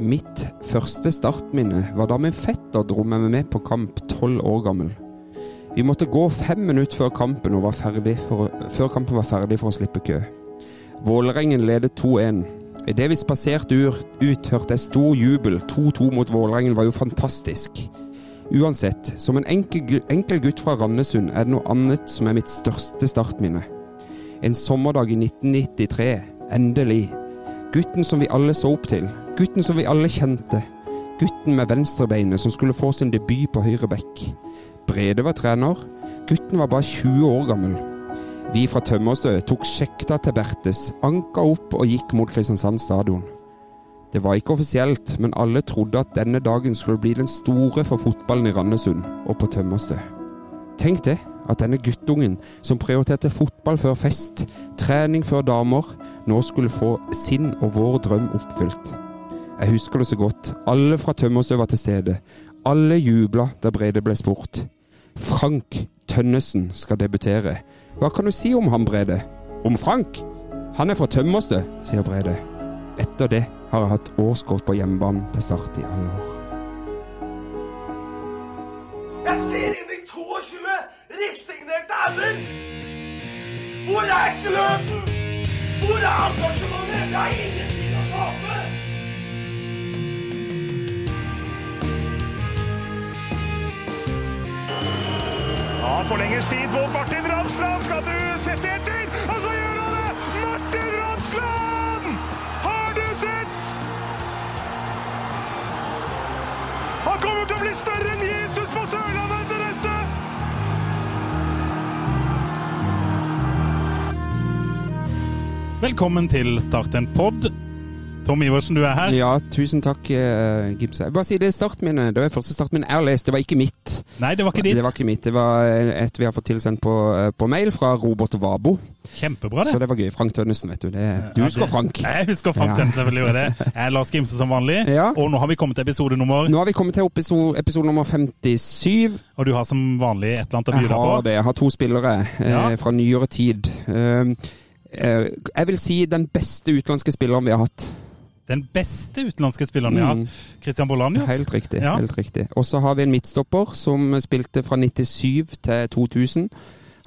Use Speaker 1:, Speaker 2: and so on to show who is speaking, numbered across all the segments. Speaker 1: Mitt første startminne var da min fetter dro meg med på kamp tolv år gammel. Vi måtte gå fem minutter før kampen, og var ferdig for, før kampen var ferdig for å slippe kø. Vålerengen ledet 2-1. Idet vi spaserte ur- ut, hørte jeg stor jubel. 2-2 mot Vålerengen var jo fantastisk. Uansett, som en enkel, gu- enkel gutt fra Randesund er det noe annet som er mitt største startminne. En sommerdag i 1993. Endelig. Gutten som vi alle så opp til. Gutten som vi alle kjente. Gutten med venstrebeinet som skulle få sin debut på høyre bekk. Brede var trener. Gutten var bare 20 år gammel. Vi fra Tømmerstø tok sjekta til Bertes, anka opp og gikk mot Kristiansand stadion. Det var ikke offisielt, men alle trodde at denne dagen skulle bli den store for fotballen i Randesund og på Tømmerstø. Tenk det, at denne guttungen som prioriterte fotball før fest, trening før damer, nå skulle få sin og vår drøm oppfylt. Jeg husker det så godt. Alle fra Tømmerstø var til stede. Alle jubla da Brede ble spurt. Frank Tønnesen skal debutere. Hva kan du si om han, Brede? Om Frank? Han er fra Tømmerstø, sier Brede. Etter det har jeg hatt årskort på hjemmebanen til start i alle år.
Speaker 2: Jeg ser inn i 22 resignerte ender! Hvor er gløden? Hvor er engasjementet? Jeg har ingenting å tape!
Speaker 3: Ja, forlenges tid på Martin Ramsland. Skal du sette etter? Og så gjør han det! Martin Ramsland! Har du sett? Han kommer til å bli større enn Jesus på Sørlandet etter dette!
Speaker 4: Velkommen til Start en pod. Tom Iversen, du er her.
Speaker 1: Ja, tusen takk, eh, Gibse. Jeg Bare si det er startminnet. Det var første startminnet jeg har lest. Det var ikke mitt.
Speaker 4: Nei, det var ikke ditt.
Speaker 1: Det var ikke mitt. Det var eh, et vi har fått tilsendt på, eh, på mail fra Robert Vabo.
Speaker 4: Kjempebra, det.
Speaker 1: Så det var gøy. Frank Tønnesen, vet du. Det, du
Speaker 4: Ja,
Speaker 1: husker
Speaker 4: det-
Speaker 1: Frank.
Speaker 4: Jeg husker Frank
Speaker 1: Ja.
Speaker 4: den, selvfølgelig. gjør jeg det. Jeg er Lars Gimse som vanlig.
Speaker 1: Ja.
Speaker 4: Og nå har vi kommet til episode nummer,
Speaker 1: Nå har vi kommet til episode, episode nummer 57.
Speaker 4: og du har som vanlig et eller annet å by
Speaker 1: Jeg
Speaker 4: deg
Speaker 1: har
Speaker 4: på.
Speaker 1: det. Jeg har to spillere eh,
Speaker 4: Ja.
Speaker 1: fra nyere tid. Eh, eh, jeg vil si den beste utenlandske spilleren vi har hatt.
Speaker 4: Den beste utenlandske spilleren vi har
Speaker 1: Mm.
Speaker 4: hatt, Christian Bolanius.
Speaker 1: Helt riktig.
Speaker 4: Ja.
Speaker 1: helt riktig. Og så har vi en midtstopper som spilte fra 97 til 2000.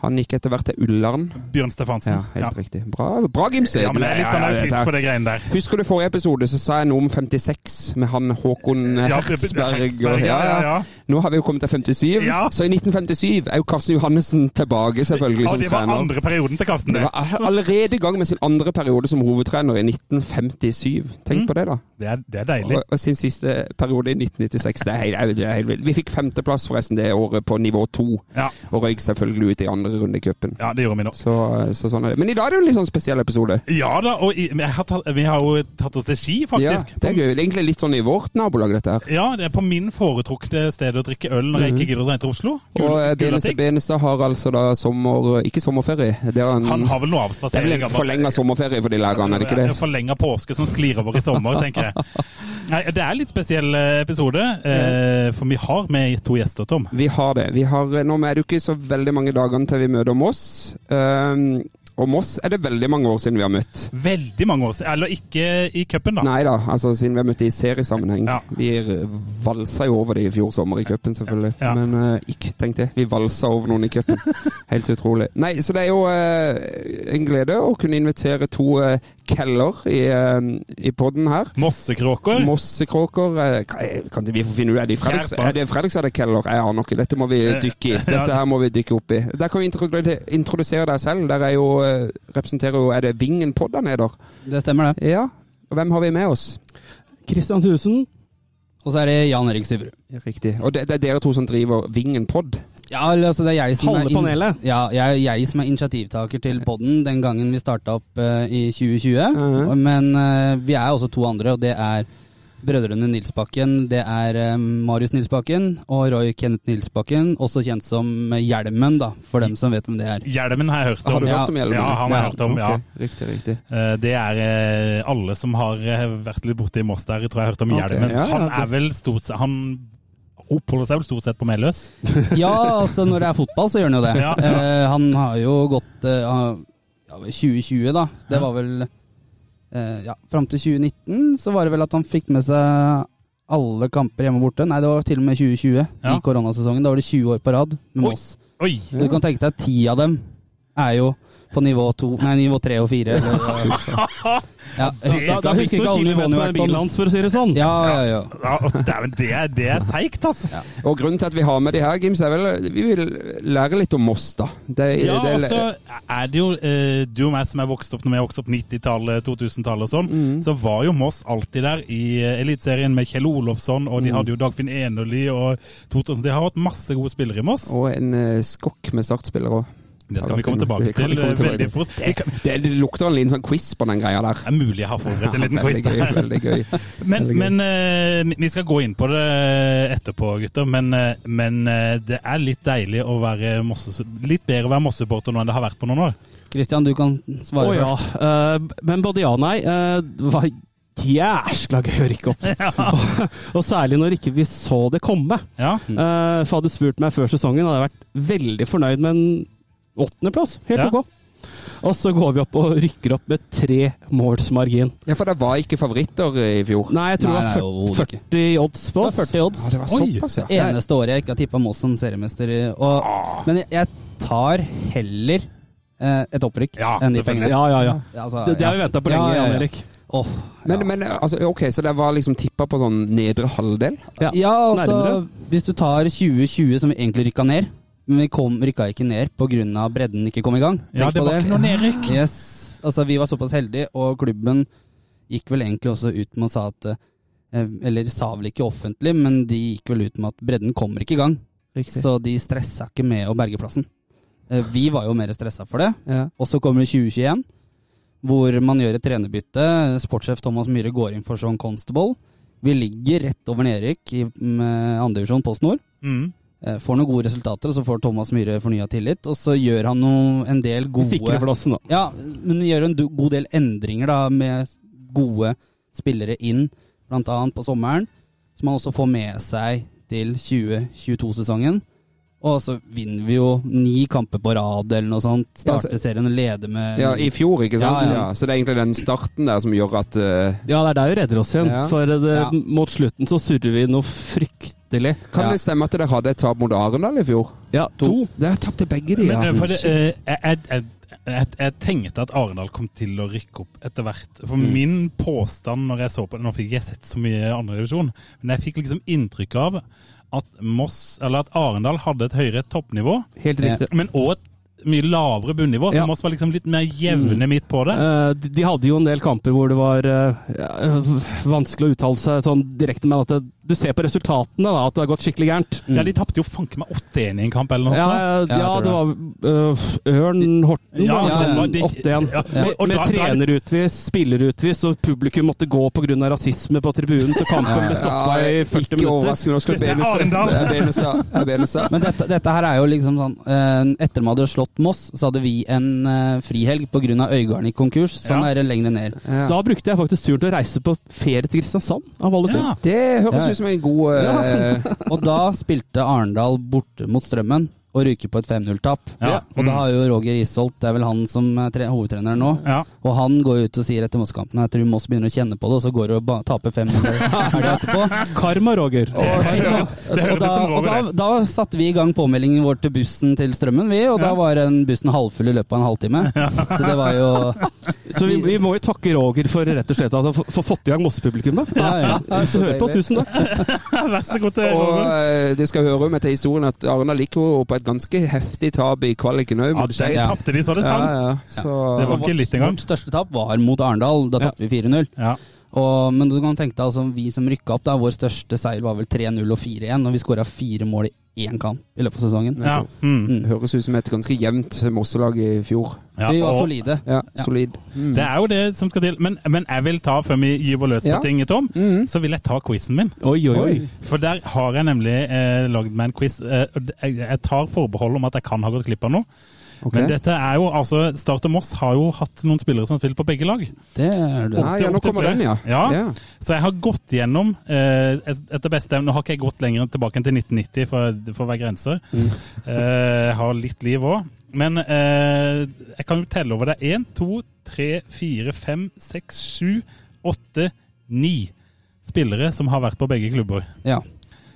Speaker 1: Han gikk etter hvert til Ullern.
Speaker 4: Bjørn Stefansen.
Speaker 1: Ja, helt riktig. Bra, bra Gimse!
Speaker 4: ja, men jeg er litt sånn
Speaker 1: Ja, ja,
Speaker 4: autist
Speaker 1: dette her.
Speaker 4: på det greiene der.
Speaker 1: Husker du forrige episode, så sa jeg noe om 56 med han Håkon
Speaker 4: Ja,
Speaker 1: Hertzberg.
Speaker 4: Hertzberg,
Speaker 1: og-
Speaker 4: ja, ja, ja.
Speaker 1: Nå har vi jo kommet til 57,
Speaker 4: Ja.
Speaker 1: så i 1957 er jo Karsten Johannessen tilbake selvfølgelig
Speaker 4: Og
Speaker 1: som
Speaker 4: det var
Speaker 1: trener.
Speaker 4: andre perioden til Karsten,
Speaker 1: Det
Speaker 4: det.
Speaker 1: var allerede i gang med sin andre periode som hovedtrener i 1957. Tenk
Speaker 4: Mm.
Speaker 1: på det, da.
Speaker 4: Det er, det er deilig.
Speaker 1: Og, og sin siste periode i 1996. Det er helt, det er helt vilt. Vi fikk femteplass forresten det året på nivå to,
Speaker 4: Ja.
Speaker 1: og røyk selvfølgelig ut i andre runde i cupen.
Speaker 4: ja, det gjorde vi nå.
Speaker 1: Så, så sånn er det. Men i dag er det jo en litt sånn spesiell episode.
Speaker 4: Ja da, og i- men jeg har tatt, vi har jo tatt oss til ski, faktisk.
Speaker 1: Ja, det er gøy. Det er egentlig litt sånn i vårt nabolag, dette her.
Speaker 4: Ja, det er på min foretrukne sted å drikke øl når jeg ikke gidder å dra til Oslo. Gul-
Speaker 1: Mhm. Og eh, Benestad,
Speaker 4: Gulating.
Speaker 1: Benestad har altså da sommer... Ikke sommerferie. Det er en,
Speaker 4: Han har vel noe
Speaker 1: det er vel
Speaker 4: avspasering.
Speaker 1: en forlenga sommerferie for de lærerne, er det ikke det?
Speaker 4: Forlenga påske som sklir over i sommer, tenker jeg. Nei, Det er en litt spesiell eh, episode, eh, for vi har med to gjester, Tom.
Speaker 1: Vi har det. Vi har, eh, nå er det jo ikke så veldig mange dagene til vi møter Moss. Ehm, og Moss er det veldig mange år siden vi har møtt.
Speaker 4: Veldig mange år siden. Eller ikke i cupen, da.
Speaker 1: Nei da, altså siden vi har møtt de i seriesammenheng.
Speaker 4: Ja.
Speaker 1: Vi eh, valsa jo over de i fjor sommer i cupen, selvfølgelig.
Speaker 4: Ja.
Speaker 1: Men eh, ikke, tenk det. Vi valsa over noen i cupen. Helt utrolig. Nei, så det er jo eh, en glede å kunne invitere to eh, keller i, eh, i podden her.
Speaker 4: Mossekråker.
Speaker 1: Mossekråker eh, kan kan ikke vi få finne ut Er det i Fredriks-
Speaker 4: Skjerpa.
Speaker 1: er det i Fredrikstad det keller? Jeg aner ikke. Dette må vi
Speaker 4: Eh,
Speaker 1: dykke i. Dette her må vi dykke opp i. Der kan vi introdusere, introdusere deg selv. Der er jo, eh, representerer jo Er det Vingen Podd der nede?
Speaker 5: Det stemmer, det.
Speaker 1: Ja. Og hvem har vi med oss?
Speaker 5: Kristian Thusen. Og så er det Jan Erik Syverud.
Speaker 1: Riktig. Og det, det er dere to som driver Vingen Podd?
Speaker 5: Ja, eller, altså det er jeg som
Speaker 6: Halve
Speaker 5: er inn-
Speaker 6: panelet.
Speaker 5: Ja, jeg, jeg som er initiativtaker til podden den gangen vi starta opp eh, i 2020.
Speaker 6: Uh-huh.
Speaker 1: Mhm.
Speaker 5: Men eh, vi er også to andre, og det er brødrene Nilsbakken. Det er eh, Marius Nilsbakken og Roy Kenneth Nilsbakken, også kjent som Hjelmen, da, for dem som vet hvem det er.
Speaker 4: Hjelmen har jeg hørt
Speaker 1: Har
Speaker 4: om.
Speaker 1: du
Speaker 5: Ja.
Speaker 1: hørt om Hjelmen?
Speaker 4: Ja, han har jeg hørt om, ja.
Speaker 1: ok. Riktig, riktig.
Speaker 4: Eh, Det er eh, alle som har eh, vært litt borte i Moss der, tror jeg har hørt om
Speaker 1: Ok,
Speaker 4: Hjelmen.
Speaker 1: ja, ja,
Speaker 4: Han
Speaker 1: ok.
Speaker 4: er vel stort sett Han oppholder seg vel stort sett på Meløs.
Speaker 5: Ja, altså når det er fotball, så gjør han jo det.
Speaker 4: Ja, ja.
Speaker 5: Eh, han har jo gått eh, han- ja, 2020, da. Det var vel eh, ja, fram til 2019 så var det vel at han fikk med seg alle kamper hjemme og borte. Nei, det var til og med 2020,
Speaker 4: Ja.
Speaker 5: i koronasesongen. Da var det 20 år på rad med
Speaker 4: Oi.
Speaker 5: Moss.
Speaker 4: Oi!
Speaker 5: Du kan tenke deg at ti av dem er jo på nivå to, nei, nivå tre og fire. eller- Ja, jeg husker ikke, jeg husker ikke alle nivåene vi har vært på. men-
Speaker 6: for å si det sånn.
Speaker 5: Ja, ja, ja.
Speaker 4: Ja, å, dæven, det er, det er seigt, altså.
Speaker 1: Og grunnen til at vi har med de her, Gims, er vel eh, vi vil lære litt om Moss, da. Det,
Speaker 4: Ja,
Speaker 1: det,
Speaker 4: altså, og så er det jo eh, du og meg som er vokst opp når vi er vokst opp 90-tallet, 2000-tallet og sånn, så var jo Moss alltid der i eh, Eliteserien med Kjell Olofsson, og de hadde jo Dagfinn Enerly og 2000. De har hatt masse gode spillere i Moss.
Speaker 1: Og en eh, skokk med startspillere òg.
Speaker 4: Det skal vi komme tilbake til eh, veldig fort. Vi kan,
Speaker 1: Det, det lukter en liten sånn quiz på den greia der.
Speaker 4: det er mulig jeg har forberedt en liten quiz
Speaker 1: veldig gøy.
Speaker 4: der.
Speaker 1: Veldig gøy.
Speaker 4: Men,
Speaker 1: veldig gøy.
Speaker 4: men eh, vi skal gå inn på det etterpå, gutter. Men, eh, men eh, det er litt deilig å være Mosse, litt bedre å være Moss-supporter nå enn det har vært på noen år.
Speaker 5: Kristian, du kan svare
Speaker 6: Å ja.
Speaker 5: først.
Speaker 6: eh, men både ja og nei. eh, det var jæskla gøy å rykke opp. og, og særlig når ikke vi så det komme.
Speaker 4: Ja,
Speaker 6: Eh, for hadde du spurt meg før sesongen, hadde jeg vært veldig fornøyd med en åttendeplass. Helt
Speaker 4: Ja.
Speaker 6: ok. Og så går vi opp og rykker opp med tre måls margin.
Speaker 1: Ja, for det var ikke favoritter eh, i fjor.
Speaker 6: Nei, jeg tror
Speaker 5: Nei, nei,
Speaker 6: det
Speaker 5: overhodet
Speaker 6: var 40, 40 odds på
Speaker 5: Det
Speaker 6: oss.
Speaker 5: var 40 odds.
Speaker 1: Ja, det var
Speaker 4: Oi.
Speaker 1: såpass, ja.
Speaker 5: Eneste året jeg ikke har tippa Moss som seriemester. i- Og, men jeg- jeg tar heller eh, et opprykk
Speaker 4: Ja,
Speaker 5: enn de
Speaker 4: selvfølgelig.
Speaker 5: pengene.
Speaker 6: Ja, ja, ja.
Speaker 5: Altså,
Speaker 6: Det, det har vi
Speaker 5: ja.
Speaker 6: venta på lenge,
Speaker 5: Ja, ja, ja.
Speaker 6: Jan Erik.
Speaker 5: Åh,
Speaker 1: Men,
Speaker 5: ja.
Speaker 1: men altså, ok, så det var liksom tippa på sånn nedre halvdel?
Speaker 6: Ja.
Speaker 5: ja, altså
Speaker 6: Nærmere.
Speaker 5: Hvis du tar 2020, som vi egentlig rykka ned Men vi kom, rykka ikke ned pga. bredden ikke kom i gang.
Speaker 4: ja
Speaker 5: Tenk
Speaker 4: det
Speaker 5: på
Speaker 4: var ikke noe nedrykk.
Speaker 5: Yes. Altså, vi var såpass heldige, og klubben gikk vel egentlig også ut med å sa at eh, Eller sa vel ikke offentlig, men de gikk vel ut med at bredden kommer ikke i gang. Så de stressa ikke med å berge plassen. Eh, Vi var jo mer stressa for det.
Speaker 1: Ja.
Speaker 5: Og så kommer det 2021, hvor man gjør et trenerbytte. Sportssjef Thomas Myhre går inn for Sean Constable. Vi ligger rett over nedrykk i andredivisjon Post Nord.
Speaker 4: Mm.
Speaker 5: Eh, Får noen gode resultater, og så får Thomas Myhre fornya tillit. Og så gjør han noe, en del
Speaker 6: Vi
Speaker 5: gode
Speaker 6: sikrer for oss nå.
Speaker 5: ja, men de gjør en do- god del endringer da, med gode spillere inn, blant annet på sommeren, som man også får med seg til 2022-sesongen. Og så vinner vi jo ni kamper på rad eller noe sånt.
Speaker 1: Ja,
Speaker 5: Starter
Speaker 1: så-
Speaker 5: serien og leder med
Speaker 1: Ja, i fjor, ikke sant?
Speaker 5: Ja,
Speaker 1: Ja,
Speaker 5: ja.
Speaker 1: så det er egentlig den starten der som gjør at eh,
Speaker 6: Ja, det er der vi redder oss igjen.
Speaker 1: Ja.
Speaker 6: For det,
Speaker 5: Ja.
Speaker 6: mot slutten så surrer vi noe fryktelig.
Speaker 1: Kan
Speaker 5: Ja.
Speaker 1: det stemme at dere hadde et tap mot Arendal i fjor?
Speaker 6: Ja, to.
Speaker 1: Dere tapte begge de,
Speaker 4: Men, eh, for det,
Speaker 1: Shit.
Speaker 4: eh, jeg, jeg, jeg, jeg, jeg tenkte at Arendal kom til å rykke opp etter hvert. For min påstand når jeg så på det, Nå fikk jeg sett så mye andredivisjon, men jeg fikk liksom inntrykk av at, Moss, eller at Arendal hadde et høyere toppnivå,
Speaker 6: Helt riktig.
Speaker 4: men òg et mye lavere bunnivå. Så
Speaker 6: Ja.
Speaker 4: Moss var liksom litt mer jevne midt på det.
Speaker 6: Eh, de- de hadde jo en del kamper hvor det var eh, ja, vanskelig å uttale seg sånn direkte, men at det, du ser på resultatene da, at det har gått skikkelig gærent.
Speaker 4: Ja, De tapte jo fanken meg 8-1 i en kamp, eller noe.
Speaker 6: Ja,
Speaker 4: sånt.
Speaker 6: ja,
Speaker 5: Ja, jeg
Speaker 6: det var
Speaker 5: tror
Speaker 6: eh, Ørn Horten,
Speaker 4: Ja,
Speaker 6: da,
Speaker 4: det var de-
Speaker 6: 8-1.
Speaker 4: Ja,
Speaker 6: Med,
Speaker 4: og
Speaker 6: med
Speaker 4: da- da-
Speaker 6: trenerutvist, spillerutvist, og publikum måtte gå pga. rasisme på tribunen, så kampen ble stoppa i 40
Speaker 1: Ikke
Speaker 6: minutter.
Speaker 1: overraskende. Nå skulle
Speaker 4: Det er Arendal.
Speaker 1: Benestad- Benestad- ja, Benestad.
Speaker 5: Men dette, dette her er jo liksom sånn eh, Etter man hadde slått Moss, så hadde vi en eh, frihelg pga. Øygarden i konkurs. Sånn
Speaker 4: Ja.
Speaker 5: er det lenger ned.
Speaker 1: Ja.
Speaker 6: Da brukte jeg faktisk turen til å reise på ferie til Kristiansand, av alle ting.
Speaker 4: Ja.
Speaker 1: Det høres
Speaker 5: Ja.
Speaker 1: ut som en god eh,
Speaker 5: Og da spilte Arendal borte mot Strømmen og ryker på et 5-0-tap.
Speaker 4: Ja.
Speaker 5: Og da har jo Roger Isholt, det er vel han som er tre hovedtrener nå,
Speaker 4: Ja.
Speaker 5: og han går ut og sier etter Moss-kampen at jeg tror Moss begynner å kjenne på det, og så går det og ba- taper 5-0 helga etterpå.
Speaker 6: Karma, Roger.
Speaker 4: Det høres, det
Speaker 5: Og,
Speaker 4: høres
Speaker 5: da,
Speaker 4: ut som
Speaker 5: og da,
Speaker 4: Roger, det.
Speaker 5: da satte vi i gang påmeldingen vår til bussen til Strømmen, vi, og da
Speaker 4: Ja.
Speaker 5: var den bussen halvfull i løpet av en halvtime. Så det var jo
Speaker 6: Så vi, vi må jo takke Roger for rett og slett at han får fått i gang Moss-publikummet.
Speaker 5: ja, ja.
Speaker 6: Hvis du hører på, tusen takk.
Speaker 4: Vær så god til
Speaker 1: Og
Speaker 4: Roger.
Speaker 1: eh, det skal høre med til historien at Arendal gikk jo på et ganske heftig tap i kvaliken òg.
Speaker 4: Ja, der
Speaker 5: ja.
Speaker 4: tapte de så det
Speaker 1: Ja,
Speaker 4: sang.
Speaker 1: ja. Så
Speaker 4: Det var ikke litt engang.
Speaker 5: Vårt største tap var mot Arendal, da
Speaker 6: Ja.
Speaker 5: tapte vi 4-0.
Speaker 4: Ja.
Speaker 5: Og, men du kan tenke deg altså, vi som rykka opp, da, vår største seier var vel 3-0 og 4-1, og vi skåra fire mål i én kamp i løpet av sesongen.
Speaker 4: Ja. Mm.
Speaker 1: det høres ut som et ganske jevnt Mosselag i fjor.
Speaker 4: Ja,
Speaker 5: vi var
Speaker 4: og-
Speaker 5: solide.
Speaker 1: Ja, solid. Mm.
Speaker 4: Det er jo det som skal til. Men, men jeg vil ta, før vi gyver løs på
Speaker 1: Ja.
Speaker 4: ting, Tom,
Speaker 1: Mhm.
Speaker 4: så vil jeg ta quizen min.
Speaker 6: Oi, oi, oi.
Speaker 4: For der har jeg nemlig eh, lagd meg en quiz. Eh, og det- jeg, jeg tar forbehold om at jeg kan ha gått glipp av noe.
Speaker 1: Ok.
Speaker 4: Men dette er jo, altså, Start og Moss har jo hatt noen spillere som har spilt på begge lag.
Speaker 5: Det er det.
Speaker 1: Ja, ja, nå kommer den, ja.
Speaker 4: Ja.
Speaker 1: Ja.
Speaker 4: Så jeg har gått gjennom eh, etter beste evne. Nå har ikke jeg gått lenger tilbake enn til 1990 for, for å være grenser. Eh, jeg har litt liv òg. Men eh, jeg kan jo telle over det. Én, to, tre, fire, fem, seks, sju, åtte, ni spillere som har vært på begge klubber.
Speaker 5: Ja.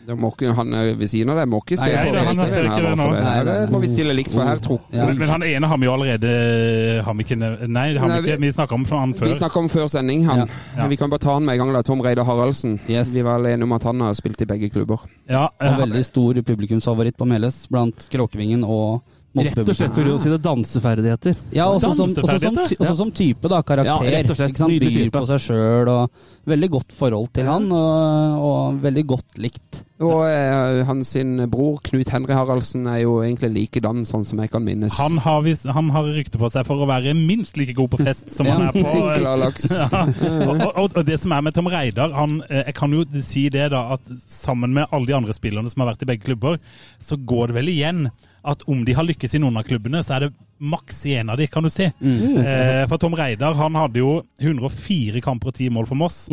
Speaker 1: Da må ikke, han eh, ved siden av deg må ikke se
Speaker 5: Nei, nei,
Speaker 1: på
Speaker 5: nei,
Speaker 1: hele
Speaker 5: han ser
Speaker 1: serien
Speaker 4: ikke
Speaker 1: her,
Speaker 4: det
Speaker 1: bare for
Speaker 4: nå.
Speaker 1: det.
Speaker 5: Nei,
Speaker 1: Her
Speaker 5: nei, nei.
Speaker 1: må vi stille likt, for her tror
Speaker 5: Ja.
Speaker 4: Men, men han ene har vi jo allerede har vi ikke, nev- Nei, det har
Speaker 1: Nei,
Speaker 4: vi ikke. Vi snakka om han
Speaker 1: Vi
Speaker 4: før.
Speaker 1: snakka om før sending, han.
Speaker 5: Ja.
Speaker 4: Ja.
Speaker 1: Vi kan bare ta han med en gang, da. Tom Reidar Haraldsen.
Speaker 5: Yes.
Speaker 1: Vi var alle enige om at han har spilt i begge klubber.
Speaker 4: Ja, eh,
Speaker 5: Og veldig stor publikumsfavoritt på Meløs blant Kråkevingen og
Speaker 6: Rett og slett pga. sine danseferdigheter.
Speaker 5: Ja, også som, også som, ty-
Speaker 4: Danseferdigheter.
Speaker 5: også som type, da. Karakter.
Speaker 6: Ja, rett og slett.
Speaker 5: Ikke sant?
Speaker 6: Nydelig
Speaker 5: Byr
Speaker 6: type.
Speaker 5: på seg sjøl og Veldig godt forhold til han, og, og veldig godt likt.
Speaker 1: Og eh, hans sin bror Knut Henry Haraldsen er jo egentlig likedan, sånn som jeg kan minnes.
Speaker 4: han har, vis- han har rykte på seg for å være minst like god på fest som han er på eh,
Speaker 1: Gladlaks.
Speaker 4: Ja, og, og, og det som er med Tom Reidar han, eh, Jeg kan jo si det da at sammen med alle de andre spillerne som har vært i begge klubber, så går det vel igjen at om de har lykkes i noen av klubbene, så er det maks i en av de, kan du si. Eh, for Tom Reidar han hadde jo 104 kamper og 10 mål for Moss.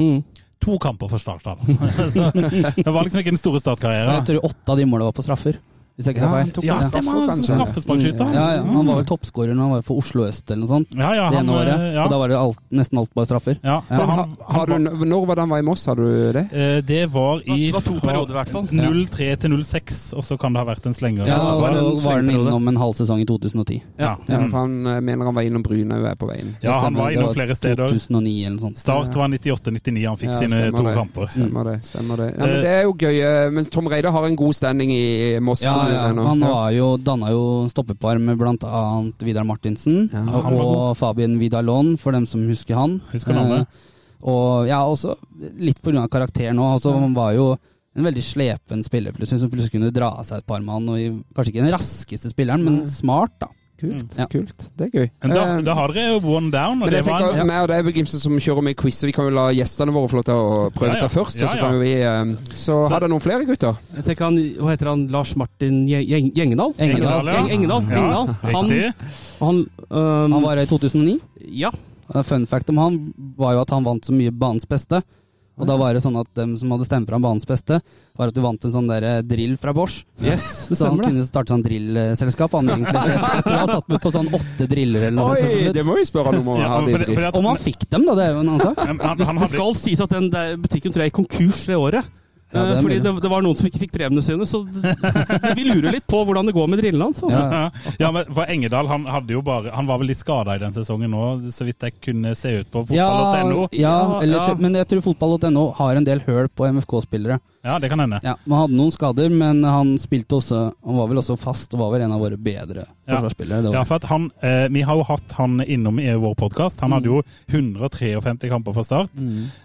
Speaker 4: To kamper for Start, da. så det var liksom ikke den store
Speaker 5: Jeg
Speaker 4: startkarrieren.
Speaker 5: tror åtte av de måla var på straffer. Hvis jeg
Speaker 1: Ja,
Speaker 5: ikke tar
Speaker 1: han
Speaker 5: feil.
Speaker 1: tok
Speaker 4: Ja,
Speaker 1: en straffe,
Speaker 4: stemmer! som
Speaker 1: kanskje.
Speaker 4: Straffesparkskytter.
Speaker 5: Ja, ja, han var vel toppskårer når han var for Oslo øst eller noe sånt.
Speaker 4: Ja, ja,
Speaker 5: det
Speaker 4: han,
Speaker 5: ene året.
Speaker 4: eh, ja.
Speaker 5: Og da var det alt, nesten alt bare straffer.
Speaker 4: Ja, for
Speaker 1: Men
Speaker 4: han,
Speaker 1: ha- har du, når var det han var i Moss, har du det?
Speaker 4: Eh, Det var i
Speaker 6: Det var to
Speaker 4: fra
Speaker 6: perioder i hvert fall.
Speaker 4: 03 til 06, og så kan det ha vært en slenger.
Speaker 5: Ja,
Speaker 6: det
Speaker 5: og så
Speaker 6: var en
Speaker 5: var han
Speaker 6: slengperiode.
Speaker 5: innom en halv sesong i 2010.
Speaker 4: Ja.
Speaker 1: Ja,
Speaker 4: Mm.
Speaker 1: for han eh, mener han var innom Bryne og er på veien.
Speaker 4: ja, han
Speaker 5: Stemmer,
Speaker 4: var
Speaker 5: det
Speaker 4: innom flere steder.
Speaker 5: 2009 eller noe sånt.
Speaker 4: Start var 98-99, han fikk
Speaker 1: Ja,
Speaker 4: sine
Speaker 1: stemmer
Speaker 4: to
Speaker 1: det. Mm.
Speaker 4: kamper.
Speaker 1: Stemmer det. stemmer Det ja,
Speaker 4: Eh.
Speaker 1: men det er jo gøy. eh, Men Tom Reidar har en god standing i Moss.
Speaker 5: Ja, ja.
Speaker 1: kommune nå.
Speaker 5: Han var jo, danna jo stoppepar med bl.a. Vidar Martinsen
Speaker 1: Ja,
Speaker 4: han var
Speaker 5: og Fabien Vidalon, for dem som husker han. Eh,
Speaker 4: Husker navnet.
Speaker 5: og ja, også litt pga. karakteren òg. Altså, han var jo en veldig slepen spiller plutselig, som plutselig kunne dra av seg et par mann. Og i, kanskje ikke den raskeste spilleren, men smart, da.
Speaker 1: Kult.
Speaker 5: Ja.
Speaker 1: kult. Det er gøy.
Speaker 4: Men Da,
Speaker 1: Eh,
Speaker 4: da har dere jo one down, og
Speaker 1: Men
Speaker 4: det
Speaker 1: jeg
Speaker 4: var
Speaker 1: tenker
Speaker 4: en
Speaker 1: meg og deg Gimse, som kjører mye quiz, så vi kan jo la gjestene våre få lov til å prøve
Speaker 4: Ja, ja.
Speaker 1: seg først.
Speaker 4: Ja,
Speaker 1: Og så
Speaker 4: ja.
Speaker 1: kan jo vi eh, Så
Speaker 4: Så-
Speaker 1: har dere noen flere, gutter?
Speaker 6: Jeg tenker han, Hva heter han? Lars Martin Gje- Gjeng- Gjengedal?
Speaker 5: Engedal,
Speaker 4: ja.
Speaker 6: Eng- Engedal.
Speaker 4: Ja,
Speaker 6: Engedal. Han,
Speaker 4: Riktig.
Speaker 6: han, øhm,
Speaker 5: Han var her i 2009.
Speaker 6: Ja.
Speaker 5: Eh, Fun fact om han var jo at han vant så mye banens beste. Og da var det sånn at dem som hadde stemt fram banens beste, var at du vant en sånn der eh, drill fra Bosch.
Speaker 6: Yes, det
Speaker 5: Så han
Speaker 6: stemmer det.
Speaker 5: kunne starte sånn drillselskap, han egentlig. Så Jeg, jeg tror han satt med på sånn åtte driller eller noe.
Speaker 1: Oi, det må vi spørre han om.
Speaker 4: Ja,
Speaker 1: her,
Speaker 4: for det-
Speaker 1: Didrik.
Speaker 4: for det at-
Speaker 5: Om han fikk dem, da, det er jo en annen sak.
Speaker 4: men han- han
Speaker 6: Det
Speaker 4: hadde-
Speaker 6: skal sies at den der butikken tror jeg er i konkurs det året.
Speaker 5: Ja, det er
Speaker 6: Eh, fordi
Speaker 5: mulig.
Speaker 6: det, det var noen som ikke fikk brevene sine, så vi lurer litt på hvordan det går med drillene hans. Altså.
Speaker 5: Ja.
Speaker 4: Ja, men for Engedal han, hadde jo bare, han var vel litt skada i den sesongen nå, så vidt jeg kunne se ut på fotball.no.
Speaker 5: Ja, ja, eller,
Speaker 6: Ja.
Speaker 5: Men jeg tror fotball.no har en del høl på MFK-spillere.
Speaker 4: Ja, det kan hende.
Speaker 5: Ja, Man hadde noen skader, men han spilte også Han var vel også fast og var vel en av våre bedre
Speaker 4: Ja.
Speaker 5: forsvarsspillere. det
Speaker 4: Ja,
Speaker 5: året.
Speaker 4: for at han, eh, Vi har jo hatt han innom i vår podkast. Han
Speaker 6: Mm.
Speaker 4: hadde jo 153 kamper for Start.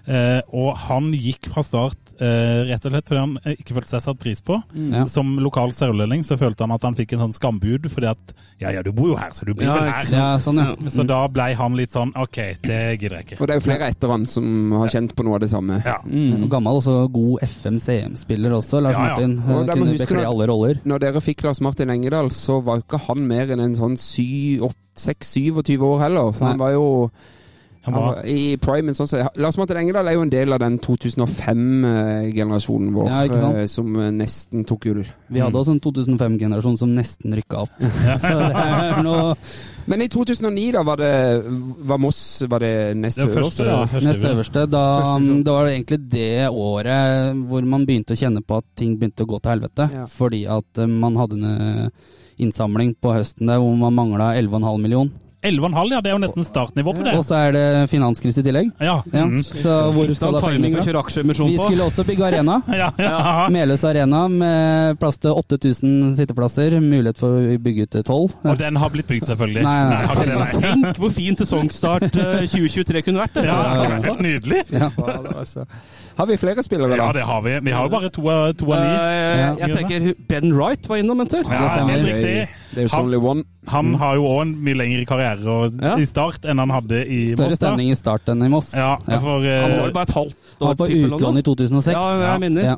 Speaker 4: Eh, og han gikk fra Start eh, rett og slett fordi han eh, ikke følte seg satt pris på.
Speaker 6: Mm.
Speaker 5: Ja.
Speaker 4: Som lokal sørlending så følte han at han fikk en sånn skambud fordi at Ja, ja, du bor jo her, så du blir
Speaker 6: Ja,
Speaker 4: vel
Speaker 6: ikke Mm.
Speaker 4: her.
Speaker 5: Ja, sånn, ja.
Speaker 4: Så da blei han litt sånn OK, det gidder jeg ikke.
Speaker 1: Og det er jo flere etter han som har kjent på noe av det samme.
Speaker 4: Ja.
Speaker 5: Mm. Gammel også god FM-CM-spiller også, Lars
Speaker 4: Ja, ja.
Speaker 5: Martin. eh,
Speaker 1: Og da må
Speaker 5: Kunne
Speaker 1: huske
Speaker 5: bekle
Speaker 1: det.
Speaker 5: alle roller.
Speaker 1: Når dere fikk Lars Martin Engedal, så var jo ikke han mer enn en sånn 26-27 år heller. Så han
Speaker 5: Nei.
Speaker 1: var jo
Speaker 4: Han
Speaker 1: han
Speaker 4: var,
Speaker 1: var i primen. Sånn, sett. Lars Martin Engedal er jo en del av den 2005-generasjonen vår
Speaker 5: Ja, ikke sant?
Speaker 1: eh, som eh, nesten tok gull.
Speaker 5: Vi hadde også en 2005-generasjon som nesten rykka opp. Så det er noe
Speaker 1: Men i 2009, da, var det var Moss var det nest
Speaker 4: det var
Speaker 1: øverste?
Speaker 4: første,
Speaker 1: da?
Speaker 4: første
Speaker 5: Nest
Speaker 4: vi-
Speaker 5: øverste. Da, mm,
Speaker 1: Første sesong.
Speaker 5: det var egentlig det året hvor man begynte å kjenne på at ting begynte å gå til helvete.
Speaker 1: Ja.
Speaker 5: Fordi at eh, man hadde en eh, innsamling på høsten der hvor man mangla 11,5 million.
Speaker 4: 11,5, ja. Det er jo nesten startnivå på det.
Speaker 5: Og så er det finanskrise i tillegg.
Speaker 4: Ja.
Speaker 5: Ja.
Speaker 4: Mm.
Speaker 5: Så hvor
Speaker 6: Da
Speaker 5: skal da
Speaker 6: timing
Speaker 5: pengene
Speaker 6: for å
Speaker 5: fra?
Speaker 6: kjøre aksjeemisjon
Speaker 5: Vi
Speaker 6: på.
Speaker 5: skulle også bygge arena.
Speaker 4: ja, ja.
Speaker 5: Meløs arena med plass til 8000 sitteplasser. Mulighet for å bygge ut til 12.
Speaker 4: Og den har blitt bygd, selvfølgelig.
Speaker 5: Nei, nei, nei.
Speaker 4: har ikke det, nei.
Speaker 6: Tenk hvor fin sesongstart eh, 2023 kunne vært. det.
Speaker 4: Ja, det
Speaker 5: ja.
Speaker 4: var helt nydelig.
Speaker 1: Fader, altså. Har vi flere spillere, da?
Speaker 4: Ja, det har vi. Vi har jo bare to av to av ni.
Speaker 6: Eh, jeg tenker Ben Wright var innom en tur.
Speaker 4: Ja,
Speaker 1: Det
Speaker 4: helt
Speaker 1: er jo-
Speaker 4: riktig.
Speaker 1: Det er jo
Speaker 4: Han-
Speaker 1: Sonly One.
Speaker 4: Han har jo òg en mye lengre karriere og,
Speaker 6: Ja.
Speaker 4: i Start enn han hadde i
Speaker 5: Større
Speaker 4: Moss. da.
Speaker 5: stemning i Start enn i Moss.
Speaker 4: Ja, for eh,
Speaker 6: Han var jo bare et halvt
Speaker 5: Han var
Speaker 6: år
Speaker 5: på
Speaker 6: typ eller noe.
Speaker 5: utlån i 2006.
Speaker 6: Ja, jeg minner.
Speaker 5: Ja.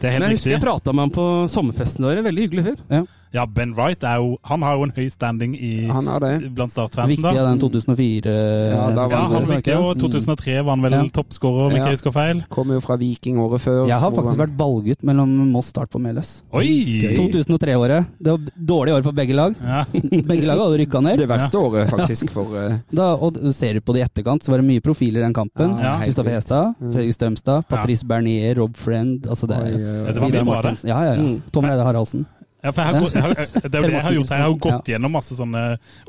Speaker 4: det er
Speaker 6: Men jeg
Speaker 4: helt
Speaker 6: husker jeg
Speaker 4: riktig.
Speaker 6: prata med ham på sommerfesten vår. Veldig hyggelig fyr.
Speaker 4: Ja, Ben Wright er jo, han har jo en høy standing i,
Speaker 1: Han er det.
Speaker 4: blant Start-fansen.
Speaker 5: Viktig
Speaker 4: da.
Speaker 5: av den 2004
Speaker 1: Mm. Ja, da var
Speaker 4: Ja, han
Speaker 1: det
Speaker 4: var viktig, og 2003 var han vel
Speaker 5: Mm. Ja.
Speaker 4: toppskårer, om
Speaker 1: Ja.
Speaker 4: ikke jeg husker feil.
Speaker 1: Kommer jo fra Viking året før.
Speaker 5: Jeg har faktisk
Speaker 1: hvor han-
Speaker 5: vært ballgutt mellom Moss Start på Meløs.
Speaker 4: Oi!
Speaker 5: 2003-året. Det var dårlig år for begge lag.
Speaker 4: Ja.
Speaker 5: Begge lag hadde rykka ned.
Speaker 1: Det verste året, faktisk, for eh,
Speaker 5: Da, og ser du på det i etterkant, så var det mye profiler i den kampen.
Speaker 4: Ja, helt
Speaker 5: Kristoffer
Speaker 1: vilt. Mm.
Speaker 5: Hestad, Fredrik Stømstad, Patrice Bernier, Rob Friend altså det,
Speaker 1: Oi, Mm. oi, oi.
Speaker 4: Det var mye
Speaker 5: Vidar
Speaker 4: bra, det.
Speaker 5: Martinsen. Ja, ja, ja. Tom Reidar Haraldsen.
Speaker 4: Ja, for jeg har, gått- jeg har, det er jo det jeg har gjort. Jeg har jo gått gjennom masse sånne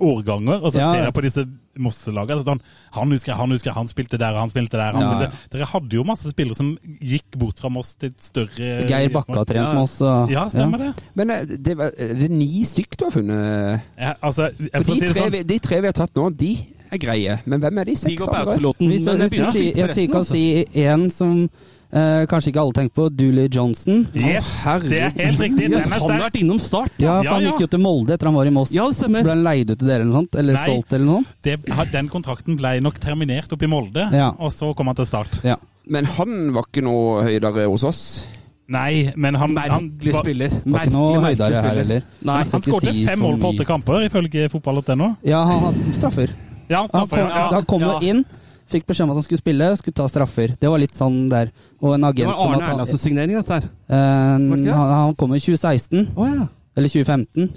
Speaker 4: årganger, og så
Speaker 5: Ja.
Speaker 4: ser jeg på disse Mosse-lagene. Sånn, han husker jeg, han husker jeg, han spilte der, og han spilte der. Han
Speaker 5: Ja,
Speaker 4: spilte. Dere hadde jo masse spillere som gikk bort fra Moss til et større
Speaker 5: Eh, Geir Bakke altså. har trent med oss. og-
Speaker 4: Ja, stemmer det.
Speaker 1: Men eh, det, var, er det ni stykk du har funnet?
Speaker 4: Jeg, altså, jeg
Speaker 1: For
Speaker 4: får
Speaker 1: de,
Speaker 4: si det
Speaker 1: tre,
Speaker 4: sånn.
Speaker 1: vi- de tre vi har tatt nå, de er greie. Men hvem er de
Speaker 6: De
Speaker 1: seks
Speaker 6: går på
Speaker 1: andre?
Speaker 6: autopiloten.
Speaker 5: Hvis,
Speaker 6: men jeg
Speaker 5: hvis
Speaker 6: begynner
Speaker 5: jeg,
Speaker 6: å
Speaker 5: si,
Speaker 6: slite på
Speaker 5: jeg, si-
Speaker 6: resten,
Speaker 5: kan
Speaker 6: altså.
Speaker 5: si én som eh, kanskje ikke alle tenker på, Dooley Johnson.
Speaker 4: Yes, det er helt riktig. Den er
Speaker 6: Ja, så han har
Speaker 4: sterk.
Speaker 6: vært innom start.
Speaker 5: Ja, for
Speaker 4: Ja,
Speaker 5: han
Speaker 4: ja.
Speaker 5: gikk jo til Molde etter han var i Moss.
Speaker 6: Ja, det
Speaker 5: så
Speaker 6: stemmer.
Speaker 5: ble han leid ut til dere eller noe sånt? Eller
Speaker 4: Nei.
Speaker 5: solgt eller noe?
Speaker 4: Det, den kontrakten ble nok terminert oppe i Molde,
Speaker 5: Ja.
Speaker 4: og så kom han til Start.
Speaker 5: Ja.
Speaker 1: Men han var ikke noe høydere hos oss.
Speaker 4: Nei, men han, han,
Speaker 6: Merkelig spiller.
Speaker 5: Var ikke noe høydere her heller.
Speaker 6: Nei,
Speaker 5: Jeg skal
Speaker 4: han
Speaker 5: ikke
Speaker 4: skåret
Speaker 5: si
Speaker 4: fem
Speaker 5: for
Speaker 4: mål på
Speaker 5: mye.
Speaker 4: åtte kamper, ifølge fotball.no.
Speaker 5: Ja, han hadde straffer.
Speaker 4: Ja, han
Speaker 5: Han
Speaker 4: stopper,
Speaker 5: kom,
Speaker 4: ja.
Speaker 5: han kom jo
Speaker 6: Ja.
Speaker 5: inn, fikk beskjed om at han skulle spille, skulle ta straffer. Det var litt sånn der. Og en
Speaker 6: Det
Speaker 5: agent
Speaker 6: var
Speaker 5: som
Speaker 6: Arne
Speaker 5: at han,
Speaker 6: Erlandsens signering, dette her. Var det
Speaker 5: eh,
Speaker 6: ikke det?
Speaker 5: han, han kom i 2016,
Speaker 6: Å ja.
Speaker 5: eller 2015,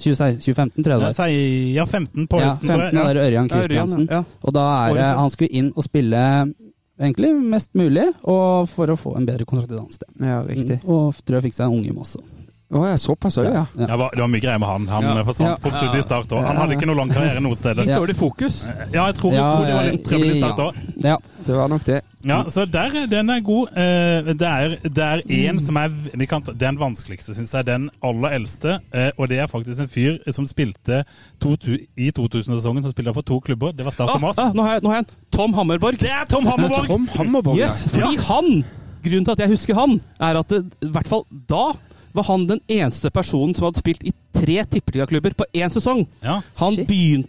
Speaker 5: 2016, 2015 tror jeg det
Speaker 4: Jeg
Speaker 5: var.
Speaker 4: sier ja, 15 på
Speaker 5: Ja,
Speaker 4: høsten,
Speaker 5: 15
Speaker 4: tror jeg. Ja.
Speaker 5: var det Ørjan
Speaker 6: Det er Ørjan,
Speaker 5: Kristiansen.
Speaker 6: ja.
Speaker 5: Og da er det,
Speaker 6: Året før.
Speaker 5: han skulle inn og spille egentlig mest mulig, og for å få en bedre kontrakt et annet sted.
Speaker 1: Ja, riktig.
Speaker 5: Og tror jeg fikk seg en unge også.
Speaker 1: Mm. Å ja, såpass òg, ja.
Speaker 4: Ja, det var- det var mye greier med han. Han
Speaker 5: Ja.
Speaker 4: forsvant
Speaker 5: Ja.
Speaker 4: fort ut i start òg. Han hadde ikke noe lang karriere noe sted.
Speaker 5: Ja.
Speaker 4: Ja,
Speaker 6: Dårlig fokus.
Speaker 4: jeg tror, jeg
Speaker 5: Ja,
Speaker 4: tror det var litt trøbbel i
Speaker 5: ja.
Speaker 4: start òg.
Speaker 5: Ja.
Speaker 1: Det var nok det.
Speaker 4: Ja, så der, er- den er god. Eh, Det er, det er en som er vi kan ta- Den vanskeligste, syns jeg. Den aller eldste. eh, Og det er faktisk en fyr som spilte to, tu- i 2000-sesongen som spilte for to klubber. Det var Start og
Speaker 6: Ah,
Speaker 4: Moss.
Speaker 6: ah, nå har jeg- nå har jeg en. Tom Hammerborg.
Speaker 4: Det er Tom Hammerborg!
Speaker 1: Tom Hammerborg,
Speaker 6: Yes, fordi han Grunnen til at jeg husker han, er at det, i hvert fall da var han den eneste personen som hadde spilt i tre tippeligaklubber på én sesong.
Speaker 4: Ja.
Speaker 6: Han
Speaker 1: Shit.
Speaker 6: begynte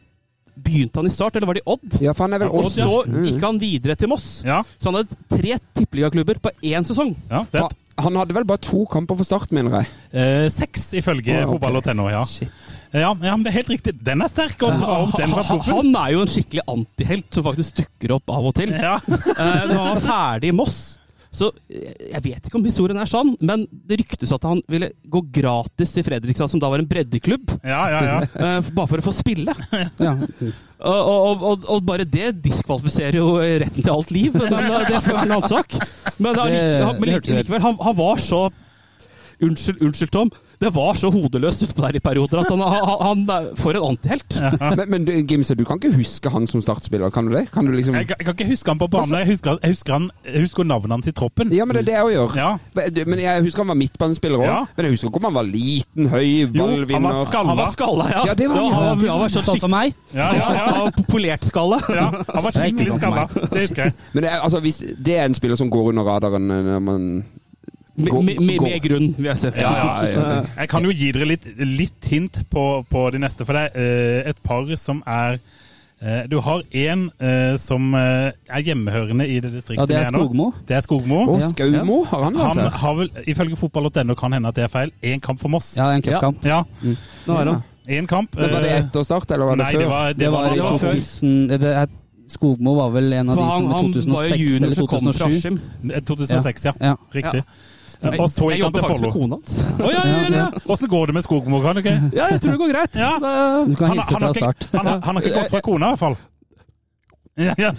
Speaker 6: Begynte han i Start, eller var det i Odd?
Speaker 1: ja. Ja, for han er vel
Speaker 6: Og
Speaker 1: også
Speaker 6: så
Speaker 1: Mm.
Speaker 6: gikk han videre til Moss.
Speaker 4: Ja,
Speaker 6: Så han hadde tre tippeligaklubber på én sesong.
Speaker 4: ja det
Speaker 1: Fa-
Speaker 4: er,
Speaker 1: Han hadde vel bare to kamper for start, mener jeg.
Speaker 4: eh, seks ifølge
Speaker 1: Ah, ok.
Speaker 4: fotball og tenår, ja.
Speaker 1: Shit.
Speaker 4: ja. Ja, men det er helt riktig. Den er sterk! Og bra om den var
Speaker 6: Han-
Speaker 4: proffen.
Speaker 6: Han er jo en skikkelig antihelt som faktisk dukker opp av og til. Eh,
Speaker 4: Ja.
Speaker 6: Når han var ferdig i Moss så eh, Jeg vet ikke om historien er sann, men det ryktes at han ville gå gratis til Fredrikstad, som da var en breddeklubb,
Speaker 4: Ja, ja, ja.
Speaker 6: eh, bare for å få spille.
Speaker 5: Ja.
Speaker 6: Og, og, og, og bare det diskvalifiserer jo retten til alt liv, men eh, det får være en annen sak. Men, han,
Speaker 5: Det-
Speaker 6: han, men
Speaker 5: det hørte
Speaker 6: like,
Speaker 5: vi.
Speaker 6: likevel, han, han var så Unnskyld, unnskyld, Tom. Det var så hodeløst utpå der i perioder at han, han, han er for en antihelt.
Speaker 1: Men, men du, Gimse, du kan ikke huske han som startspiller, kan du det? Kan du liksom
Speaker 4: Jeg, kan- jeg kan ikke huske han på banen. Jeg husker, jeg husker, han, jeg husker navnet hans i troppen.
Speaker 1: Ja, men det er det jeg gjør.
Speaker 4: Ja.
Speaker 1: Du, Men jeg husker han var midtbanespiller òg.
Speaker 4: Ja.
Speaker 1: Men jeg husker ikke om han var liten, høy,
Speaker 4: han var
Speaker 1: ballvinner.
Speaker 4: skalla.
Speaker 6: Han var skalla, ja.
Speaker 1: Ja, det var han, ja.
Speaker 6: han, var- han var sånn
Speaker 5: Sånn som
Speaker 6: skikkelig
Speaker 5: meg.
Speaker 4: Ja, ja, ja.
Speaker 6: ja, polert skalla.
Speaker 4: ja. Han var skikkelig skalla. Det husker jeg.
Speaker 1: Men det er, altså, hvis det er en spiller som går under radaren eh, når man
Speaker 6: Med,
Speaker 1: Gå-
Speaker 6: med, med,
Speaker 1: gå.
Speaker 6: med grunn, vil jeg si. Eh,
Speaker 4: Ja, ja,
Speaker 1: ja.
Speaker 4: Jeg kan jo gi dere litt, litt hint på, på de neste, for det er eh, et par som er eh, Du har én som eh, er hjemmehørende i det distriktet
Speaker 5: Ja, det er
Speaker 4: vi nå.
Speaker 5: Skogmo.
Speaker 4: Det er Skogmo.
Speaker 1: Å,
Speaker 5: Ja.
Speaker 1: Skaumo, har han vært
Speaker 4: Han
Speaker 1: her?
Speaker 4: har vel, ifølge fotball.no kan hende at det er feil, én kamp for Moss.
Speaker 5: Ja, en cupkamp.
Speaker 4: Ja,
Speaker 6: Nå er han.
Speaker 4: én kamp.
Speaker 1: Men var det
Speaker 4: eh,
Speaker 1: etter start, eller var det
Speaker 4: Nei,
Speaker 1: før?
Speaker 4: det var, det
Speaker 5: Det var i
Speaker 4: det
Speaker 5: 2000 det er- Skogmo var vel en av
Speaker 6: For
Speaker 5: de
Speaker 6: han,
Speaker 5: som i
Speaker 6: han var
Speaker 5: 2006
Speaker 6: jo junior
Speaker 5: eller
Speaker 6: som kom
Speaker 5: 2007.
Speaker 6: fra Askim.
Speaker 4: 2006, Eh, ja.
Speaker 5: Ja.
Speaker 4: Riktig. Eh,
Speaker 6: Jeg,
Speaker 4: Og så
Speaker 6: jeg
Speaker 4: gikk han
Speaker 6: jobber
Speaker 4: til
Speaker 6: faktisk med
Speaker 4: Follo.
Speaker 6: kona hans.
Speaker 4: Å, ja, ja,
Speaker 5: Ja,
Speaker 4: ja.
Speaker 5: ja.
Speaker 4: Åssen går det med Skogmo, kan du ikke?
Speaker 6: Ja, jeg tror det går greit.
Speaker 4: Ja.
Speaker 5: Du
Speaker 6: Så-
Speaker 5: kan hilse
Speaker 4: har
Speaker 5: fra
Speaker 4: ikke,
Speaker 5: start.
Speaker 4: han, har- han har ikke gått fra kona, i hvert fall. Ja, ja.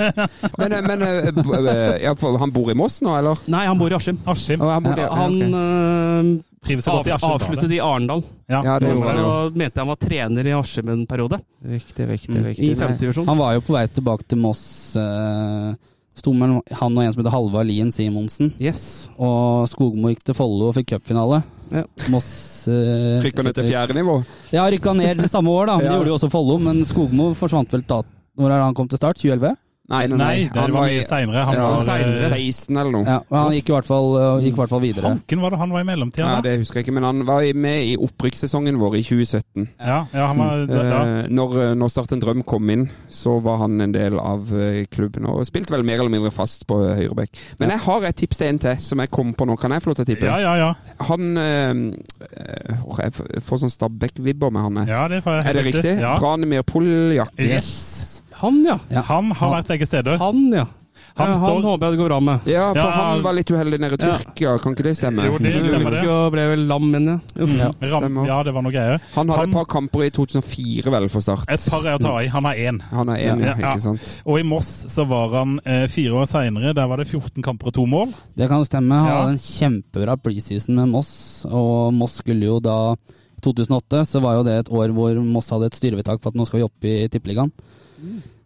Speaker 1: Men, eh, men eh, b- eh, ja, for han bor i Moss nå, eller?
Speaker 6: Nei, han bor i Askim.
Speaker 4: Askim
Speaker 1: Å, han bor i- ja,
Speaker 6: Han
Speaker 1: ok.
Speaker 6: øh,
Speaker 4: trives så
Speaker 6: av,
Speaker 4: godt i Askim.
Speaker 6: avsluttet i Arendal.
Speaker 1: Ja, det
Speaker 6: Og
Speaker 1: gjorde han
Speaker 6: så
Speaker 1: jo.
Speaker 6: mente jeg han var trener i Askim en periode.
Speaker 1: Riktig, riktig,
Speaker 5: Mm,
Speaker 1: riktig.
Speaker 6: I
Speaker 1: Nei.
Speaker 6: femtedivisjon.
Speaker 5: Han var jo på vei tilbake til Moss. eh, Sto mellom han og en som heter Halvard Lien Simonsen.
Speaker 6: Yes.
Speaker 5: Og Skogmo gikk til Follo og fikk cupfinale.
Speaker 6: Ja.
Speaker 5: Moss eh,
Speaker 1: Rykker ned til fjerde nivå?
Speaker 5: Ja, rykka ned det samme år, da. Men
Speaker 1: Ja.
Speaker 5: Det gjorde jo også Follo. Men Skogmo forsvant vel da Når er det han kom til start? 2011?
Speaker 1: Nei, nei,
Speaker 4: Nei, det
Speaker 1: Han
Speaker 4: var
Speaker 1: i
Speaker 4: mye seinere. Han
Speaker 1: Ja,
Speaker 4: var
Speaker 6: senere.
Speaker 4: eh,
Speaker 1: 16 eller noe.
Speaker 5: Ja, og han gikk i hvert fall, øh, gikk i hvert fall videre.
Speaker 4: Hanken var det han var i mellomtida.
Speaker 1: Nei,
Speaker 4: da?
Speaker 1: det husker jeg ikke, men han var i- med i opprykkssesongen vår i 2017.
Speaker 4: Ja, ja, han var da, da.
Speaker 1: Eh, når, eh, når Start en drøm kom inn, så var han en del av eh, klubben. Og spilte vel mer eller mindre fast på eh, høyrebekk. Men jeg har et tips til en til, som jeg kom på nå. Kan jeg få lov til å tippe?
Speaker 4: Ja, ja, ja.
Speaker 1: Han eh, eh, åh, Jeg f- får sånn Stabæk-vibber med han. jeg.
Speaker 4: ja det får jeg
Speaker 1: er det
Speaker 4: helt
Speaker 1: riktig?
Speaker 4: Ja.
Speaker 1: Branimir Poljak.
Speaker 4: Yes.
Speaker 6: Han, ja.
Speaker 5: Ja.
Speaker 4: Han har vært begge steder.
Speaker 6: Han, ja.
Speaker 4: Han
Speaker 6: Han,
Speaker 4: står-
Speaker 6: han håper jeg det går bra med.
Speaker 1: Ja, for
Speaker 4: Ja.
Speaker 1: han var litt uheldig nede i
Speaker 6: Ja.
Speaker 1: Tyrkia, kan ikke det stemme?
Speaker 4: Jo, det stemmer det.
Speaker 6: Ulykke og ble vel lam, mener jeg. Uff.
Speaker 4: Ram,
Speaker 1: stemmer.
Speaker 4: ja, det var noe greier.
Speaker 1: Han hadde
Speaker 4: Han-
Speaker 1: et par kamper i 2004, vel, for Start.
Speaker 4: Et par er å ta i. Han er én.
Speaker 1: Han er enig,
Speaker 4: Ja, ja.
Speaker 1: ikke sant?
Speaker 4: Og i Moss så var han eh, fire år seinere. Der var det 14 kamper og to mål.
Speaker 5: Det kan stemme. Han
Speaker 4: Ja.
Speaker 5: hadde en kjempebra preseason med Moss, og Moss skulle jo da I 2008 så var jo det et år hvor Moss hadde et styrevedtak for at nå skal vi opp i Tippeligaen.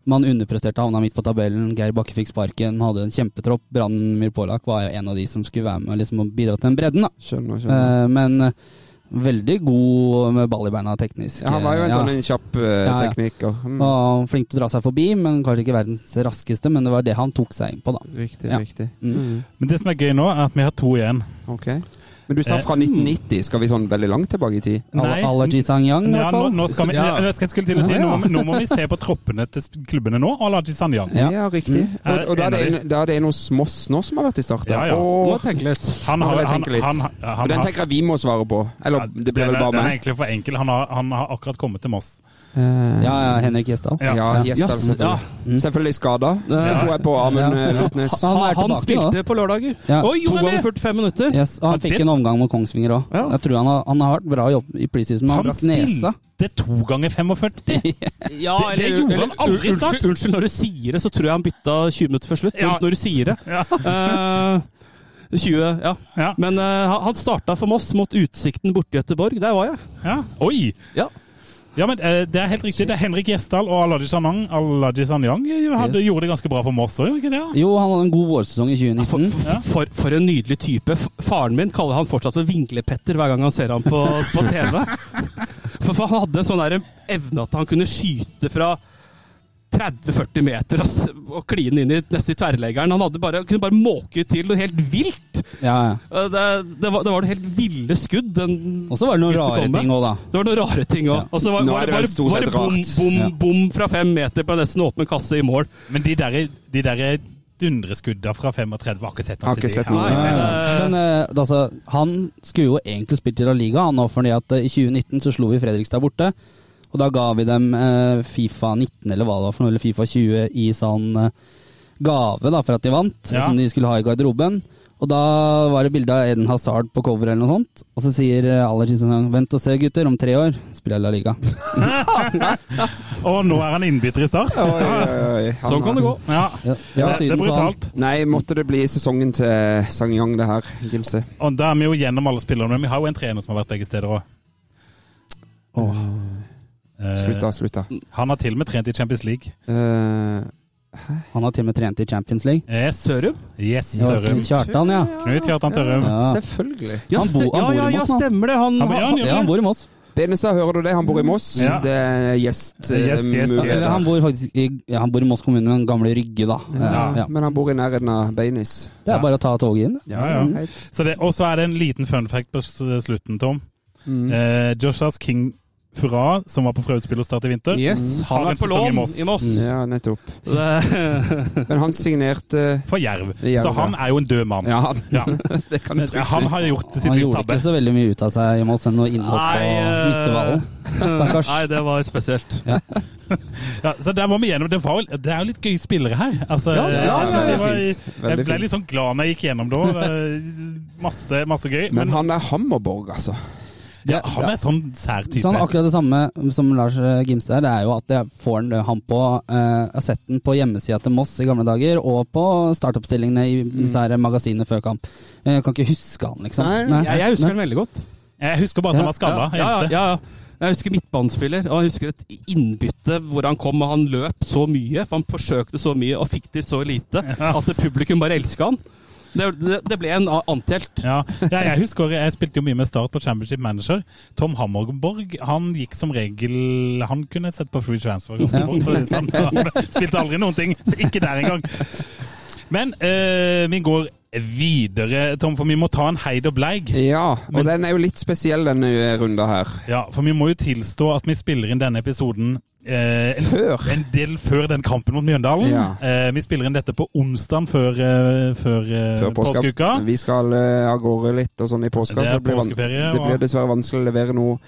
Speaker 5: Man underpresterte, havna midt på tabellen. Geir Bakke fikk sparken, hadde en kjempetropp. Brann Mirpolak var jo en av de som skulle være med og liksom bidra til den bredden, da.
Speaker 1: Skjønner, skjønner.
Speaker 5: Eh, Men eh, veldig god med ball i beina teknisk.
Speaker 1: Ja, han var jo en
Speaker 5: Ja.
Speaker 1: sånn en kjapp eh,
Speaker 5: Ja, ja.
Speaker 1: tekniker. Mm,
Speaker 5: Og flink til å dra seg forbi, men kanskje ikke verdens raskeste. Men det var det han tok seg inn på, da.
Speaker 1: Riktig,
Speaker 5: ja.
Speaker 1: riktig.
Speaker 5: Mm.
Speaker 4: Men det som er gøy nå, er at vi har to igjen.
Speaker 1: Ok. Men du sa
Speaker 4: Eh,
Speaker 1: fra 1990. Skal vi sånn veldig langt tilbake i tid?
Speaker 4: Nei.
Speaker 5: Allergy Sang Yang, i
Speaker 4: Ja,
Speaker 5: hvert
Speaker 4: nå,
Speaker 5: fall.
Speaker 4: nå, skal vi,
Speaker 6: Ja.
Speaker 4: eller skal jeg skulle til å si, nå, må- nå må vi se på troppene til sp- klubbene nå, og Alaji Sanyang.
Speaker 5: Ja.
Speaker 1: Ja, riktig.
Speaker 4: Mm.
Speaker 1: Og, og da, er det
Speaker 4: Enig.
Speaker 1: en, da er det en hos Moss nå som har vært i Start?
Speaker 4: Eh, Ja, ja.
Speaker 6: Må
Speaker 1: Åh,
Speaker 6: tenke litt.
Speaker 4: Han
Speaker 1: Nå
Speaker 4: har,
Speaker 1: vil jeg
Speaker 4: han,
Speaker 1: tenke litt.
Speaker 4: han, han,
Speaker 1: og den
Speaker 4: har-
Speaker 1: tenker jeg vi må svare på. Eller det ble
Speaker 4: den
Speaker 1: vel
Speaker 4: er-
Speaker 1: bare
Speaker 4: Den er
Speaker 1: meg.
Speaker 4: egentlig for enkel. Han har, han har akkurat kommet til Moss.
Speaker 5: Ja, ja, Henrik Gjesdal.
Speaker 4: Ja. Mm.
Speaker 1: Ja,
Speaker 6: Ja,
Speaker 1: Gjesdal.
Speaker 6: s- ja.
Speaker 1: selvfølgelig. Selvfølgelig skada. Det så jeg på Amund eh, Rotnes.
Speaker 5: Han er
Speaker 6: Han, han
Speaker 5: tilbake,
Speaker 6: spilte på lørdager.
Speaker 5: Ja.
Speaker 4: Oi,
Speaker 6: To
Speaker 4: gjorde han
Speaker 6: ganger
Speaker 4: det?
Speaker 6: 45 minutter.
Speaker 5: Yes, og han
Speaker 4: Ja,
Speaker 5: fikk
Speaker 4: det-
Speaker 5: en omgang mot Kongsvinger òg.
Speaker 6: Ja.
Speaker 5: Jeg tror han har, han har vært bra jobb i preseason, men han
Speaker 4: Han
Speaker 5: brakk nesa.
Speaker 4: spilte to ganger 45!
Speaker 6: Ja,
Speaker 4: Det- det gjorde han aldri i
Speaker 6: unnskyld,
Speaker 4: start.
Speaker 6: Unnskyld, når du sier det, så tror jeg han bytta 20 minutter før slutt.
Speaker 4: Ja.
Speaker 6: Når- Når du sier det.
Speaker 4: Ja.
Speaker 6: Eh, 20, ja.
Speaker 4: Ja.
Speaker 6: Men eh, han- han starta for Moss mot Utsikten borte i Gøteborg. Der var jeg.
Speaker 4: Ja. Oi!
Speaker 6: Ja.
Speaker 4: Ja, men eh, Det er helt riktig. Det er Henrik Gjesdal og Alaji Sanang. Alaji Sanyang hadde-
Speaker 5: Yes.
Speaker 4: gjorde det ganske bra for Moss òg, gjorde ikke det?
Speaker 5: Jo, han hadde en god vårsesong i
Speaker 6: For,
Speaker 1: Mm.
Speaker 5: 2019.
Speaker 6: for, for, for en nydelig type. F- Faren min kaller han fortsatt for Vinglepetter hver gang han ser ham på, på TV. For, for han hadde en sånn der evne at han kunne skyte fra 30-40 meter ass, og kline inn i nesten i tverrleggeren. Han hadde bare, kunne bare måke til noe helt vilt.
Speaker 5: Ja, ja.
Speaker 6: Eh, Det, det, var, det var noen helt ville skudd. Den,
Speaker 5: Og så var det noen
Speaker 6: Gutten
Speaker 5: rare
Speaker 6: kommer.
Speaker 5: ting òg, da.
Speaker 6: det var noen rare ting òg.
Speaker 5: Ja.
Speaker 6: Og så var,
Speaker 1: Nå
Speaker 6: var,
Speaker 1: er det
Speaker 6: var,
Speaker 1: vel stort
Speaker 6: var
Speaker 1: sett
Speaker 6: det bom,
Speaker 1: rart.
Speaker 6: bom,
Speaker 5: Ja.
Speaker 6: bom fra fem meter på nesten åpen kasse i mål.
Speaker 4: Men de der, de der dundreskudda fra 35 har ikke sett
Speaker 1: Har
Speaker 4: noe
Speaker 1: ikke
Speaker 4: til
Speaker 1: sett
Speaker 4: de.
Speaker 1: noe.
Speaker 4: Har ikke
Speaker 6: Nei,
Speaker 4: sett noe.
Speaker 6: det-
Speaker 5: Men eh, altså, han skulle jo egentlig spilt i La Liga, han òg, fordi at eh, i 2019 så slo vi Fredrikstad borte. Og da ga vi dem eh, Fifa 19, eller hva det var for noe, eller Fifa 20 i sånn eh, gave da, for at de vant,
Speaker 4: Ja.
Speaker 5: som de skulle ha i garderoben. Og da var det bilde av Eden Hazard på cover eller noe sånt. Og så sier eh, Aller Kristiansen vent og se gutter, om tre år spiller jeg La Liga.
Speaker 4: Og nå er han innbytter i Start.
Speaker 1: Oi, oi, oi. Han
Speaker 6: sånn kan det
Speaker 1: er-
Speaker 6: gå.
Speaker 4: Ja.
Speaker 5: Ja,
Speaker 4: Det,
Speaker 5: synd
Speaker 4: det er
Speaker 5: for han.
Speaker 4: brutalt.
Speaker 1: Nei, måtte det bli sesongen til Sang-Yang, det her, Gimse.
Speaker 4: Og da er vi jo gjennom alle spillerne, men vi har jo en trener som har vært begge steder òg.
Speaker 1: Slutt, da. Slutt, da.
Speaker 4: Eh, Han har til og med trent i Champions League.
Speaker 1: Eh,
Speaker 5: Han har til og med trent i Champions League.
Speaker 4: Yes.
Speaker 6: Tørum?
Speaker 4: Yes,
Speaker 5: Ja,
Speaker 4: Tørum.
Speaker 5: Knut Kjartan, ja.
Speaker 4: Knut Kjartan Tørum.
Speaker 5: Ja.
Speaker 1: Selvfølgelig.
Speaker 6: Ja,
Speaker 5: Han bo-
Speaker 6: ste-
Speaker 5: han
Speaker 6: ja,
Speaker 5: bor i
Speaker 6: ja, ja,
Speaker 5: Moss nå.
Speaker 6: stemmer det. Han,
Speaker 4: Han bor- ja, han gjør
Speaker 5: Ja, han bor i Moss.
Speaker 1: Benestad, hører du det? Han bor i Moss.
Speaker 4: Ja.
Speaker 1: Det er gjest. eh,
Speaker 4: Gjest, gjest,
Speaker 1: mulighet.
Speaker 5: Eller han bor faktisk i, ja, han bor i Moss kommune, den gamle Rygge, da. Eh,
Speaker 4: Ja.
Speaker 5: Ja.
Speaker 1: Men han bor i nærheten av Beinis. Mm.
Speaker 5: Det er bare å ta toget inn.
Speaker 4: Ja, ja.
Speaker 1: Helt.
Speaker 4: Så det- Og så er det en liten fun fact på s- slutten, Tom.
Speaker 1: Mm.
Speaker 4: Eh, Joshas King Fura, som var på prøvespill hos Start i vinter,
Speaker 6: Yes, Mm. han
Speaker 4: Har en
Speaker 6: er på
Speaker 4: sesong i
Speaker 6: lån
Speaker 4: Moss.
Speaker 6: i Moss.
Speaker 1: Mm. Ja, nettopp.
Speaker 6: Det-
Speaker 1: Men han signerte
Speaker 4: for Jerv.
Speaker 1: Jerv,
Speaker 4: Så han er jo en død mann.
Speaker 1: Ja, han,
Speaker 4: Ja.
Speaker 1: det kan du trygt
Speaker 4: Han
Speaker 1: si.
Speaker 4: har gjort sitt
Speaker 5: Han
Speaker 4: livs
Speaker 5: gjorde ikke
Speaker 4: tabbe.
Speaker 5: så veldig mye ut av seg i Moss enn å innhoppe
Speaker 6: Nei,
Speaker 5: og
Speaker 6: eh,
Speaker 5: miste ballen. Stakkars.
Speaker 6: Nei, det var spesielt.
Speaker 4: Ja, så der må vi gjennom. Det, var, jo- det er jo litt gøye spillere her. Altså,
Speaker 6: Ja, ja,
Speaker 4: jeg
Speaker 6: ja,
Speaker 4: synes
Speaker 6: ja,
Speaker 4: det var,
Speaker 1: fint. Veldig
Speaker 4: jeg ble
Speaker 1: fint.
Speaker 4: litt sånn glad når jeg gikk gjennom da. Eh, Masse, masse gøy.
Speaker 1: Men
Speaker 4: Men
Speaker 1: han er Hammerborg, altså.
Speaker 4: ja, han er sånn sær type.
Speaker 5: Sånn, akkurat det samme som Lars eh, Gimstad, det er jo at jeg får den, han på eh, Jeg har sett den på hjemmesida til Moss i gamle dager, og på startoppstillingene
Speaker 6: Mm.
Speaker 5: i disse her magasinene før kamp. Eh, Jeg kan ikke huske han, liksom.
Speaker 6: Jeg, jeg husker den veldig godt.
Speaker 4: Jeg husker bare at han var skada.
Speaker 6: ja, ja, ja, ja. Jeg husker midtbanespiller, og jeg husker et innbytte hvor han kom og han løp så mye, for han forsøkte så mye og fikk til så lite, at publikum bare elska han. Det, det, det ble en antihelt.
Speaker 4: Ja, ja, jeg husker jeg spilte jo mye med Start på Championship Manager. Tom Hammerborg han gikk som regel Han kunne sett på free transfer ganske fort. for å si det sånn. Han spilte aldri noen ting. Ikke der engang. Men eh, vi går videre, Tom, for vi må ta en heid og bleig.
Speaker 1: Ja, og den er jo litt spesiell, denne eh, runda her.
Speaker 4: Ja, for vi må jo tilstå at vi spiller inn denne episoden eh, en,
Speaker 1: Før.
Speaker 4: en del før den kampen mot Mjøndalen.
Speaker 1: Ja.
Speaker 4: Eh, vi spiller inn dette på onsdagen før, eh, før, eh,
Speaker 1: Før påske.
Speaker 4: påskeuka.
Speaker 1: Vi skal eh, av gårde litt og sånn i påska,
Speaker 4: Det er
Speaker 1: så det blir, van-
Speaker 4: påskeferie,
Speaker 1: det
Speaker 4: og-
Speaker 1: blir dessverre vanskelig å levere noe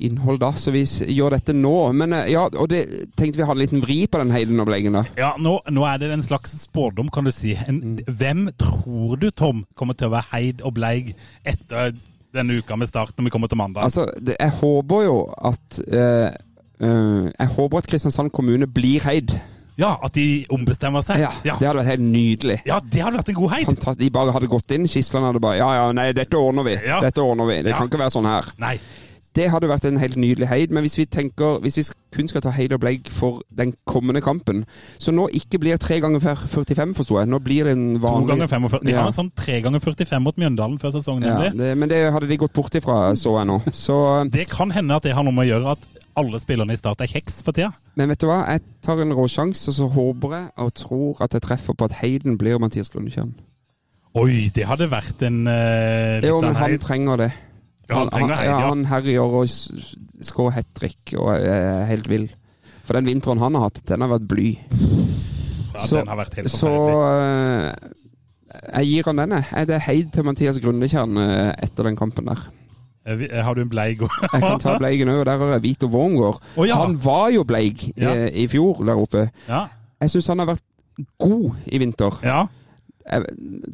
Speaker 1: innhold da, så vi s- gjør dette nå. Men eh, ja, og det tenkte vi hadde en liten vri på den Heiden og Bleggen da.
Speaker 4: Ja, nå, nå er det en slags spådom, kan du si. En,
Speaker 1: Mm.
Speaker 4: Hvem tror du, Tom, kommer til å være heid og bleig etter denne uka med start, når vi kommer til mandag?
Speaker 1: Altså, det, jeg håper jo at eh, eh, Jeg håper at Kristiansand kommune blir heid.
Speaker 4: ja, At de ombestemmer seg?
Speaker 1: Ja,
Speaker 4: ja.
Speaker 1: Det hadde vært helt nydelig.
Speaker 4: Ja, det hadde vært en god heid!
Speaker 1: Fantastisk. De bare hadde gått inn, Skisland hadde bare Ja, ja, nei, dette ordner vi.
Speaker 4: Ja.
Speaker 1: Dette ordner vi. Det
Speaker 4: Ja.
Speaker 1: kan ikke være sånn her.
Speaker 4: Nei.
Speaker 1: Det hadde vært en helt nydelig heid, men hvis vi tenker, hvis vi kun skal ta heid og blegg for den kommende kampen, så nå ikke blir tre ganger fer- 45, forsto jeg. Nå blir det en
Speaker 4: To
Speaker 1: vanlig
Speaker 4: ganger 45. De
Speaker 1: Ja.
Speaker 4: har en sånn tre ganger 45 mot Mjøndalen før sesongen,
Speaker 1: Ja,
Speaker 4: nemlig.
Speaker 1: det, men det hadde de gått bort ifra, så jeg nå. Så, eh,
Speaker 4: Det kan hende at det har noe med å gjøre at alle spillerne i Start er kjeks for tida.
Speaker 1: men vet du hva? Jeg tar en råsjanse, og så håper jeg og tror at jeg treffer på at heiden blir Mathias Grundtjern.
Speaker 4: Oi, det hadde vært en eh, litt
Speaker 1: Jo,
Speaker 4: av en
Speaker 1: men han
Speaker 4: heid.
Speaker 1: trenger det.
Speaker 4: Ja, han trenger heid,
Speaker 1: ja,
Speaker 4: ja.
Speaker 1: han herjer og s- skår hat trick og er helt vill. For den vinteren han har hatt, den har vært bly.
Speaker 4: ja
Speaker 1: så-
Speaker 4: den har vært helt
Speaker 1: Så
Speaker 4: forferdelig.
Speaker 1: eh, jeg gir han denne. Er det heid til Mathias Grundekjern eh, etter den kampen der?
Speaker 4: Eh, vi- eh, Har du en bleig òg?
Speaker 1: Jeg kan ta Bleigen òg. Der har jeg Vito Wormgård.
Speaker 4: Å, ja.
Speaker 1: Han var jo bleig i,
Speaker 4: Ja.
Speaker 1: i fjor der oppe.
Speaker 4: Ja.
Speaker 1: Jeg syns han har vært god i vinter.
Speaker 4: ja.
Speaker 1: Jeg,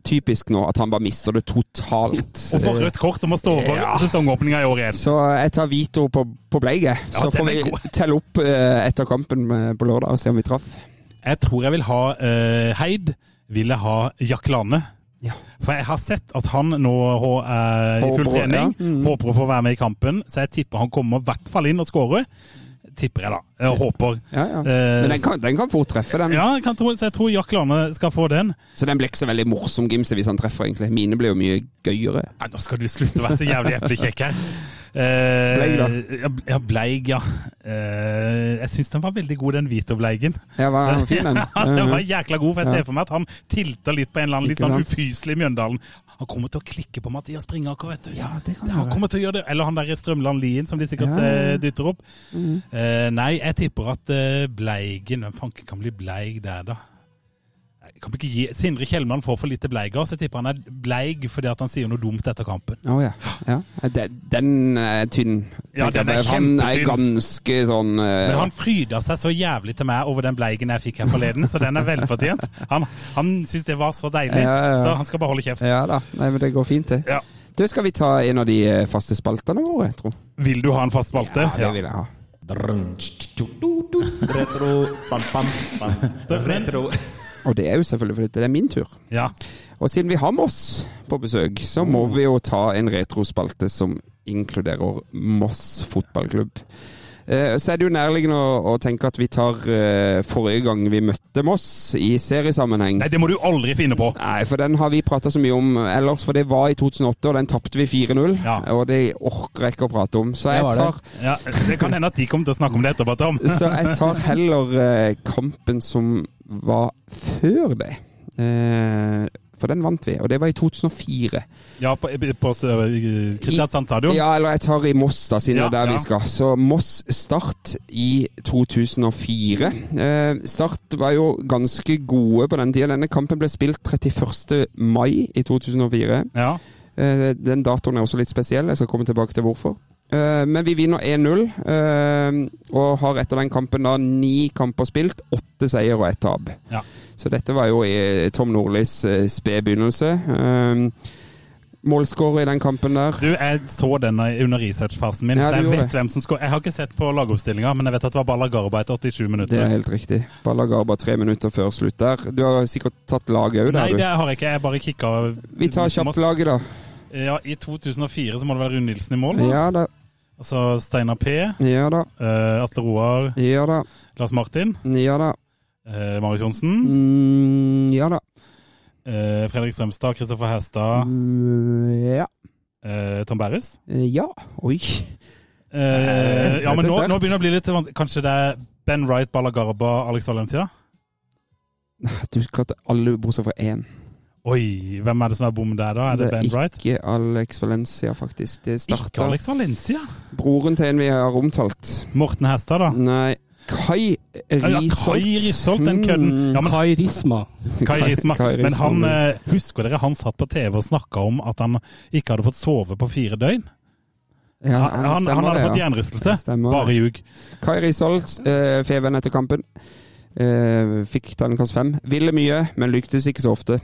Speaker 1: typisk nå at han bare mister det totalt.
Speaker 4: Og får rødt kort og må stå over
Speaker 1: Ja.
Speaker 4: sesongåpninga i år igjen.
Speaker 1: Så jeg tar Vito på, på bleig, jeg.
Speaker 4: Ja,
Speaker 1: Så
Speaker 4: den
Speaker 1: får
Speaker 4: er god.
Speaker 1: vi telle opp eh, etter kampen eh, på lørdag og se om vi traff.
Speaker 4: Jeg tror jeg vil ha eh, Heid. Vil jeg ha Jack Lane.
Speaker 1: Ja.
Speaker 4: For jeg har sett at han nå hå- er i
Speaker 1: Håper
Speaker 4: full
Speaker 1: å-
Speaker 4: trening.
Speaker 1: ja. Mm.
Speaker 4: Håper å få være med i kampen, så jeg tipper han kommer i hvert fall inn og skårer. Tipper jeg, da. Jeg håper.
Speaker 1: Ja, ja.
Speaker 4: Eh,
Speaker 1: Men den kan, den kan fort treffe, den.
Speaker 4: Ja, jeg kan tro, så jeg tror Jack Lane skal få den.
Speaker 1: Så den blir ikke så veldig morsom gimse hvis han treffer, egentlig. Mine blir jo mye gøyere.
Speaker 4: Nei, nå skal du slutte å være så jævlig eplekjekk her. Eh,
Speaker 1: Bleig, da.
Speaker 4: Ja, ble- ja, bleig, ja. Eh, jeg syns den var veldig god, den hvite bleigen.
Speaker 1: Ja, var den fin, den.
Speaker 4: Ja, den var jækla god, for jeg ser for meg at han tilta litt på en eller annen litt
Speaker 1: Ikke
Speaker 4: sånn
Speaker 1: sant?
Speaker 4: ufyselig Mjøndalen. Han kommer til å klikke på Mathias Bringaker, vet du.
Speaker 1: Ja, det kan
Speaker 4: Han
Speaker 1: være.
Speaker 4: kommer til å gjøre det. Eller han der i Strømland Lien, som de sikkert
Speaker 1: Ja. Mm.
Speaker 4: eh, dytter opp. Eh, nei, jeg tipper at eh, Bleigen Hvem fanken kan bli bleig der, da? Nei, Jeg kan ikke gi, Sindre Kjellmann får for lite bleiger, så jeg tipper han er bleig fordi at han sier noe dumt etter kampen.
Speaker 1: Å ja. ja. Den, den er tynn.
Speaker 4: Ja,
Speaker 1: tenker
Speaker 4: den er
Speaker 1: jeg. han er
Speaker 4: kjempetynn.
Speaker 1: ganske sånn eh,
Speaker 4: Men han fryda seg så jævlig til meg over den bleigen jeg fikk her forleden, så den er velfortjent. Han, han syns det var så deilig,
Speaker 1: Ja, ja, ja.
Speaker 4: så han skal bare holde kjeft.
Speaker 1: Ja da. Nei, men det går fint, det.
Speaker 4: Ja.
Speaker 1: Du, skal vi ta en av de eh, faste spaltene våre, tro?
Speaker 4: Vil du ha en fast spalte?
Speaker 1: Ja, det vil jeg ha. Og det er jo selvfølgelig fordi det er min tur.
Speaker 4: Ja.
Speaker 1: Og siden vi har Moss på besøk, så må vi jo ta en retrospalte som inkluderer Moss fotballklubb. Eh, Så er det jo nærliggende å, å tenke at vi tar eh, forrige gang vi møtte Moss i seriesammenheng.
Speaker 4: Nei, det må du aldri finne på.
Speaker 1: Nei, for den har vi prata så mye om ellers, for det var i 2008, og den tapte vi 4-0.
Speaker 4: Ja.
Speaker 1: Og det orker jeg ikke å prate om. Så
Speaker 5: Det
Speaker 1: jeg
Speaker 5: var det.
Speaker 1: tar,
Speaker 4: Ja, det kan hende at de kommer til å snakke om det etterpå, Tom.
Speaker 1: så jeg tar heller eh, kampen som var før det. Eh, For den vant vi, og det var i 2004.
Speaker 4: Ja, på, på Sø- Kristiansand stadion.
Speaker 1: Ja, eller jeg tar i Moss, da, siden
Speaker 4: Ja,
Speaker 1: det er der
Speaker 4: ja.
Speaker 1: vi skal. Så Moss Start i 2004. Eh, start var jo ganske gode på den tida. Denne kampen ble spilt 31. mai i 2004.
Speaker 4: Ja.
Speaker 1: Eh, den datoen er også litt spesiell, jeg skal komme tilbake til hvorfor. Eh, men vi vinner 1-0, eh, og har etter den kampen da ni kamper spilt. Åtte seier og ett tap.
Speaker 4: Ja.
Speaker 1: Så dette var jo i Tom Nordlis eh, spede begynnelse. Eh, Målskårer i den kampen der.
Speaker 4: Du, jeg så den under researchfasen min,
Speaker 1: Ja,
Speaker 4: så
Speaker 1: du
Speaker 4: jeg
Speaker 1: gjorde
Speaker 4: vet
Speaker 1: det.
Speaker 4: hvem som skal Jeg har ikke sett på lagoppstillinga, men jeg vet at det var Balla Garba etter 87
Speaker 1: Det er
Speaker 4: minutter.
Speaker 1: helt riktig. Ballagar bare tre minutter før slutt der. Du har sikkert tatt laget òg,
Speaker 4: Nei,
Speaker 1: der, du.
Speaker 4: det har jeg ikke. Jeg bare kikka.
Speaker 1: Vi tar kjapt laget, da.
Speaker 4: Ja, I 2004 så må det være Rune Nilsen i mål. da.
Speaker 1: Ja da.
Speaker 4: Altså Steinar P, eh,
Speaker 1: Ja da.
Speaker 4: Atle Roar,
Speaker 1: Ja da.
Speaker 4: Lars Martin,
Speaker 1: Ja da.
Speaker 4: eh, Marius Johnsen,
Speaker 1: Mm, ja da.
Speaker 4: eh, Fredrik Strømstad, Kristoffer Herstad,
Speaker 1: Mm, ja.
Speaker 4: eh, Tom Berrus.
Speaker 1: Eh, Ja. Oi.
Speaker 4: Eh, ja, men
Speaker 1: Rett og
Speaker 4: nå,
Speaker 1: slett.
Speaker 4: nå begynner det å bli litt vanskelig. Kanskje det er Ben Wright, Bala Garba, Alex Valencia?
Speaker 1: Du klarte alle bortsett fra én.
Speaker 4: Oi, hvem er det som er bom der, da? Er det, Ben Wright?
Speaker 1: ikke Alex Valencia, faktisk. Det
Speaker 4: Ikke
Speaker 1: starta
Speaker 4: Alex Valencia!
Speaker 1: broren til en vi har omtalt.
Speaker 4: Morten Hestad, da.
Speaker 1: Nei. Kai
Speaker 4: Ja,
Speaker 1: Risholt. Hmm.
Speaker 4: Kai Risholt, den kødden. Ja, men
Speaker 6: Kai Risma.
Speaker 4: Kai Risma.
Speaker 1: Kai
Speaker 4: Men han,
Speaker 1: Risma.
Speaker 4: eh, husker dere han satt på TV og snakka om at han ikke hadde fått sove på fire døgn?
Speaker 1: ja,
Speaker 4: eh, Han, han, han hadde fått
Speaker 1: ja.
Speaker 4: hjernerystelse.
Speaker 1: Stemmer det.
Speaker 4: Bare ljug.
Speaker 1: Kai Risholt, eh, Feven etter kampen. Eh, fikk terningkast fem. Ville mye, men lyktes ikke så ofte.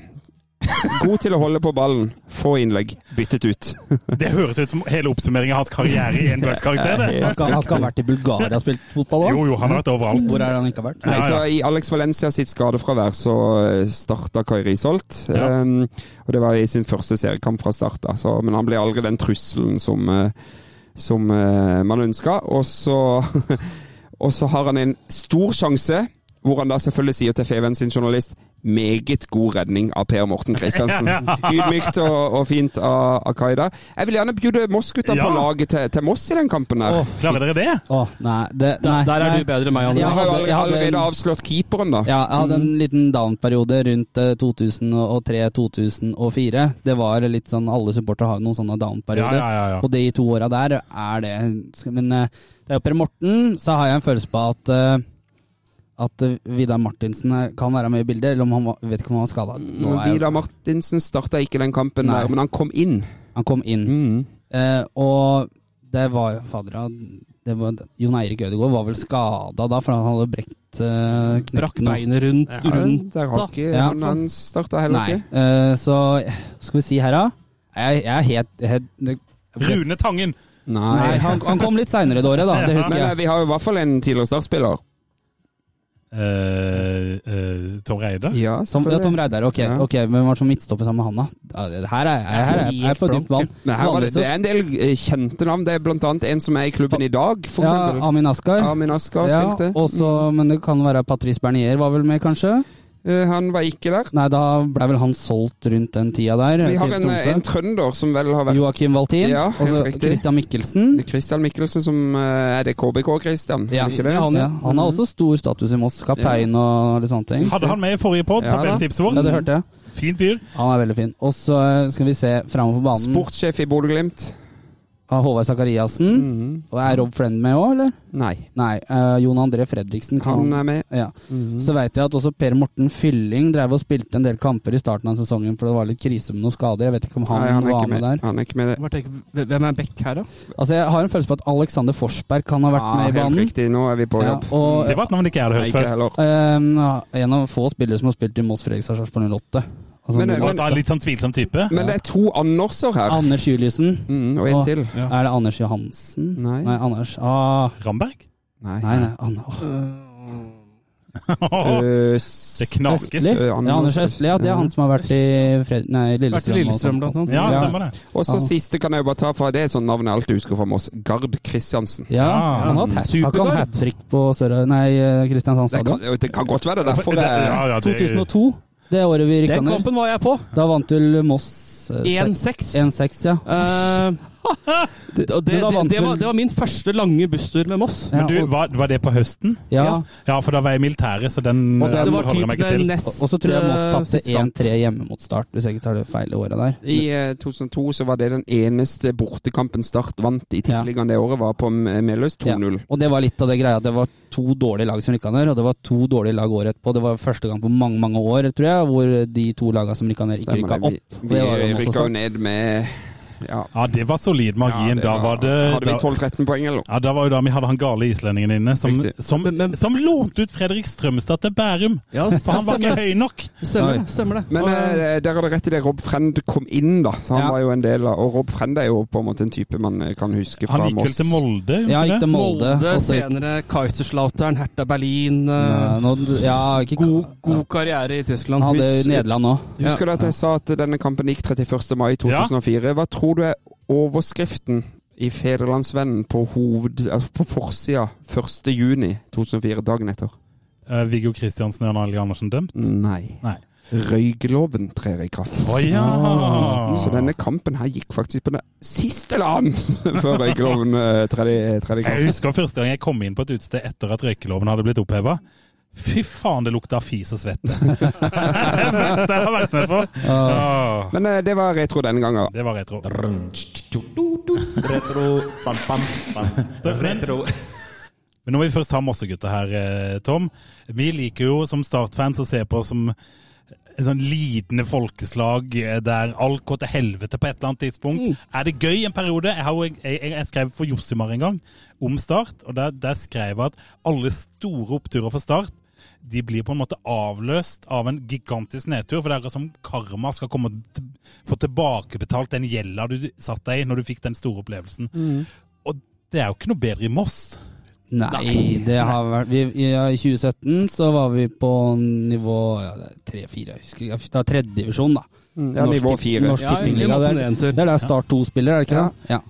Speaker 1: God til å holde på ballen. Få innlegg. Byttet ut.
Speaker 4: Det høres ut som hele oppsummeringen av hans karriere i en bøskarakter. det.
Speaker 5: Har ikke har ikke han vært i Bulgaria og spilt fotball òg?
Speaker 4: Jo, jo, han har vært overalt.
Speaker 5: Hvor er det han ikke har vært?
Speaker 1: Nei,
Speaker 4: Ja,
Speaker 1: så
Speaker 4: ja.
Speaker 1: I Alex Valencia sitt skadefravær så eh, starta Kai Risholt.
Speaker 4: Ja.
Speaker 1: Ehm, og det var i sin første seriekamp fra start, da, så- men han ble aldri den trusselen som, eh, som eh, man ønska. Og så, og så har han en stor sjanse, hvor han da selvfølgelig sier til Feven sin journalist meget god redning av Per Morten Christiansen. Ydmykt og, og fint av, av Kai der. Jeg vil gjerne bjude Moss-gutta
Speaker 4: Ja.
Speaker 1: på laget til, til Moss i den kampen her.
Speaker 5: Åh,
Speaker 4: Klarer dere det?
Speaker 5: Å, nei, det, nei,
Speaker 6: Der, der
Speaker 5: nei.
Speaker 6: er du bedre enn meg, André.
Speaker 5: Ja.
Speaker 1: jeg har jo
Speaker 5: hadde-
Speaker 1: allerede,
Speaker 5: jeg hadde en-
Speaker 1: allerede avslått keeperen, da.
Speaker 5: Ja, jeg hadde
Speaker 4: Mm.
Speaker 5: en liten down-periode rundt eh, 2003-2004. Det var litt sånn, Alle supportere har jo noen sånne
Speaker 4: Ja,
Speaker 5: down-perioder.
Speaker 4: ja, ja. ja.
Speaker 5: Og det i to åra der er det Men eh, det er jo Per Morten, så har jeg en følelse på at eh, at eh, Vidar Martinsen eh, kan være med i bildet, eller om han var, vet ikke om han var skada.
Speaker 4: Mm,
Speaker 1: Vidar Martinsen starta ikke den kampen
Speaker 5: Nei.
Speaker 1: der, men han kom inn.
Speaker 5: Han kom inn.
Speaker 4: Mm.
Speaker 5: Eh, og det var jo Fader, ja, det var, Jon Eirik Ødegaard var vel skada da, for han hadde brekt eh,
Speaker 6: Brakk
Speaker 5: knekt noe.
Speaker 6: beinet rundt, rundt.
Speaker 1: Der har ikke
Speaker 5: Ja,
Speaker 1: han,
Speaker 5: for-
Speaker 1: han starta heller
Speaker 5: Nei.
Speaker 1: ikke.
Speaker 5: Eh, så skal vi si her, da? Jeg, jeg er helt, helt det,
Speaker 4: Rune Tangen!
Speaker 5: Nei, han, han kom litt seinere det året, da. Det
Speaker 1: Men
Speaker 5: husker
Speaker 1: eh,
Speaker 5: jeg.
Speaker 1: vi har jo i hvert fall en tidligere startspiller.
Speaker 4: Eh, eh, Tor Eide?
Speaker 1: Ja,
Speaker 5: Tom, ja, Tom Reidar. Ok,
Speaker 1: Ja.
Speaker 5: ok, hvem var det som midtstopper sammen med han, da? Ja, det- Her er jeg, her er jeg, jeg er på dypt vann.
Speaker 1: Men her var det,
Speaker 5: Vanligvis så-
Speaker 1: det er en del eh, kjente navn. Det er blant annet en som er i klubben i dag, for
Speaker 5: Ja,
Speaker 1: eksempel.
Speaker 5: Amin Askar.
Speaker 1: Amin Askar spilte. Mm.
Speaker 5: også, men det kan være Patrice Bernier var vel med, kanskje?
Speaker 1: Eh, Han var ikke der.
Speaker 5: Nei, da ble vel han solgt rundt den tida der.
Speaker 1: Vi har
Speaker 5: til
Speaker 1: en, eh,
Speaker 5: Tromsø.
Speaker 1: en trønder som vel har vært
Speaker 5: Joakim Valtin.
Speaker 1: Ja,
Speaker 5: og
Speaker 1: helt
Speaker 5: så
Speaker 1: riktig.
Speaker 5: Christian Mikkelsen.
Speaker 1: Christian Michelsen, som eh, er det KBK-Christian?
Speaker 5: Ja,
Speaker 1: ikke det? Mm.
Speaker 5: han, ja. han har også stor status i Moss. Kaptein og litt sånne ting.
Speaker 4: Hadde han med i forrige pod?
Speaker 1: Ja, da.
Speaker 4: Tabelltipset
Speaker 5: Ja, det
Speaker 4: vårt.
Speaker 5: hørte jeg.
Speaker 4: Fin fyr.
Speaker 5: Han er veldig fin. Og så eh, skal vi se framover banen
Speaker 1: Sportssjef i Bodø-Glimt?
Speaker 5: av Håvard Sakariassen. Og er Rob Friend med òg, eller?
Speaker 1: Nei.
Speaker 5: Nei. eh, Jon André Fredriksen kan
Speaker 1: Han
Speaker 5: Mm.
Speaker 1: eh, er med.
Speaker 5: Ja. Så veit jeg at også Per Morten Fylling drev og spilte en del kamper i starten av sesongen, for det var litt krise med noen skader. Jeg vet ikke om han,
Speaker 1: Nei, han er
Speaker 5: var
Speaker 1: ikke
Speaker 5: med,
Speaker 1: med.
Speaker 5: der.
Speaker 1: Han er ikke med det.
Speaker 6: Jeg bare tenker, Hvem er Beck her, da?
Speaker 5: Altså Jeg har en følelse på at Alexander Forsberg kan ha vært
Speaker 1: Ja,
Speaker 5: med i
Speaker 1: Ah, Helt
Speaker 5: banen.
Speaker 1: riktig, nå er vi på
Speaker 5: Ja,
Speaker 1: jobb.
Speaker 5: og
Speaker 4: Det var et navn ikke jeg hadde
Speaker 1: Nei,
Speaker 4: hørt
Speaker 1: ikke
Speaker 4: før.
Speaker 1: heller.
Speaker 5: eh, en av få spillere som har spilt i Moss Fredrikstad Sarpsborg 08. Altså,
Speaker 1: Men-
Speaker 5: nå-
Speaker 1: men-
Speaker 4: Altså, en litt sånn tvilsom type.
Speaker 1: Men det er to Anderser her.
Speaker 5: Anders Juliussen.
Speaker 1: Mm, og en
Speaker 5: Å.
Speaker 1: til.
Speaker 6: Ja.
Speaker 5: Er det Anders Johansen?
Speaker 1: Nei.
Speaker 5: nei Anders ah,
Speaker 4: Ramberg?
Speaker 5: Nei,
Speaker 1: Eh,
Speaker 5: nei. Anna. åh.
Speaker 1: Øh,
Speaker 4: Det
Speaker 1: s-
Speaker 4: knakes.
Speaker 5: Østli?
Speaker 1: øh,
Speaker 5: Ja, Anders Østli, ja. Det er han som har vært i Fred nei,
Speaker 6: Vært i
Speaker 5: Lillestrøm. sånn.
Speaker 6: Lillestrøm, blant annet.
Speaker 4: Ja,
Speaker 5: Ja.
Speaker 4: stemmer det.
Speaker 1: Mm. Og så
Speaker 5: Ja.
Speaker 1: siste kan jeg jo bare ta fra, det er et sånt navn jeg alltid husker fra Moss. Garb Kristiansen.
Speaker 5: Ja,
Speaker 4: Ja,
Speaker 5: han har hatt hat- han kan
Speaker 6: superguard.
Speaker 5: hat trick på Sør nei, eh, Kristiansand
Speaker 1: Det kan,
Speaker 5: stadion.
Speaker 1: det kan godt være det er derfor det
Speaker 4: Ja,
Speaker 1: er
Speaker 4: ja, det-
Speaker 5: 2002, det året vi rykka
Speaker 6: Den
Speaker 5: ned.
Speaker 6: kampen var jeg på.
Speaker 5: Da vant vel Moss eh,
Speaker 6: 1-6.
Speaker 5: 1-6, ja.
Speaker 6: Eh, det, og det,
Speaker 5: Men da
Speaker 6: det,
Speaker 5: vant
Speaker 6: det, var,
Speaker 5: vel-
Speaker 6: det var min første lange busstur med Moss.
Speaker 5: Ja,
Speaker 4: Men du,
Speaker 5: og-
Speaker 4: var, var det på høsten?
Speaker 5: Ja,
Speaker 4: Ja, for da var jeg i militæret, så den
Speaker 5: Og det-
Speaker 4: eh,
Speaker 6: Det var
Speaker 4: holder jeg
Speaker 6: typ
Speaker 4: meg ikke
Speaker 6: det
Speaker 4: til.
Speaker 6: nest
Speaker 5: og så tror jeg Moss
Speaker 6: eh,
Speaker 5: tapte
Speaker 6: siste kamp.
Speaker 5: 1-3 hjemme mot Start, hvis jeg ikke tar det feil i året der.
Speaker 1: I eh, 2002 så var det den eneste bortekampen Start vant i Tippeligaen det året, var på M- Meløs 2-0.
Speaker 5: Ja, Og det var litt av det greia. at Det var to dårlige lag som rykka ned, og det var to dårlige lag året etterpå. Det var første gang på mange, mange år, tror jeg, hvor de to lagene som rykka ned, ikke
Speaker 1: Stemmer
Speaker 5: rykka
Speaker 1: det. Vi,
Speaker 5: opp. Det var jo
Speaker 1: vi
Speaker 5: Moss
Speaker 1: rykka jo
Speaker 5: også.
Speaker 1: ned med ja,
Speaker 4: Ja, det var solid margin.
Speaker 1: det
Speaker 4: da var det
Speaker 1: Hadde vi
Speaker 4: da-
Speaker 1: 12-13 poeng, eller?
Speaker 4: ja, da var jo da vi hadde han gale islendingen inne, som,
Speaker 1: Riktig.
Speaker 4: som,
Speaker 6: Men- men-
Speaker 4: som lånte ut Fredrik Strømstad til Bærum!
Speaker 6: Ja,
Speaker 4: For han var ikke høy nok!
Speaker 6: Stemmer,
Speaker 5: Nei.
Speaker 6: det, stemmer det.
Speaker 1: Men
Speaker 6: Og,
Speaker 1: eh, der har dere rett i det. Rob Frend kom inn, da. Så han
Speaker 5: Ja.
Speaker 1: var jo en del av Og Rob Frend er jo på en måte en type man eh, kan huske fra Moss.
Speaker 4: Han gikk vel til Molde? gjorde
Speaker 5: Ja,
Speaker 4: han
Speaker 5: gikk
Speaker 4: ikke
Speaker 5: til
Speaker 4: det?
Speaker 5: Molde.
Speaker 6: Molde,
Speaker 5: og så gikk-
Speaker 6: senere Kaiserslautern, Hertha Berlin.
Speaker 5: Nei,
Speaker 6: eh,
Speaker 5: nå- Ja, ikke
Speaker 6: god, god karriere i Tyskland.
Speaker 5: Han hadde
Speaker 6: Hus-
Speaker 5: Nederland òg.
Speaker 1: Husker du at jeg sa at denne kampen gikk 31. mai 2004? Hva tror du er overskriften i Federlandsvennen på, hoved, altså på forsida 1. juni 2004, dagen etter?
Speaker 4: Eh, Viggo Kristiansen og Jan Arild Andersen dømt?
Speaker 1: Nei.
Speaker 4: Nei.
Speaker 1: røykeloven trer i kraft. Mm.
Speaker 4: Å ja!
Speaker 1: Så denne kampen her gikk faktisk på den siste dagen før røykeloven eh, trer i trer i
Speaker 4: Jeg
Speaker 1: kraft.
Speaker 4: husker første gang jeg kom inn på et utested etter at røykeloven hadde blitt oppheva. Fy faen, det lukta fis og svette. det er det beste jeg har vært med på. Åh,
Speaker 1: Men eh, det var retro denne gangen.
Speaker 4: det var retro.
Speaker 7: Retro pam, pam, pam. Retro.
Speaker 4: Men når vi først har Mossegutta her, eh, Tom. Vi liker jo som Start-fans å se på oss som en sånn lidende folkeslag eh, der alt går til helvete på et eller annet tidspunkt. Er det gøy en periode? Jeg, har, jo- jeg, jeg, jeg skrev for Jossimar en gang om Start, og der, der skrev jeg at alle store oppturer for Start de blir på en måte avløst av en gigantisk nedtur. For det er akkurat som karma skal komme og t- få tilbakebetalt den gjelda du satt deg i når du fikk den store opplevelsen. Og det er jo ikke noe bedre i Moss.
Speaker 5: Nei, det har vært vi, i- ja, I 2017 så var vi på nivå ja, det er tre-fire, jeg husker ikke. Det var tredje divisjon, da.
Speaker 1: Ja,
Speaker 5: Mm. Norsk-
Speaker 1: nivå fire.
Speaker 5: Norsk
Speaker 6: Ja,
Speaker 5: Tippingliga.
Speaker 6: vi måtte
Speaker 5: Det er-
Speaker 6: ned en tur.
Speaker 5: Det er der Start 2 spiller, er det ikke det? Ja.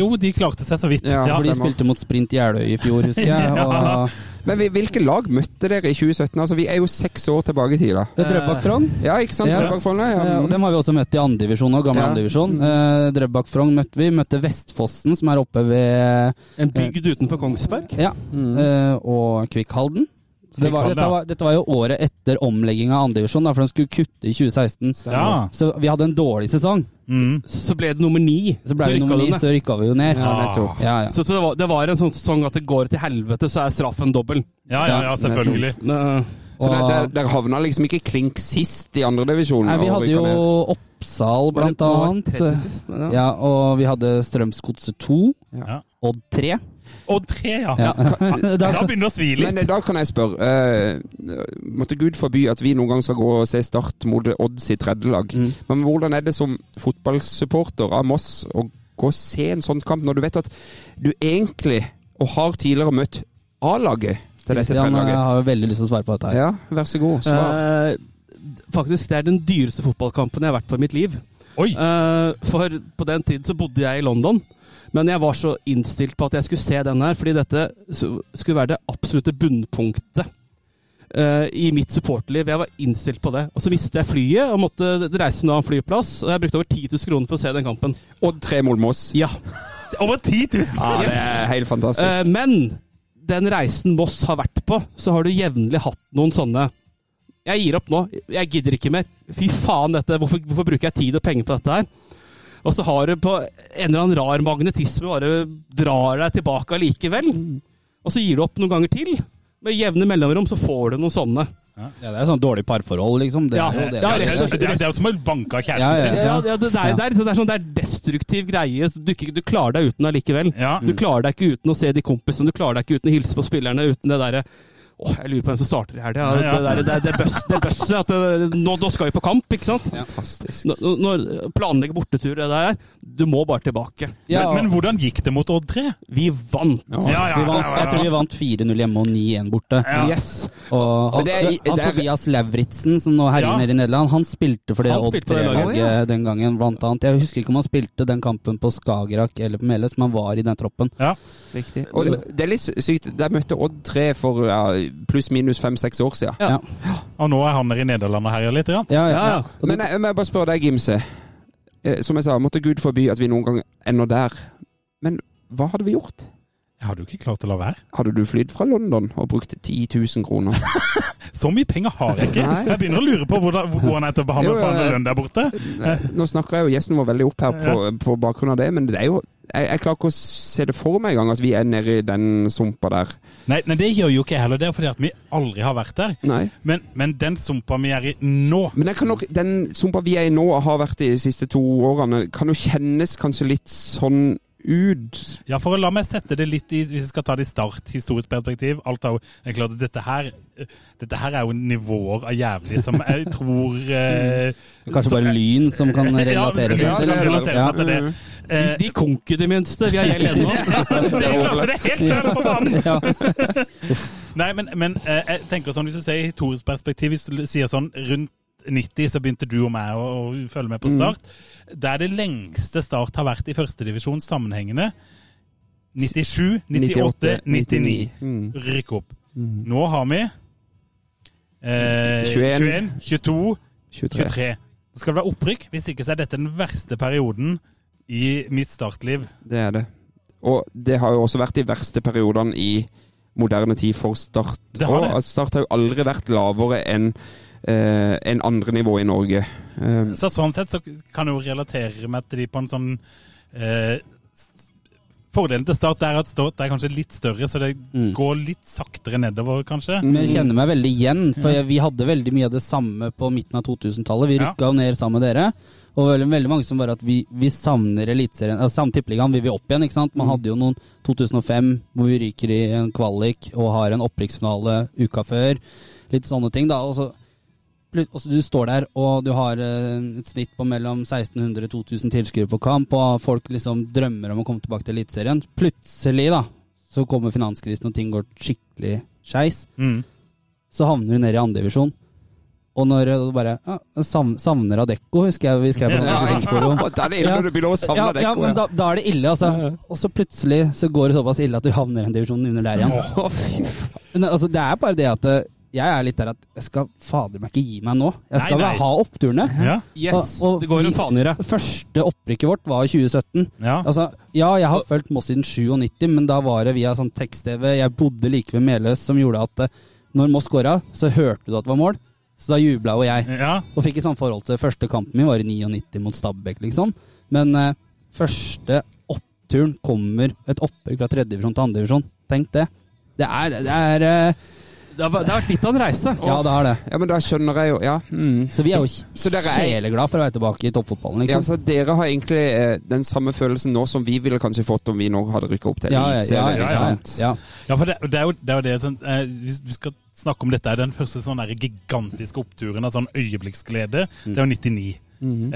Speaker 4: Jo, de klarte seg så vidt.
Speaker 1: Mm. Ja,
Speaker 4: Ja,
Speaker 5: For de
Speaker 1: stemmer.
Speaker 5: spilte mot Sprint Jeløy i fjor, husker jeg. Og
Speaker 1: Men vi- hvilke lag møtte dere i 2017? Altså, vi er jo seks år tilbake i tid, da.
Speaker 5: Det er Drøbak Frogn.
Speaker 1: Ja, ikke sant?
Speaker 5: Ja,
Speaker 1: Drøbak Follo,
Speaker 5: eh, og
Speaker 1: ja.
Speaker 5: dem har vi også møtt i andredivisjon og gamle
Speaker 1: Ja.
Speaker 5: andredivisjon. Eh, Drøbak Frogn møtte vi. Møtte Vestfossen, som er oppe ved
Speaker 6: En bygd utenfor Kongsberg.
Speaker 5: Ja.
Speaker 1: Mm.
Speaker 5: eh, og Kvikk Halden. Så Det var,
Speaker 4: Kvikk Halden,
Speaker 5: dette,
Speaker 4: Mm. ja.
Speaker 5: var, dette var jo året etter omlegginga av andredivisjon, for de skulle kutte i 2016.
Speaker 4: ja.
Speaker 5: Så vi hadde en dårlig sesong.
Speaker 4: Mm.
Speaker 6: Så ble det nummer ni.
Speaker 5: Så ble vi
Speaker 6: rykka
Speaker 5: nummer
Speaker 6: de
Speaker 5: ni,
Speaker 6: ned.
Speaker 5: så rykka vi jo ned.
Speaker 1: Ja, nettopp.
Speaker 5: Ja, ja.
Speaker 6: Så, så det, var, det var en sånn sesong at det går til helvete, så er straffen dobbel. Eh,
Speaker 4: ja, ja, ja, selvfølgelig.
Speaker 6: Nei.
Speaker 1: Så der, der,
Speaker 5: Og,
Speaker 1: der havna liksom ikke klink sist i andredivisjon.
Speaker 5: nei, vi hadde jo Oppsal, blant annet. Ja, og vi hadde Strømsgodset 2.
Speaker 4: Ja.
Speaker 5: Odd 3.
Speaker 4: Og tre, ja.
Speaker 5: Ja.
Speaker 4: Da
Speaker 5: Da,
Speaker 4: begynner det å svi litt.
Speaker 1: Men eh, da kan jeg spørre. eh, måtte Gud forby at vi noen gang skal gå og se Start mot Odd sitt tredjelag.
Speaker 5: Mm.
Speaker 1: Men hvordan er det som fotballsupporter av Moss å gå og se en sånn kamp, når du vet at du egentlig, og har tidligere møtt A-laget til dette
Speaker 5: Christian jeg
Speaker 1: tredjelaget?
Speaker 5: har jo veldig lyst til å svare på dette her.
Speaker 1: Ja, vær så god. Svar.
Speaker 6: Eh, faktisk, det er den dyreste fotballkampen jeg har vært på i mitt liv.
Speaker 4: Oi.
Speaker 6: Eh, for på den tiden så bodde jeg i London, men jeg var så innstilt på at jeg skulle se den her, fordi dette su- skulle være det absolutte bunnpunktet eh, i mitt supporterliv. Jeg var innstilt på det. Og så mistet jeg flyet og måtte reise en annen flyplass, og jeg brukte over 10 000 kroner for å se den kampen.
Speaker 1: Odd tre mot Moss.
Speaker 6: Ja.
Speaker 4: Over 10 000!
Speaker 1: Eh, Ja, det er helt fantastisk.
Speaker 6: Eh, men den reisen Moss har vært på, så har du jevnlig hatt noen sånne Jeg gir opp nå. Jeg gidder ikke mer. Fy faen, dette. Hvorfor, hvorfor bruker jeg tid og penger på dette her? Og så har du på en eller annen rar magnetisme bare drar deg tilbake allikevel. Og så gir du opp noen ganger til. Med jevne mellomrom så får du noen sånne.
Speaker 5: Ja, det er jo sånn dårlig parforhold, liksom. Det
Speaker 6: Ja.
Speaker 5: er jo det.
Speaker 4: Det er det er- det er jo som å banke av kjæresten sin.
Speaker 6: Ja, ja, det, det, er, det, er, det er sånn det er destruktiv greie. så Du, ikke- du klarer deg uten allikevel.
Speaker 4: Ja.
Speaker 6: Du klarer deg ikke uten å se de kompisene, du klarer deg ikke uten å hilse på spillerne, uten det derre Åh, jeg lurer på hvem som starter i helga.
Speaker 4: Ja, ja.
Speaker 6: Det, der- det, det bøss- det bøsset. At det, nå, nå skal vi på kamp, ikke sant?
Speaker 1: Fantastisk.
Speaker 6: Når, når planlegge bortetur, det der. Du må bare tilbake.
Speaker 5: Ja,
Speaker 4: Men, men hvordan gikk det mot Odd 3?
Speaker 6: Vi vant!
Speaker 4: Ja, ja,
Speaker 5: vi vant,
Speaker 4: ja, ja,
Speaker 5: jeg tror
Speaker 4: ja.
Speaker 5: vi vant 4-0 hjemme og 9-1 borte.
Speaker 4: Ja.
Speaker 6: Yes!
Speaker 5: Og han,
Speaker 1: det er- det
Speaker 5: han
Speaker 1: er-
Speaker 5: Tobias Lauritzen, som nå herjer
Speaker 4: Ja.
Speaker 5: nede i Nederland, han spilte for det
Speaker 6: Han
Speaker 5: Odd
Speaker 6: spilte for det laget.
Speaker 5: 3-laget den gangen, blant annet. Jeg husker ikke om han spilte den kampen på Skagerrak eller på Meløs, men han var i den troppen.
Speaker 4: Ja.
Speaker 1: Riktig. Og det, det er litt sykt. Der møtte Odd tre for ja, pluss-minus fem-seks år siden.
Speaker 5: Ja,
Speaker 4: Og nå er han der i Nederland og herjer litt? Ja.
Speaker 5: ja, ja.
Speaker 6: Ja, ja.
Speaker 1: Men jeg, jeg må bare spørre deg, Gimse. Eh, Som jeg sa, måtte Gud forby at vi noen gang ender der. Men hva hadde vi gjort?
Speaker 4: Jeg hadde jo ikke klart å la være.
Speaker 1: Hadde du flydd fra London og brukt 10 000 kroner?
Speaker 4: Så mye penger har jeg ikke.
Speaker 1: Nei.
Speaker 4: Jeg begynner å lure på hvordan, hvor går han er til å behandle
Speaker 1: Jo, ja,
Speaker 4: faen
Speaker 1: ja.
Speaker 4: lønn der borte.
Speaker 1: Eh, Nå snakker jeg jo gjesten vår veldig opp her på, på bakgrunn av det, men det er jo jeg, jeg klarer ikke å se det for meg engang at vi er nede i den sumpa der.
Speaker 4: Nei, nei, det gjør jo ikke jeg heller. Det er fordi at vi aldri har vært der.
Speaker 1: Nei.
Speaker 4: Men, men den sumpa vi er i nå
Speaker 1: Men jeg kan nok, den sumpa vi er i nå og har vært i de siste to årene, kan jo kjennes kanskje litt sånn ut.
Speaker 4: Ja, for å la meg sette det litt i, hvis vi skal ta det i start, historisk perspektiv alt er jo, det er klart at dette her, dette her er jo nivåer av jævlig som jeg tror eh,
Speaker 5: Kanskje bare Lyn som kan relatere
Speaker 4: ja,
Speaker 5: Mm,
Speaker 4: kan
Speaker 5: seg til det.
Speaker 4: relatere seg til det. Eh,
Speaker 6: De konker det minste. Vi er gjeld ennå.
Speaker 4: det klarte det helt sjøl på banen!
Speaker 5: Ja.
Speaker 4: Nei, men, men eh, jeg tenker sånn, hvis du sier i historisk perspektiv, hvis du sier sånn rundt 90 så begynte du og meg å, å følge med på Start. Det er det lengste Start har vært i førstedivisjon sammenhengende. 97, 98, 99.
Speaker 1: Mm.
Speaker 4: Rykk opp. Nå har vi eh,
Speaker 1: 21,
Speaker 4: 21, 22,
Speaker 1: 23.
Speaker 4: 23. Så skal det være opprykk. Hvis ikke så er dette den verste perioden i mitt startliv.
Speaker 1: Det er det. Og det har jo også vært de verste periodene i moderne tid for Start.
Speaker 4: Det har det.
Speaker 1: Og Start har jo aldri vært lavere enn eh, enn andre nivå i Norge. Eh,
Speaker 4: Så sånn sett så kan jeg jo relatere meg til de på en sånn eh, s- Fordelen til Start er at Start er kanskje litt større, så det
Speaker 5: Mm.
Speaker 4: går litt saktere nedover, kanskje.
Speaker 5: Men
Speaker 1: Mm.
Speaker 5: jeg kjenner meg veldig igjen, for jeg, vi hadde veldig mye av det samme på midten av 2000-tallet. Vi
Speaker 4: Ja.
Speaker 5: rykka jo ned sammen med dere. Og veldig, veldig mange som var at vi, vi savner Eliteserien altså, Samme tippeligaen vil vi opp igjen, ikke sant? Man hadde jo noen 2005 hvor vi ryker i en kvalik og har en opprykksfinale uka før. Litt sånne ting, da. Og så, plut- og så du står der, og du har eh, et snitt på mellom 1600 og 2000 tilskuere på kamp, og folk liksom drømmer om å komme tilbake til Eliteserien. Plutselig, da, så kommer finanskrisen, og ting går skikkelig skeis
Speaker 4: Mm.
Speaker 5: så havner du nede i andredivisjon. Og når du bare ja, savn- Savner Adecco, husker jeg vi skrev på
Speaker 1: Eh, ja,
Speaker 5: Norsk Eliteserieforum.
Speaker 1: og da er det ille når du begynner å savne
Speaker 5: ja,
Speaker 1: deg.
Speaker 5: ja, men da, da er det ille,
Speaker 6: Ja, ja.
Speaker 5: altså. Og så plutselig så går det såpass ille at du havner en divisjon under der igjen. Men, altså, det er bare det at eh, jeg er litt der at jeg skal fader meg ikke gi meg nå. Jeg skal
Speaker 4: Nei, nei.
Speaker 5: ha oppturene.
Speaker 4: Mm. Ja,
Speaker 6: Yes,
Speaker 5: Og- og
Speaker 6: det går
Speaker 5: vi-
Speaker 6: en faen i det.
Speaker 5: Første opprykket vårt var i 2017.
Speaker 4: ja.
Speaker 5: Altså, ja, jeg har fulgt Moss siden 97, men da var det via sånn tekst-TV. Jeg bodde like ved Meløs, som gjorde at eh, når Moss scora, så hørte du at det var mål. Så da jubla jo jeg.
Speaker 4: ja.
Speaker 5: Og fikk et sånt forhold til første kampen min, var i 99 mot Stabæk, liksom. Men eh, første oppturen kommer et opprykk fra tredjedivisjon til andredivisjon. Tenk det. Det er, det er eh,
Speaker 6: Det har, det har vært litt av en reise.
Speaker 5: Ja, det er det.
Speaker 1: Ja, men da skjønner jeg jo Ja. Mm.
Speaker 5: Så vi er jo
Speaker 1: Så dere er-
Speaker 5: sjeleglade for å være tilbake i toppfotballen,
Speaker 1: Ja,
Speaker 5: liksom.
Speaker 1: altså, dere har egentlig eh, den samme følelsen nå som vi ville kanskje fått om vi nå hadde rykka opp til
Speaker 5: Ja, ja, ja.
Speaker 1: Eliteserien,
Speaker 5: ja,
Speaker 1: ikke
Speaker 5: ja,
Speaker 1: sant?
Speaker 5: ja.
Speaker 4: ja for det, det er jo det, er jo det sånn, eh, Hvis vi skal snakke om dette, er den første sånn der gigantiske oppturen av sånn øyeblikksglede. Det er jo 99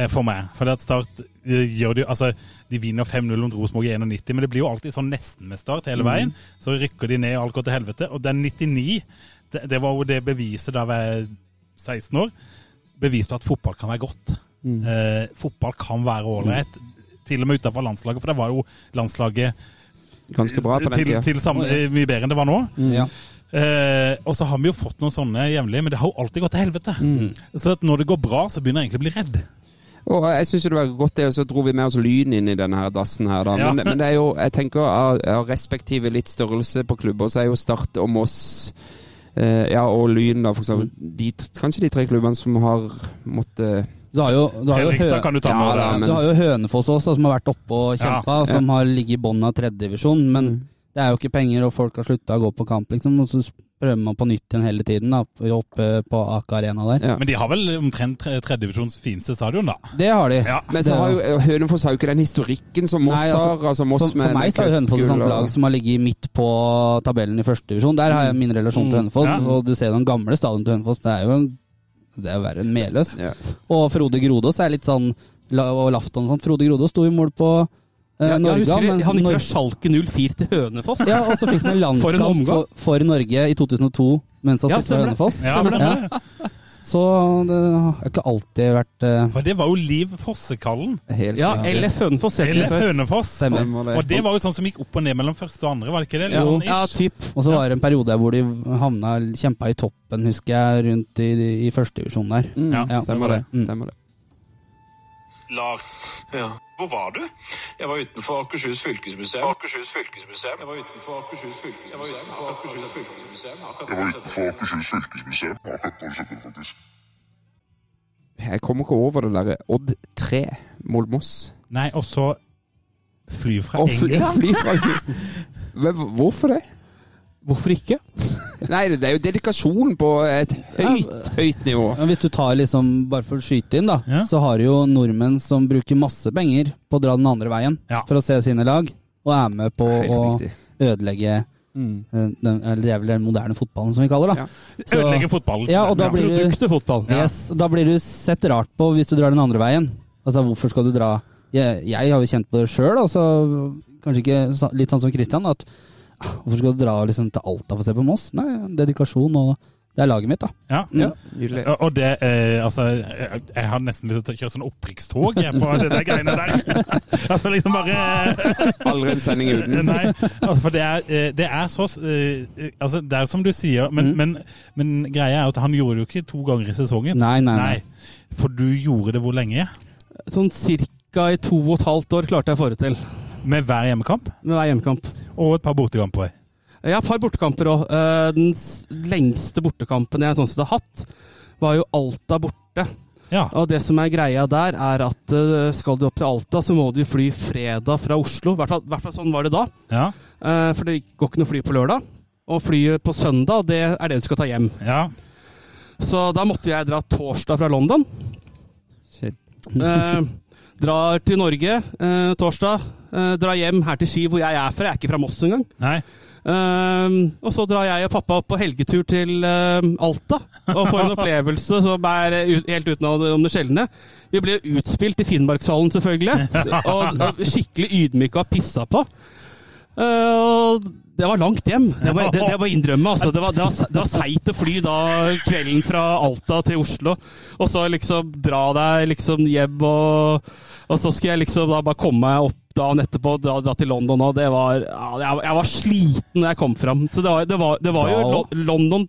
Speaker 4: eh, for meg. For det at Start eh, gjør det jo Altså, de vinner 5-0 mot Rosenborg i 91, men det blir jo alltid sånn nesten med Start hele veien. Så rykker de ned, og alt går til helvete. Og den 99, det, det var jo det beviset da jeg var 16 år. Bevis på at fotball kan være godt. Eh, fotball kan være ålreit. Til og med utafor landslaget, for det var jo landslaget
Speaker 1: Ganske bra på den
Speaker 4: til,
Speaker 1: tida.
Speaker 4: til samme, eh, mye bedre enn det var nå.
Speaker 5: Mm, Ja.
Speaker 4: Eh, og så har vi jo fått noen sånne jevnlig, men det har jo alltid gått til helvete.
Speaker 5: Mm.
Speaker 4: Så at når det går bra, så begynner jeg egentlig å bli redd.
Speaker 1: Og jeg syns det var godt det, og så dro vi med oss lyden inn i denne her dassen her, da.
Speaker 4: Ja.
Speaker 1: Men, men det er jo, jeg tenker av, av respektive litt størrelse på klubber, så er jo Start og Moss eh, ja, og Lyn, da, for eksempel.
Speaker 5: Mm.
Speaker 1: De, kanskje de tre klubbene som har måttet
Speaker 5: Du har jo, du har jo hø-
Speaker 4: Fredrikstad kan du ta med.
Speaker 1: Ja, da,
Speaker 4: deg.
Speaker 1: men-
Speaker 5: Du har jo Hønefoss også, som har vært oppe og kjempa, som har ligget i bånn av tredjedivisjon. Men det er jo ikke penger, og folk har slutta å gå på kamp, liksom. Og så prøver man på nytt igjen hele tiden, da, oppe på Aker Arena der.
Speaker 1: Ja.
Speaker 4: Men de har vel omtrent tre- tredjedivisjons fineste stadion, da.
Speaker 5: Det har de.
Speaker 4: Ja.
Speaker 1: Men så har jo eh, Hønefoss har jo ikke den historikken som Moss
Speaker 5: Nei, altså,
Speaker 1: har. Altså Moss
Speaker 5: For, for meg så er jo Hønefoss et sånt lag som har ligget midt på tabellen i første divisjon. Der har jeg min relasjon til Hønefoss.
Speaker 4: Ja.
Speaker 5: Og du ser jo den gamle stadion til Hønefoss, det er jo en, det er jo verre enn Meløs.
Speaker 1: Ja.
Speaker 5: Og Frode Grodås er litt sånn la- Og Lafton og sånt. Frode Grodås sto i mål på eh,
Speaker 6: Jeg, jeg
Speaker 5: Norge,
Speaker 6: husker
Speaker 5: men
Speaker 6: han gikk
Speaker 5: Norge-
Speaker 6: fra Schalke 04 til Hønefoss.
Speaker 5: Ja, og så fikk han en
Speaker 6: For en
Speaker 5: landskamp
Speaker 6: omgang.
Speaker 5: for, for Norge i 2002 mens han
Speaker 6: Ja,
Speaker 5: spilte
Speaker 6: stemmer
Speaker 5: for Hønefoss.
Speaker 6: det.
Speaker 4: Ja, stemmer det.
Speaker 5: Så det har ikke alltid vært eh,
Speaker 4: For det var jo Liv Fossekallen.
Speaker 1: Helt
Speaker 6: Ja,
Speaker 1: riktig.
Speaker 6: LF Hønefoss. heter
Speaker 4: Eller
Speaker 6: det før.
Speaker 4: Hønefoss.
Speaker 5: stemmer.
Speaker 1: Stemmer
Speaker 4: Og det var jo sånn som gikk opp og ned mellom første og andre, var det ikke det? Eller
Speaker 6: Jo,
Speaker 4: sånn ish?
Speaker 6: ja, typ.
Speaker 5: Og så var det en periode der hvor de havna kjempa i toppen, husker jeg, rundt i, i førstedivisjon der.
Speaker 1: Mm,
Speaker 4: Ja,
Speaker 5: ja.
Speaker 1: Stemmer det.
Speaker 5: Mm.
Speaker 1: Stemmer det.
Speaker 8: Lars, hvor var du? Jeg var utenfor Akershus fylkesmuseum. Akershus fylkesmuseum. Jeg var utenfor Akershus fylkesmuseum. Jeg var utenfor Akershus fylkesmuseum.
Speaker 9: Jeg var utenfor Akershus fylkesmuseum. Akkurat når det skjedde, faktisk.
Speaker 1: Jeg kommer ikke over det derre Odd 3 mot Moss.
Speaker 4: Nei, og så fly fra
Speaker 1: Å, fly,
Speaker 4: England.
Speaker 1: fly fra Men hvorfor det?
Speaker 6: Hvorfor ikke?
Speaker 1: Nei, det er jo dedikasjon på et høyt, høyt nivå.
Speaker 5: Men hvis du tar liksom, bare for å skyte inn, da,
Speaker 4: Ja.
Speaker 5: så har du jo nordmenn som bruker masse penger på å dra den andre veien
Speaker 4: Ja.
Speaker 5: for å se sine lag, og er med på
Speaker 1: Helt
Speaker 5: å
Speaker 1: riktig. Mm.
Speaker 5: ødelegge eh, den, eller det er vel den moderne fotballen, som vi kaller det.
Speaker 1: Ja.
Speaker 5: da. Så-
Speaker 4: Ødelegge fotballen.
Speaker 5: Ja, og da blir du
Speaker 6: Produktet fotball.
Speaker 5: Yes, da blir du sett rart på hvis du drar den andre veien. Altså, hvorfor skal du dra Jeg, jeg har jo kjent på det sjøl, altså, kanskje ikke sa- litt sånn som Christian, at ah, hvorfor skal du dra liksom, til Alta for å se på Moss? Nei, dedikasjon og Det er laget mitt, da.
Speaker 4: Ja.
Speaker 5: Ja.
Speaker 1: Nydelig.
Speaker 4: Og- Og det eh, Altså, jeg, jeg har nesten lyst til å kjøre sånn opprykkstog jeg, på det der greiene der. altså liksom bare
Speaker 1: Aldri en sending uten.
Speaker 4: Nei, altså, for det er, eh, det er så eh, Altså, det er som du sier, men, men, men greia er at han gjorde det jo ikke to ganger i sesongen.
Speaker 5: Nei, nei, nei.
Speaker 4: For du gjorde det hvor lenge?
Speaker 6: Sånn cirka i to og et halvt år klarte jeg å få det til
Speaker 4: Med hver hjemmekamp
Speaker 6: med hver hjemmekamp.
Speaker 4: og et par bortekamper.
Speaker 6: Jeg har et par bortekamper òg. Den s- lengste bortekampen jeg sånn sett har hatt, var jo Alta borte.
Speaker 4: Ja.
Speaker 6: Og det som er greia der, er at eh, skal du opp til Alta, så må du fly fredag fra Oslo. I hvert fall- i hvert fall sånn var det da.
Speaker 4: Ja.
Speaker 6: Eh, For det går ikke noe fly på lørdag. Og flyet på søndag, det er det du skal ta hjem.
Speaker 4: ja.
Speaker 6: Så da måtte jeg dra torsdag fra London.
Speaker 1: Shit.
Speaker 6: Eh, drar til Norge eh, torsdag. Eh, drar hjem her til Ski, hvor jeg er fra. Jeg er ikke fra Moss engang.
Speaker 4: Nei.
Speaker 6: Eh, og så drar jeg og pappa opp på helgetur til eh, Alta og får en opplevelse som er eh, ut, helt utenom det- om det sjeldne. Vi ble utspilt i Finnmarkshallen, selvfølgelig. Og, og skikkelig ydmyka og pissa på. Eh, og det var langt hjem. Det må jeg- det- det må jeg innrømme. Altså. Det var, det var, se- det var seigt å fly da kvelden fra Alta til Oslo, og så liksom dra deg liksom hjem og Og så skulle jeg liksom da bare komme meg opp dagen etterpå og dra, dra til London, og det var ja, jeg, jeg var sliten da jeg kom fram. Så det var, det var, det var jo Lo- London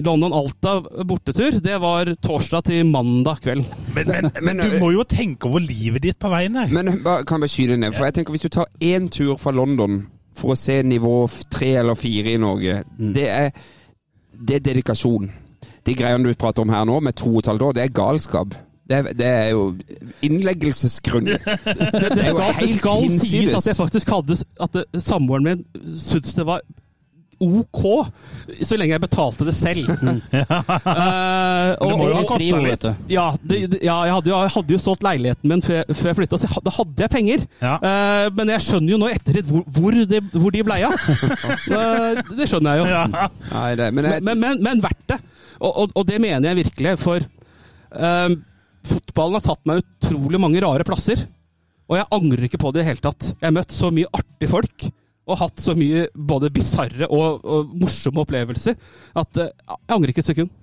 Speaker 6: London-Alta bortetur, det var torsdag til mandag kveld.
Speaker 4: Men, men,
Speaker 1: Men, eh,
Speaker 4: du må jo tenke over livet ditt på veien her.
Speaker 1: Men bare, kan jeg bare skyte ned? For jeg tenker Hvis du tar én tur fra London for å se nivå f- tre eller fire i Norge, det, er, det er dedikasjon. De greiene du prater om her nå, med to og et halvt år, det er galskap. Det er, det er jo innleggelsesgrunn.
Speaker 6: Det, det,
Speaker 1: er jo
Speaker 6: skal, det
Speaker 1: helt
Speaker 6: skal sies
Speaker 1: hinsides.
Speaker 6: at jeg faktisk hadde At det- samboeren min syntes det var OK, så lenge jeg betalte det selv. Eh,
Speaker 4: Men det må jo ha
Speaker 6: og,
Speaker 4: kostet
Speaker 5: Fri,
Speaker 4: litt.
Speaker 5: vet du.
Speaker 6: ja, det, det- ja, jeg hadde, jo- jeg hadde jo solgt leiligheten min før, før jeg flytta, så jeg had- da hadde jeg penger.
Speaker 4: Ja.
Speaker 6: Eh, men jeg skjønner jo nå i ettertid hvor, hvor, de, hvor de blei av. Eh, det skjønner jeg jo.
Speaker 4: Ja.
Speaker 1: Nei, det, men jeg,
Speaker 6: Men, men, men verdt det. Og, og, og det mener jeg virkelig, for eh, fotballen har tatt meg utrolig mange rare plasser. Og jeg angrer ikke på det i det hele tatt. Jeg har møtt så mye artige folk og hatt så mye både bisarre og, og morsomme opplevelser at eh, jeg angrer ikke et sekund.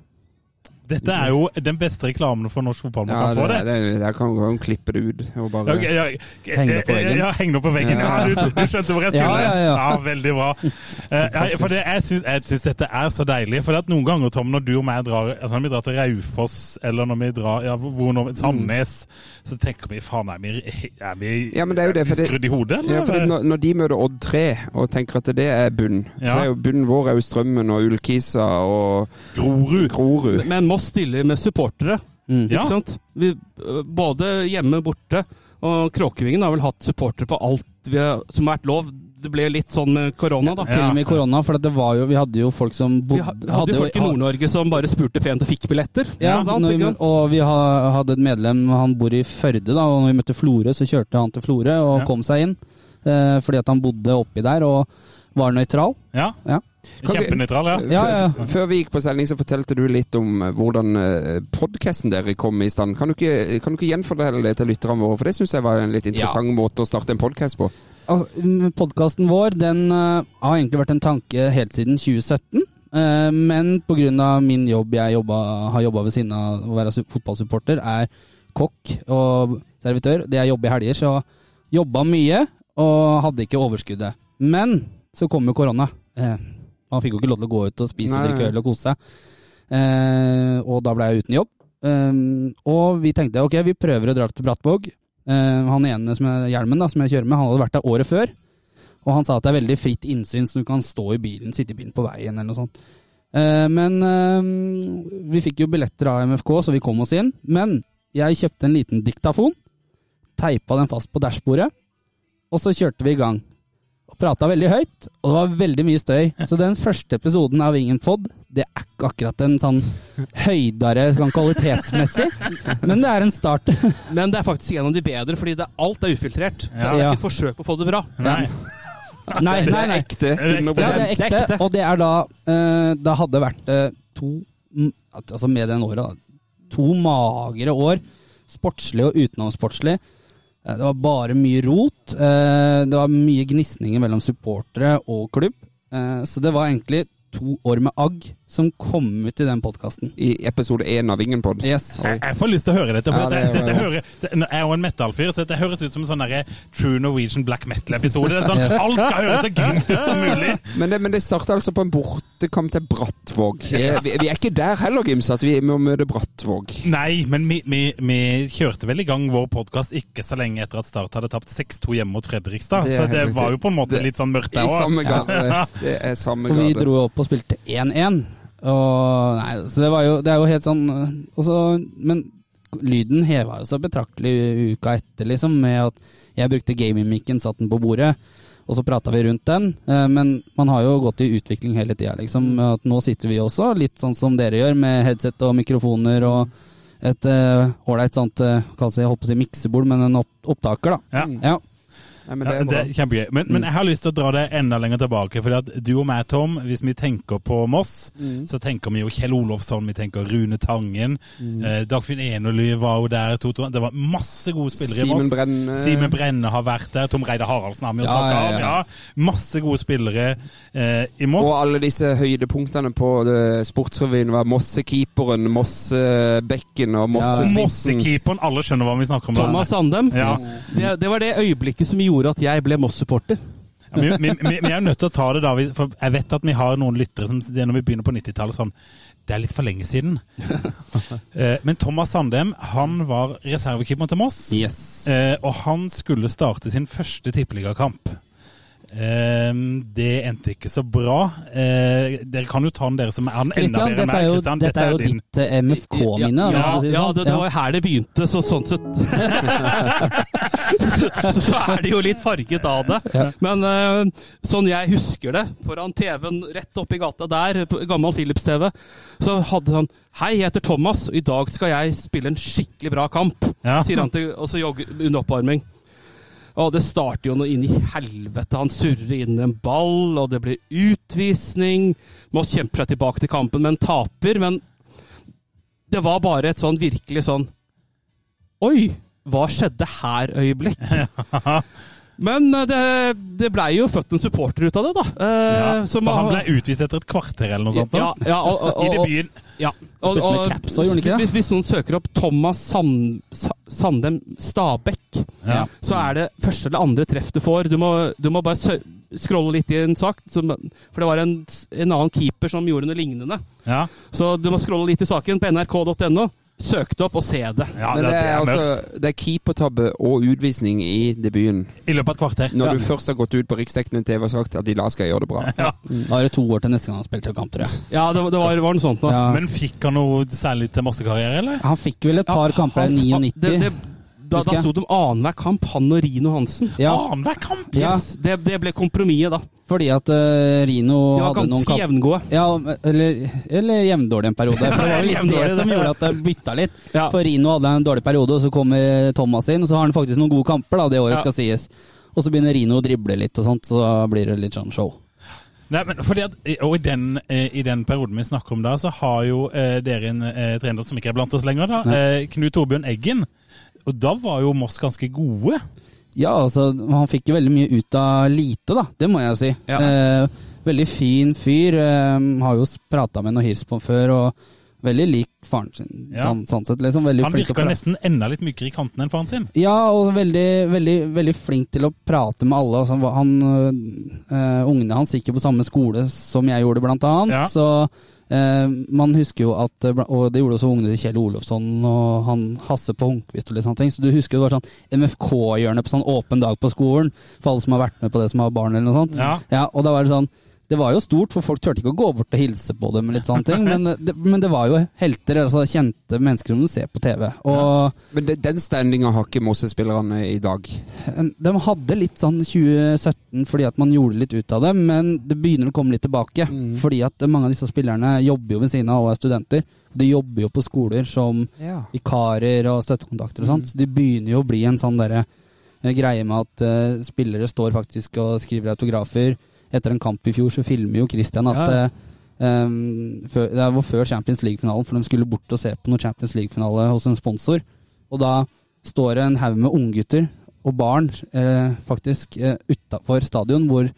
Speaker 4: Dette er jo den beste reklamen for norsk fotball man
Speaker 1: ja,
Speaker 4: kan få.
Speaker 1: det,
Speaker 4: det.
Speaker 1: det, jeg kan jo klippe det ut. Og bare,
Speaker 4: Ja, ok, ja,
Speaker 5: Heng det på veggen.
Speaker 4: Ja, heng det på veggen. Ja, du, du skjønte hvor jeg skulle.
Speaker 5: Ja, ja, ja.
Speaker 4: veldig bra. Eh, ja, for det, jeg, syns, jeg syns dette er så deilig. For det at noen ganger, Tom, når du og meg drar altså når vi drar til Raufoss, eller når vi drar ja, hvor når,
Speaker 1: Mm.
Speaker 4: Sandnes, så tenker vi faen, er vi, er vi,
Speaker 1: Ja, men det er jo det, for det-
Speaker 4: skrudd i hodet, eller?
Speaker 1: Ja, fordi når, når de møter Odd 3 og tenker at det er bunn, så
Speaker 4: Ja.
Speaker 1: er jo bunnen vår er jo Strømmen og Ullkisa og
Speaker 4: Grorud.
Speaker 1: Grorud.
Speaker 6: Men Moss stiller med supportere, ikke
Speaker 5: Mm.
Speaker 4: Ja.
Speaker 6: sant? Vi, eh, både hjemme og borte. Og Kråkevingen har vel hatt supportere på alt vi har, som har vært lov. Det ble litt sånn med korona, da.
Speaker 4: Ja.
Speaker 5: Til og med i korona, for at det var jo, vi hadde jo folk som
Speaker 6: Vi
Speaker 5: bodde
Speaker 6: ha- hadde jo folk i Nord-Norge som bare spurte pent og fikk billetter.
Speaker 5: Ja,
Speaker 6: blant
Speaker 5: når
Speaker 6: annet,
Speaker 5: vi,
Speaker 6: ikke sant?
Speaker 5: og vi ha- hadde et medlem, han bor i Førde, da, og når vi møtte Florø, så kjørte han til Florø og
Speaker 4: Ja.
Speaker 5: kom seg inn. Eh, fordi at han bodde oppi der og var nøytral.
Speaker 4: Ja.
Speaker 5: Ja.
Speaker 1: Kan vi-
Speaker 4: Kjempenøytral, ja.
Speaker 5: Ja, ja,
Speaker 1: F- Før vi gikk på sending, så fortalte du litt om eh, hvordan podkasten dere kom i stand. Kan du ikke, eh, kan du ikke gjenfortelle det til lytterne våre, for det syns jeg var en litt interessant måte å starte en podkast på.
Speaker 5: Altså, Podkasten vår den eh, har egentlig vært en tanke helt siden 2017. eh, men pga. min jobb, jeg jobba, har jobba ved siden av å være su- fotballsupporter, er kokk og servitør. Det jeg jobber i helger, så jobba mye og hadde ikke overskuddet. Men så kom jo korona. Eh, man fikk jo ikke lov til å gå ut og spise,
Speaker 1: Nei.
Speaker 5: drikke øl og kose seg. Eh, og da ble jeg uten jobb. Eh, og vi tenkte ok, vi prøver å dra til Brattvåg. Eh, han ene som er hjelmen da, som jeg kjører med, han hadde vært der året før. Og han sa at det er veldig fritt innsyn, så du kan stå i bilen, sitte i bilen på veien eller noe sånt. Eh, men eh, vi fikk jo billetter av MFK, så vi kom oss inn. Men jeg kjøpte en liten diktafon, teipa den fast på dashbordet, og så kjørte vi i gang. Og prata veldig høyt, og det var veldig mye støy. Så den første episoden av Ingen pod, det er ikke akkurat en sånn høydere sånn kvalitetsmessig, men det er en start.
Speaker 6: Men det er faktisk en av de bedre, fordi det, alt er ufiltrert. Det er
Speaker 5: Ja.
Speaker 6: ikke et forsøk på å få det bra.
Speaker 4: Nei.
Speaker 5: Nei, nei, nei.
Speaker 1: Ekte.
Speaker 4: det ekte?
Speaker 1: 100%.
Speaker 5: Ja, det er ekte, og det er da eh, Det hadde vært eh, to mm, at- Altså med den året, da. To magre år. Sportslig og utenomsportslig. Eh, Det var bare mye rot. eh, Det var mye gnisninger mellom supportere og klubb. Eh, Så det var egentlig to år med agg som kom ut i den podkasten.
Speaker 1: I episode én av Vingenpod.
Speaker 5: Yes.
Speaker 4: Jeg, jeg får lyst til å høre dette. for
Speaker 1: Ja,
Speaker 4: dette,
Speaker 1: det-
Speaker 4: dette hører, det, nå er jeg er jo en metal-fyr, så dette høres ut som en sånn derre true Norwegian black metal-episode. Det er Sånn,
Speaker 5: Yes.
Speaker 4: Alt skal høres så grynt ut som mulig.
Speaker 1: Men det, men det starta altså på en bortekamp til Brattvåg. Eh, Vi, vi er ikke der heller, Gims, at vi må møte Brattvåg.
Speaker 4: Nei, men vi, vi, vi kjørte vel i gang vår podkast ikke så lenge etter at Start hadde tapt 6-2 hjemme mot Fredrikstad.
Speaker 1: Det er
Speaker 4: så det
Speaker 1: helt riktig.
Speaker 4: var jo på en måte
Speaker 1: Det-
Speaker 4: litt sånn mørkt
Speaker 1: I
Speaker 4: der òg.
Speaker 1: samme gade. Det er samme
Speaker 5: Og vi
Speaker 1: gade.
Speaker 5: dro opp og spilte 1-1. Og nei, så det var jo Det er jo helt sånn øh, og så- Men lyden heva jo så betraktelig uka etter, liksom, med at jeg brukte gamingmikken, satt den på bordet, og så prata vi rundt den. Eh, Men man har jo gått i utvikling hele tida, liksom. At nå sitter vi også, litt sånn som dere gjør, med headset og mikrofoner og et eh, ålreit sånt, eh, kall det, jeg holdt på å si miksebord, men en opp opptaker, da.
Speaker 4: Ja.
Speaker 5: Ja.
Speaker 1: Nei, men
Speaker 4: Ja,
Speaker 1: det er
Speaker 4: det
Speaker 1: bra. Mm.
Speaker 4: er kjempegøy. Men, men jeg har lyst til å dra det enda lenger tilbake. Fordi at du og meg, Tom, hvis vi tenker på Moss,
Speaker 1: Mm.
Speaker 4: så tenker vi jo Kjell Olofsson, vi tenker Rune Tangen.
Speaker 1: Mm.
Speaker 4: Eh, Dagfinn Enely var jo der. To, to, det var masse gode spillere i
Speaker 1: Simen
Speaker 4: Moss.
Speaker 1: Brenne.
Speaker 4: Simen Brenne har vært der. Tom Reidar Haraldsen har vi jo
Speaker 5: Ja,
Speaker 4: snakka
Speaker 5: ja, ja, ja.
Speaker 4: om. Ja. Masse gode spillere eh, i Moss.
Speaker 1: Og alle disse høydepunktene på eh, Sportsrevyen var Mossekeeperen, Mossebekken og Mossespissen.
Speaker 4: Mossekeeperen. Alle skjønner hva vi snakker om. der.
Speaker 6: Thomas Andem.
Speaker 4: Ja.
Speaker 6: Det, det var det øyeblikket som gjorde at jeg ble Moss-supporter.
Speaker 4: Ja, men vi, vi, vi er nødt til å ta det da, vi- for jeg vet at vi har noen lyttere som sier når vi begynner på 90-tallet sånn Det er litt for lenge siden. Eh, Men Thomas Sandem han var reservekeeperen til Moss,
Speaker 5: Yes.
Speaker 4: eh, og han skulle starte sin første tippeligakamp. Eh, Det endte ikke så bra. Eh, Dere kan jo ta den dere som er den enda
Speaker 5: Christian,
Speaker 4: bedre enn
Speaker 5: dette er
Speaker 4: meg.
Speaker 5: jo,
Speaker 4: Christian.
Speaker 5: dette er jo
Speaker 4: din.
Speaker 5: ditt eh, MFK-minne.
Speaker 6: Ja,
Speaker 5: hvis vi skal si
Speaker 6: ja
Speaker 5: sånn.
Speaker 6: det, det var her det begynte, så sånn sett så, så er det jo litt farget av det. Men eh, sånn jeg husker det, foran TV-en rett oppi gata der, på gammel Philips-TV, så hadde han Hei, jeg heter Thomas, og i dag skal jeg spille en skikkelig bra kamp,
Speaker 4: Ja.
Speaker 6: sier han til Og så jogger under oppvarming. Og det starter jo noe inn i helvete. Han surrer inn en ball, og det blir utvisning. Moss kjemper seg tilbake til kampen, men taper. Men det var bare et sånn virkelig sånn Oi, hva skjedde her-øyeblikk? Men eh, det, det blei jo født en supporter ut av det, da. Eh,
Speaker 4: Ja,
Speaker 6: som
Speaker 4: for han
Speaker 6: har-
Speaker 4: ble utvist etter et kvarter eller noe sånt.
Speaker 6: ja,
Speaker 4: da.
Speaker 6: ja, og, og,
Speaker 4: I
Speaker 6: og,
Speaker 4: debuten.
Speaker 6: ja. Og,
Speaker 5: Spilte med
Speaker 6: og,
Speaker 5: caps også, gjorde han ikke det?
Speaker 6: hvis, hvis noen søker opp Thomas Sand, Sa- Sandem Stabæk,
Speaker 4: Ja.
Speaker 6: så er det første eller andre treff du får. Du må, du må bare sø scrolle litt i en sak, som, for det var en, en annen keeper som gjorde noe lignende.
Speaker 4: Ja.
Speaker 6: Så du må scrolle litt i saken på nrk.no. Søk det opp og se det.
Speaker 4: Ja,
Speaker 1: Men
Speaker 4: det,
Speaker 1: det er,
Speaker 4: mørkt.
Speaker 1: altså, det er keepertabbe og utvisning i debuten.
Speaker 4: I løpet av et kvarter.
Speaker 1: Når du først har gått ut på riksdekkende TV og sagt at i dag skal jeg gjøre det bra.
Speaker 5: Da er det to år til neste gang han spilte kamp, tror jeg.
Speaker 6: Ja, det, var- det var, var noe sånt nå.
Speaker 5: Ja.
Speaker 4: Men fikk han noe særlig til massekarriere, eller?
Speaker 5: Han fikk vel et par kamper i
Speaker 6: Han-
Speaker 5: 99.
Speaker 6: det- det- Da,
Speaker 5: husker
Speaker 6: da
Speaker 5: jeg.
Speaker 6: sto de annenhver kamp, han og Rino Hansen.
Speaker 5: ja,
Speaker 4: Annenhver kamp!
Speaker 5: ja,
Speaker 6: Yes, det, det ble kompromisset, da.
Speaker 5: fordi at eh, Rino
Speaker 6: De var
Speaker 5: hadde noen
Speaker 6: ganske
Speaker 5: kamper
Speaker 6: jevngode.
Speaker 5: ja, eller, eller jevndårlig en periode. For det var jo
Speaker 4: Jevndårlig,
Speaker 5: det som
Speaker 4: det.
Speaker 5: gjorde at jeg bytta litt.
Speaker 6: Ja.
Speaker 5: For Rino hadde en dårlig periode, og så kommer Thomas inn, og så har han faktisk noen gode kamper da, det året
Speaker 6: Ja.
Speaker 5: skal sies. Og så begynner Rino å drible litt, og sånt, så da blir det litt sånn show.
Speaker 4: Nei, men fordi at, og i den, eh, i den perioden vi snakker om da, så har jo eh, dere en eh, trener som ikke er blant oss lenger, da. Eh, Knut Torbjørn Eggen. Og da var jo Moss ganske gode.
Speaker 5: Ja, altså, han fikk jo veldig mye ut av lite, da. Det må jeg si.
Speaker 6: Ja.
Speaker 5: Eh, veldig fin fyr. Eh, har jo prata med noe hirs på han før, og veldig lik faren sin,
Speaker 4: Ja.
Speaker 5: sånn, sånn sett. liksom. Veldig
Speaker 4: Han
Speaker 5: flink til å
Speaker 4: virka
Speaker 5: prate.
Speaker 4: nesten enda litt mykere i kanten enn faren sin.
Speaker 5: Ja, og veldig, veldig, veldig flink til å prate med alle. Altså, han var- han, øh, øh, ungene hans gikk jo på samme skole som jeg gjorde, blant annet.
Speaker 4: Ja.
Speaker 5: Så øh, man husker jo at øh, bla- Og det gjorde også ungene til Kjell Olofsson og han Hasse på Hunkvist og litt sånne ting. Så du husker det var sånn MFK-hjørne på sånn åpen dag på skolen for alle som har vært med på det som har barn eller noe sånt.
Speaker 4: Ja.
Speaker 5: og da var det sånn det var jo stort, for folk turte ikke å gå bort og hilse på dem. eller litt sånne ting, Men det, men det var jo helter, altså kjente mennesker som du ser på TV. Og
Speaker 1: Men det, den standinga har ikke Mosse-spillerne i dag.
Speaker 5: en- De hadde litt sånn 2017 fordi at man gjorde litt ut av det, men det begynner å komme litt tilbake.
Speaker 6: Mm.
Speaker 5: Fordi at mange av disse spillerne jobber jo ved siden av og er studenter. De jobber jo på skoler som vikarer og støttekontakter og
Speaker 6: Mm.
Speaker 5: sånt. Så det begynner jo å bli en sånn derre eh, greie med at eh, spillere står faktisk og skriver autografer. Etter en kamp i fjor så filmer jo Christian at
Speaker 6: Ja.
Speaker 5: eh, Um, før, det var før Champions League-finalen, for de skulle bort og se på noen Champions League-finale hos en sponsor. Og da står det en haug med unggutter og barn eh, faktisk eh, utafor stadion, hvor eh,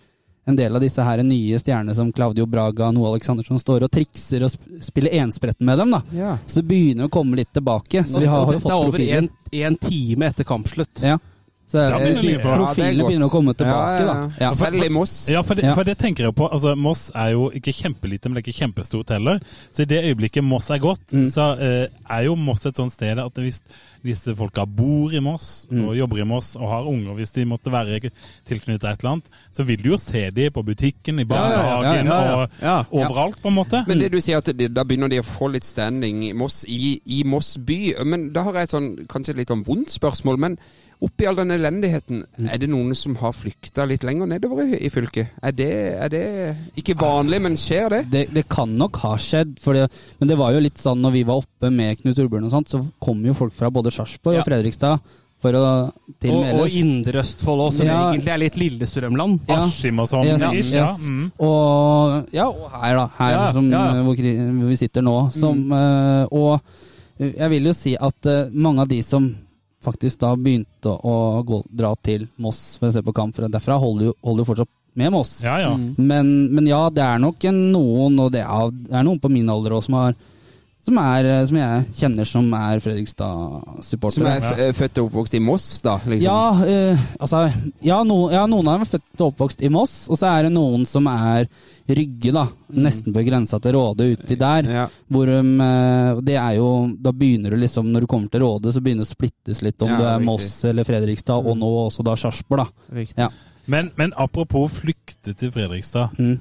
Speaker 5: en del av disse her nye stjernene som Claudio Braga og Noe Aleksandersson står og trikser og sp spiller enspretten med dem, da.
Speaker 1: Ja.
Speaker 5: Så det begynner å komme litt tilbake. Så vi har, har jo
Speaker 6: Dette
Speaker 5: fått
Speaker 6: er over
Speaker 5: profiler.
Speaker 6: en, en time etter kampslutt.
Speaker 5: Ja. Så er
Speaker 4: Da
Speaker 5: det,
Speaker 4: begynner det å bli bra.
Speaker 1: Ja, det er
Speaker 5: profilene
Speaker 1: godt.
Speaker 5: begynner å komme tilbake,
Speaker 1: Ja, ja,
Speaker 5: da.
Speaker 1: ja.
Speaker 5: Ja.
Speaker 1: Selv i Moss.
Speaker 4: Ja, for det,
Speaker 5: Ja.
Speaker 4: for det tenker jeg på. Altså, Moss er jo ikke kjempelite, men det er ikke kjempestort heller. Så i det øyeblikket Moss er godt, så eh, er jo Moss et sånt sted at hvis disse folka bor i Moss, og jobber i Moss, og har unger hvis de måtte være tilknyttet et eller annet, så vil du jo se de på butikken, i barnehagen
Speaker 6: ja, ja, ja. Ja.
Speaker 4: og overalt, på en måte.
Speaker 1: Men det du sier, at de, da begynner de å få litt standing i Moss, i, i Moss by. Men da har jeg et sånn, kanskje et litt sånn vondt spørsmål. Men oppi all den elendigheten,
Speaker 5: Mm.
Speaker 1: er det noen som har flykta litt lenger nedover i, i fylket? Er det, er det ikke vanlig, men skjer det?
Speaker 5: Det, det kan nok ha skjedd, for det, men det var jo litt sånn når vi var oppe med Knut Ulbjørn og sånt, så kom jo folk fra både Sarpsborg
Speaker 6: Ja.
Speaker 5: og Fredrikstad for å til
Speaker 6: Og, og
Speaker 5: Meløs.
Speaker 6: Indre Østfold òg, som
Speaker 5: Ja.
Speaker 6: egentlig er litt Lillestrømland.
Speaker 5: Ja.
Speaker 4: Askim og sånn.
Speaker 5: Yes,
Speaker 4: ish, ja,
Speaker 5: yes.
Speaker 4: mm.
Speaker 5: Og ja, og her, da. Her
Speaker 6: Ja,
Speaker 5: som, eh,
Speaker 6: ja, ja.
Speaker 5: Hvor, kri- vi sitter nå. Som, eh, og eh, jeg vil jo si at eh, mange av de som faktisk da begynte å gå, dra til Moss for å se på kamp fra derfra, holder jo, holder jo fortsatt med Moss.
Speaker 4: Ja, ja.
Speaker 5: Men, men ja, det er nok en, noen, og det er, det er noen på min alder òg, som, har- som, er, eh, som jeg kjenner som er
Speaker 1: Som
Speaker 5: Fredrikstad-supportere.
Speaker 1: er f eh, født og oppvokst i Moss, da? liksom?
Speaker 5: Ja, eh, altså, ja, no, ja, noen av dem er født og oppvokst i Moss, og så er det noen som er Rygge, da.
Speaker 6: Mm.
Speaker 5: Nesten på grensa til Råde uti der.
Speaker 1: Ja.
Speaker 5: Hvor de, eh, det er jo Da begynner du liksom, når du kommer til Råde, så begynner det å splittes litt om
Speaker 1: Ja,
Speaker 5: du er
Speaker 1: riktig.
Speaker 5: Moss eller Fredrikstad,
Speaker 6: Mm.
Speaker 5: og nå også da Sarpsborg, da.
Speaker 1: Riktig.
Speaker 5: Ja.
Speaker 4: Men, men apropos flykte til Fredrikstad.
Speaker 5: Mm.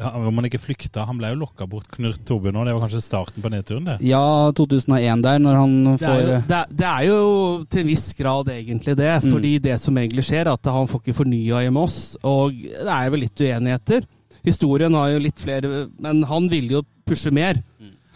Speaker 4: Ja, om han ikke flykta, han ble jo lokka bort Knut Tobe nå. Det var kanskje starten på nedturen, det.
Speaker 5: ja, 2001 der, når han
Speaker 6: Det er,
Speaker 5: får eh,
Speaker 6: jo, Mm. det, er, det er jo til en viss grad egentlig det, fordi det som egentlig skjer, er at han får ikke fornya i Moss, og det er vel litt uenigheter. Historien har jo litt flere, men han ville jo pushe mer.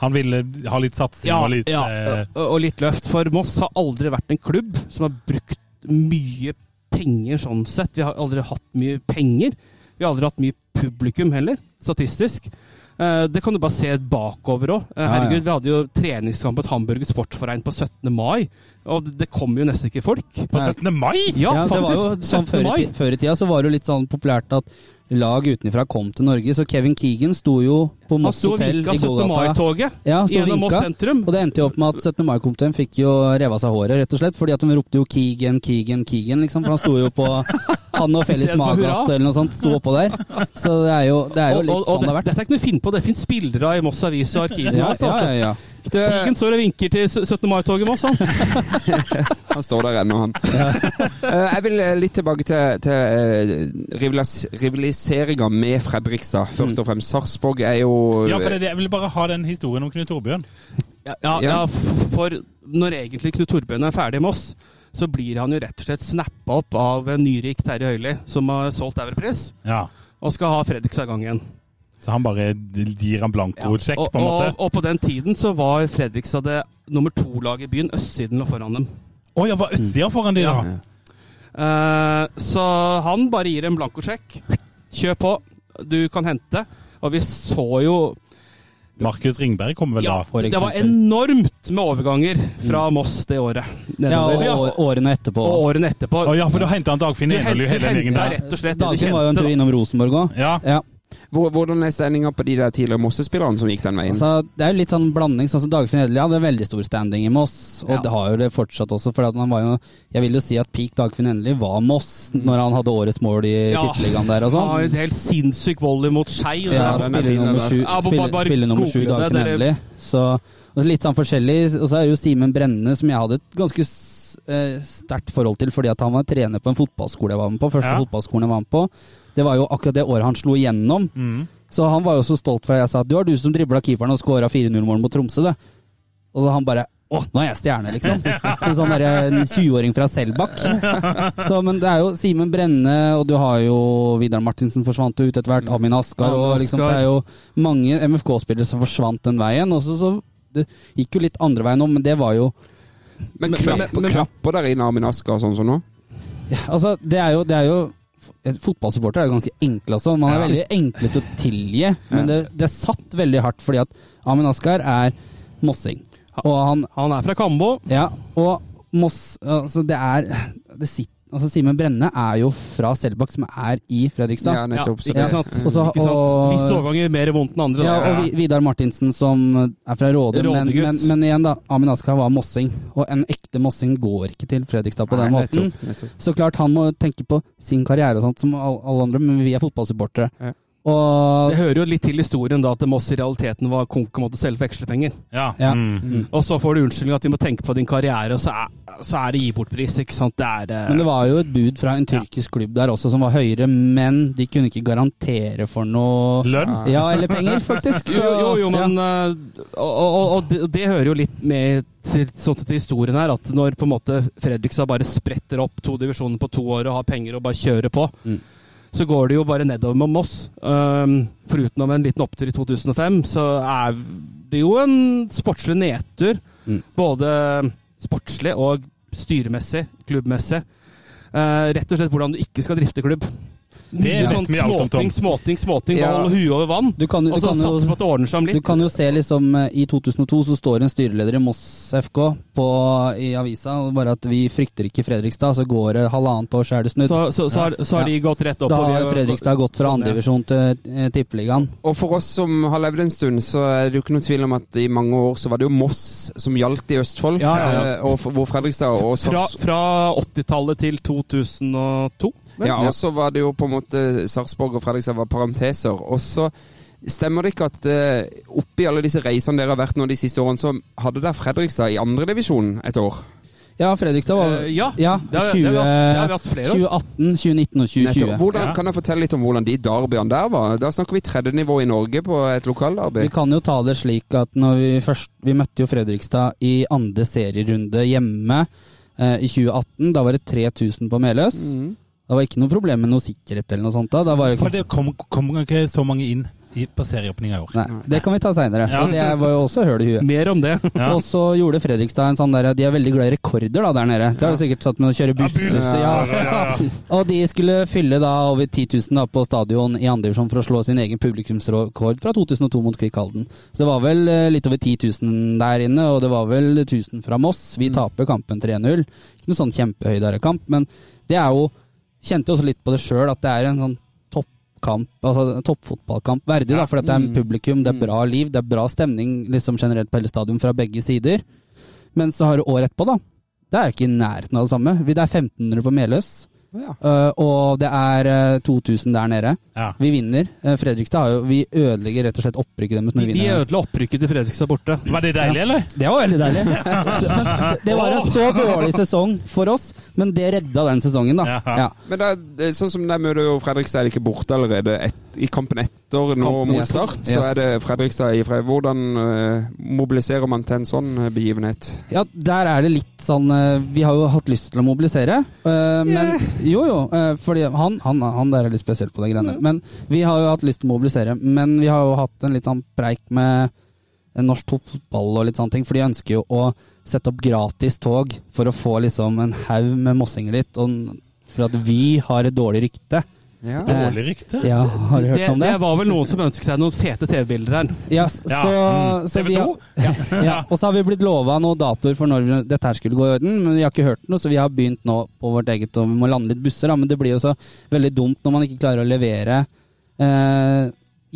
Speaker 4: Han ville ha litt satsing og litt eh,
Speaker 6: og, og litt løft, for Moss har aldri vært en klubb som har brukt mye penger sånn sett. Vi har aldri hatt mye penger. Vi har aldri hatt mye publikum heller, statistisk. Eh, Det kan du bare se bakover òg. Herregud, vi hadde jo treningskamp mot Hamburger Sportsforening på 17. mai, og det kom jo nesten ikke folk.
Speaker 4: På 17. mai!
Speaker 6: Ja,
Speaker 5: Ja, det
Speaker 6: faktisk.
Speaker 5: var jo sånn
Speaker 6: 17.
Speaker 5: før, i
Speaker 6: mai.
Speaker 5: ti- før i tida så var det jo litt sånn populært at lag utenfra kom til Norge, så Kevin Keegan sto jo på
Speaker 6: Han
Speaker 5: Moss
Speaker 6: sto og
Speaker 5: hotell i
Speaker 6: vinka 17.
Speaker 5: Golgata.
Speaker 6: mai-toget
Speaker 5: Ja, han sto og
Speaker 6: gjennom Moss
Speaker 5: vinka.
Speaker 6: sentrum.
Speaker 5: Og det endte jo opp med at 17. mai-komiteen fikk jo reva seg håret, rett og slett, fordi at de ropte jo 'Keegan, Keegan, Keegan', liksom, for han sto jo på Han og Felix
Speaker 6: Istedenfor
Speaker 5: Magath
Speaker 6: hurra.
Speaker 5: eller noe sånt sto oppå der. Så det er jo, det er jo
Speaker 6: Og,
Speaker 5: litt
Speaker 6: og, og
Speaker 5: sånn det
Speaker 6: det,
Speaker 5: har vært.
Speaker 6: dette er ikke noe å finne på, det fins bilder av i Moss Avis og arkivene.
Speaker 5: Ja,
Speaker 6: og alt,
Speaker 5: ja,
Speaker 6: altså.
Speaker 5: ja, ja.
Speaker 1: Det-
Speaker 6: Krigen står og vinker til 17. mai-toget Moss, han.
Speaker 1: Han står der ennå, han. Eh, jeg vil eh, litt tilbake til, til eh, rivalis rivaliseringa med Fredrikstad, først og fremst. Sarpsborg er jo
Speaker 4: Ja, for det, er det- jeg ville bare ha den historien om Knut Torbjørn.
Speaker 6: Ja, ja, f- for når egentlig Knut Torbjørn er ferdig med oss, så blir han jo rett og slett snappa opp av en nyrik Terje Høili, som har solgt Europris,
Speaker 4: Ja.
Speaker 6: og skal ha Fredrikstad i gang igjen.
Speaker 4: Så han bare gir han blanko-sjekk,
Speaker 6: Og,
Speaker 4: på en måte.
Speaker 6: og, og på den tiden så var Fredrikstad det nummer to-laget i byen. Østsiden lå foran dem.
Speaker 4: Å ja, var Østsida foran de, da?
Speaker 6: Eh, så han bare gir en blankosjekk. Kjør på. Du kan hente. Og vi så jo
Speaker 4: Markus Ringberg kommer vel
Speaker 6: Ja,
Speaker 4: da?
Speaker 5: for
Speaker 6: det var
Speaker 5: eksempel.
Speaker 6: enormt med overganger fra Moss det året.
Speaker 5: ja og,
Speaker 6: Nedover.
Speaker 5: og årene etterpå.
Speaker 6: Og årene etterpå.
Speaker 4: Å ja, for da henta han Dagfinn
Speaker 6: Du
Speaker 4: Enerly og
Speaker 6: henter-
Speaker 4: hele den gjengen
Speaker 6: henter-
Speaker 4: der.
Speaker 6: rett og slett, du
Speaker 5: Dagfinn
Speaker 6: kjente
Speaker 5: var jo en tur
Speaker 6: da.
Speaker 5: innom Rosenborg òg.
Speaker 4: Ja.
Speaker 5: Ja.
Speaker 1: eh, Hvor- Hvordan er stemninga på de der tidligere Mosse-spillerne som gikk den veien?
Speaker 5: Altså, det er jo litt sånn blanding. Sånn som Dagfinn Hedli hadde veldig stor standing i Moss, og
Speaker 6: Ja.
Speaker 5: det har jo det fortsatt også. For at han var jo, jeg vil jo si at peak Dagfinn Hedli var Moss når han hadde årets mål i
Speaker 6: Ja.
Speaker 5: tippeligaen der og
Speaker 6: Han har
Speaker 5: sånn.
Speaker 6: et helt sinnssyk volley mot Skei. og
Speaker 5: Ja,
Speaker 1: den er
Speaker 6: det er-
Speaker 5: spiller
Speaker 1: fin, den
Speaker 5: nummer
Speaker 1: der.
Speaker 5: sju,
Speaker 6: Ja, bare-
Speaker 5: spiller,
Speaker 6: bare
Speaker 5: spiller nummer sju
Speaker 6: google det,
Speaker 5: Dagfinn
Speaker 6: dere-
Speaker 5: Hedli. Så og litt sånn forskjellig. Og så er det jo Simen Brenne, som jeg hadde et ganske s- eh, sterkt forhold til, fordi at han var trener på en fotballskole jeg var med på. Første
Speaker 4: Ja.
Speaker 5: fotballskolen jeg var med på. Det var jo akkurat det året han slo igjennom.
Speaker 6: Mm.
Speaker 5: Så han var jo så stolt for at jeg sa at det var du som dribla keeperen og skåra 4-0-mål mot Tromsø, det. Og så han bare Å, nå er jeg stjerne, liksom. En sånn derre en 20-åring fra Selbakk. Så, men det er jo Simen Brenne, og du har jo Vidar Martinsen forsvant jo ut etter hvert. Amin Askar. Og liksom, det er jo mange MFK-spillere som forsvant den veien. Og så, så det gikk jo litt andre veien om, men det var jo
Speaker 1: Men,
Speaker 6: men-
Speaker 1: klapp,
Speaker 6: men- men-
Speaker 1: klapper der inn Armin Asker sånn som nå?
Speaker 5: Altså, det er jo, det er jo Fotballsupportere er jo ganske enkle også. Man er veldig enkle til å tilgi, men det, det er satt veldig hardt fordi at Amin Askar er mossing. Og han
Speaker 6: Han er fra Kambo.
Speaker 5: Ja, og Moss altså det, er, det sitter altså Simen Brenne er jo fra Selbakk, som er i Fredrikstad.
Speaker 1: Ja, nettopp. så
Speaker 6: Ja, ikke
Speaker 1: det-
Speaker 6: sant?
Speaker 1: Mm.
Speaker 5: Og så-
Speaker 6: Ikke sant?
Speaker 5: og-
Speaker 6: Visse overganger mer vondt enn andre. da.
Speaker 5: Ja, og Vi- Vidar Martinsen, som er fra Råde. Men,
Speaker 6: Rådegutt.
Speaker 5: men, men igjen, da. Amin Askar var mossing. Og en ekte mossing går ikke til Fredrikstad på den
Speaker 1: Nei,
Speaker 5: måten.
Speaker 1: nettopp, nettopp.
Speaker 5: Så klart han må tenke på sin karriere og sånt, som all- alle andre, men vi er fotballsupportere.
Speaker 1: Ja.
Speaker 5: Og
Speaker 6: Det hører jo litt til historien da at Moss i realiteten var konk og måtte selge for vekslepenger.
Speaker 4: Ja.
Speaker 5: Ja.
Speaker 4: Mm.
Speaker 6: Og så får du unnskyldning at de må tenke på din karriere, og så er, så er det gi bort-pris. ikke sant? Det er, eh,
Speaker 5: Men det var jo et bud fra en tyrkisk klubb der også som var høyere, men de kunne ikke garantere for noe
Speaker 4: Lønn?
Speaker 5: Ja, eller penger, faktisk.
Speaker 6: jo, jo, jo,
Speaker 5: ja.
Speaker 6: men eh, Og, og, og det, det hører jo litt med til, sånn til historien her, at når på en måte Fredrikstad bare spretter opp to divisjoner på to år og har penger og bare kjører på,
Speaker 5: Mm.
Speaker 6: så går det jo bare nedover med Moss. Um, foruten om en liten opptur i 2005, så er det jo en sportslig nedtur.
Speaker 5: Mm.
Speaker 6: Både sportslig og styremessig, klubbmessig. Eh, rett og slett hvordan du ikke skal drifte klubb. Mye
Speaker 4: vet
Speaker 6: sånn
Speaker 4: vi alt om, Tom.
Speaker 6: småting, småting, småting.
Speaker 1: Ja.
Speaker 6: Hold huet over vann.
Speaker 5: Du kan, du,
Speaker 6: Og så
Speaker 5: kan
Speaker 6: satse på
Speaker 5: jo,
Speaker 6: at det ordner seg om
Speaker 5: du
Speaker 6: litt.
Speaker 5: kan jo se liksom eh, I 2002 så står en styreleder i Moss FK på, i avisa og bare at vi frykter ikke Fredrikstad. Så går det halvannet år, så er det snudd.
Speaker 6: Så, så, så, har, så har de gått rett opp.
Speaker 5: da
Speaker 6: og vi
Speaker 5: har Fredrikstad gått fra andredivisjon til eh, tippeligaen.
Speaker 1: Og for oss som har levd en stund, så er det jo ikke noe tvil om at i mange år så var det jo Moss som gjaldt i Østfold.
Speaker 6: Ja, ja, ja.
Speaker 1: eh, Og f- hvor Fredrikstad og
Speaker 6: Fra,
Speaker 1: Sars
Speaker 6: fra 80-tallet til 2002. vel?
Speaker 1: Ja, og
Speaker 5: altså,
Speaker 1: så var det jo på en måte Sarpsborg og Fredrikstad var parenteser. Og så stemmer det ikke at eh, oppi alle disse reisene dere har vært nå de siste årene, så hadde dere Fredrikstad i andredivisjon et år.
Speaker 5: Ja, Fredrikstad var
Speaker 6: Eh, ja,
Speaker 5: ja,
Speaker 6: det har,
Speaker 5: 20,
Speaker 6: det, har vi hatt, det har vi hatt flere år.
Speaker 5: 2018, 2019 og 2020.
Speaker 1: Nettopp. Hvordan,
Speaker 4: Ja.
Speaker 1: Kan jeg fortelle litt om hvordan de derbyene der var? Da snakker vi tredje nivå i Norge på et
Speaker 5: Vi
Speaker 1: lokalderby.
Speaker 5: kan jo ta det slik at når vi først Vi møtte jo Fredrikstad i andre serierunde hjemme eh, i 2018. Da var det 3000 på Meløs.
Speaker 1: Mhm.
Speaker 5: Da var ikke noe problem med noe sikkerhet eller noe sånt. da. da var det,
Speaker 4: Mm. For
Speaker 5: ikke,
Speaker 4: det kom, kom ikke så mange inn i, på serieåpninga i år.
Speaker 5: nei, det kan vi ta seinere.
Speaker 4: Ja.
Speaker 5: Det var jo også høl i huet.
Speaker 6: Mer om det.
Speaker 4: Ja.
Speaker 5: Og så gjorde Fredrikstad en sånn der De er veldig glad i rekorder da, der nede. Det har jo sikkert satt med å kjøre buss. Ja, Og de skulle fylle da over 10 000 da, på stadion i andre divisjon for å slå sin egen publikumsrekord fra 2002 mot Kvikk Halden. Så det var vel eh, litt over 10 000 der inne, og det var vel 1000 fra Moss. Vi taper kampen 3-0. Ikke noe sånn kjempehøydere kamp, men det er jo Kjente også litt på det sjøl, at det er en sånn toppkamp, altså en toppfotballkamp verdig, da, for at det er publikum, det er bra liv, det er bra stemning liksom generelt på hele stadion fra begge sider. Men så har du året etterpå, da. Det er ikke i nærheten av det samme. Vi- Det er 1500 på Meløs. Eh, og det er eh, 2000 der nede.
Speaker 4: Ja.
Speaker 5: Vi vinner. Eh, Fredrikstad har jo Vi ødelegger rett og slett opprykket deres
Speaker 6: De,
Speaker 5: når vi
Speaker 6: de
Speaker 5: vinner.
Speaker 6: ødela opprykket til Fredrikstad borte.
Speaker 4: Var det deilig, eller?
Speaker 5: Det var veldig deilig. Det- det var en så dårlig sesong for oss, men det redda den sesongen, da.
Speaker 4: Ja.
Speaker 5: Ja.
Speaker 1: Men det er, det er sånn som der møter jo Fredrikstad er ikke borte allerede et, i kampen etter nå
Speaker 5: Kampen,
Speaker 1: mot
Speaker 5: yes.
Speaker 1: start. Så
Speaker 5: Yes.
Speaker 1: er det Fredrikstad i Fre- Hvordan eh, mobiliserer man til en sånn eh, begivenhet?
Speaker 5: ja, der er det litt sånn eh, Vi har jo hatt lyst til å mobilisere, eh, men Jo, jo, eh, fordi han, han, han der er litt spesiell på de greiene. Men vi har jo hatt lyst til å mobilisere, men vi har jo hatt en litt sånn preik med eh, norsk fotball og litt sånne ting, for de ønsker jo å sette opp gratis tog for å få liksom en haug med mossinger dit, og for at vi har et dårlig rykte.
Speaker 1: Ja.
Speaker 4: Dårlig rykte.
Speaker 5: Ja, har du
Speaker 6: Det,
Speaker 5: hørt om
Speaker 6: det
Speaker 5: det?
Speaker 6: var vel noen som ønsket seg noen fete TV-bilder her.
Speaker 5: Ja, s- så,
Speaker 4: Ja, mm.
Speaker 5: så
Speaker 4: TV
Speaker 5: vi har,
Speaker 4: 2?
Speaker 5: ja, ja. Og så har vi blitt lova noen datoer for når vi- dette her skulle gå i orden, men vi har ikke hørt noe, så vi har begynt nå på vårt eget, og vi må lande litt busser, da, men det blir jo så veldig dumt når man ikke klarer å levere eh,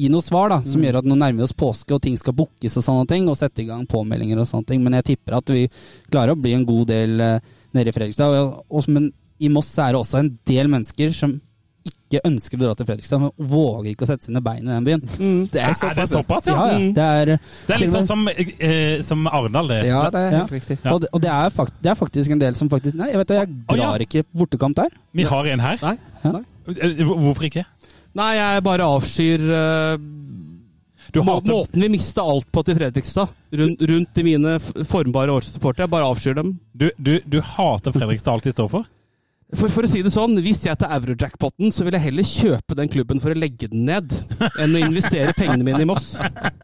Speaker 5: gi noe svar, da,
Speaker 4: Mm.
Speaker 5: som gjør at nå nærmer vi oss påske, og ting skal bookes og sånne ting, og sette i gang påmeldinger og sånne ting, men jeg tipper at vi klarer å bli en god del eh, nede i Fredrikstad. Og, og, men i Moss er det også en del mennesker som ikke ønsker å dra til Fredrikstad, men våger ikke å sette sine bein i den byen.
Speaker 1: Det
Speaker 4: Er, Mm. det såpass, ja? Mm.
Speaker 5: Ja, ja. Det er,
Speaker 4: Det er litt sånn som, eh, som Arendal, det.
Speaker 1: Ja, det er
Speaker 5: Ja.
Speaker 1: helt riktig.
Speaker 5: Og, det, og det, er fakt, det er faktisk en del som faktisk Nei, jeg vet det, jeg
Speaker 4: Å,
Speaker 5: drar
Speaker 4: ja.
Speaker 5: ikke på bortekamp der.
Speaker 4: Vi har en her.
Speaker 6: Nei.
Speaker 4: Eh, Hvorfor ikke?
Speaker 6: Nei, jeg bare avskyr eh,
Speaker 4: Du
Speaker 6: må-
Speaker 4: hater
Speaker 6: måten vi mista alt på til Fredrikstad. Rundt, rundt de mine f- formbare årssupportere. Jeg bare avskyr dem.
Speaker 4: Du, du, du hater Fredrikstad alt de står for?
Speaker 6: For, for å si det sånn, hvis jeg tar Eurojackpotten, så vil jeg heller kjøpe den klubben for å legge den ned, enn å investere pengene mine i Moss.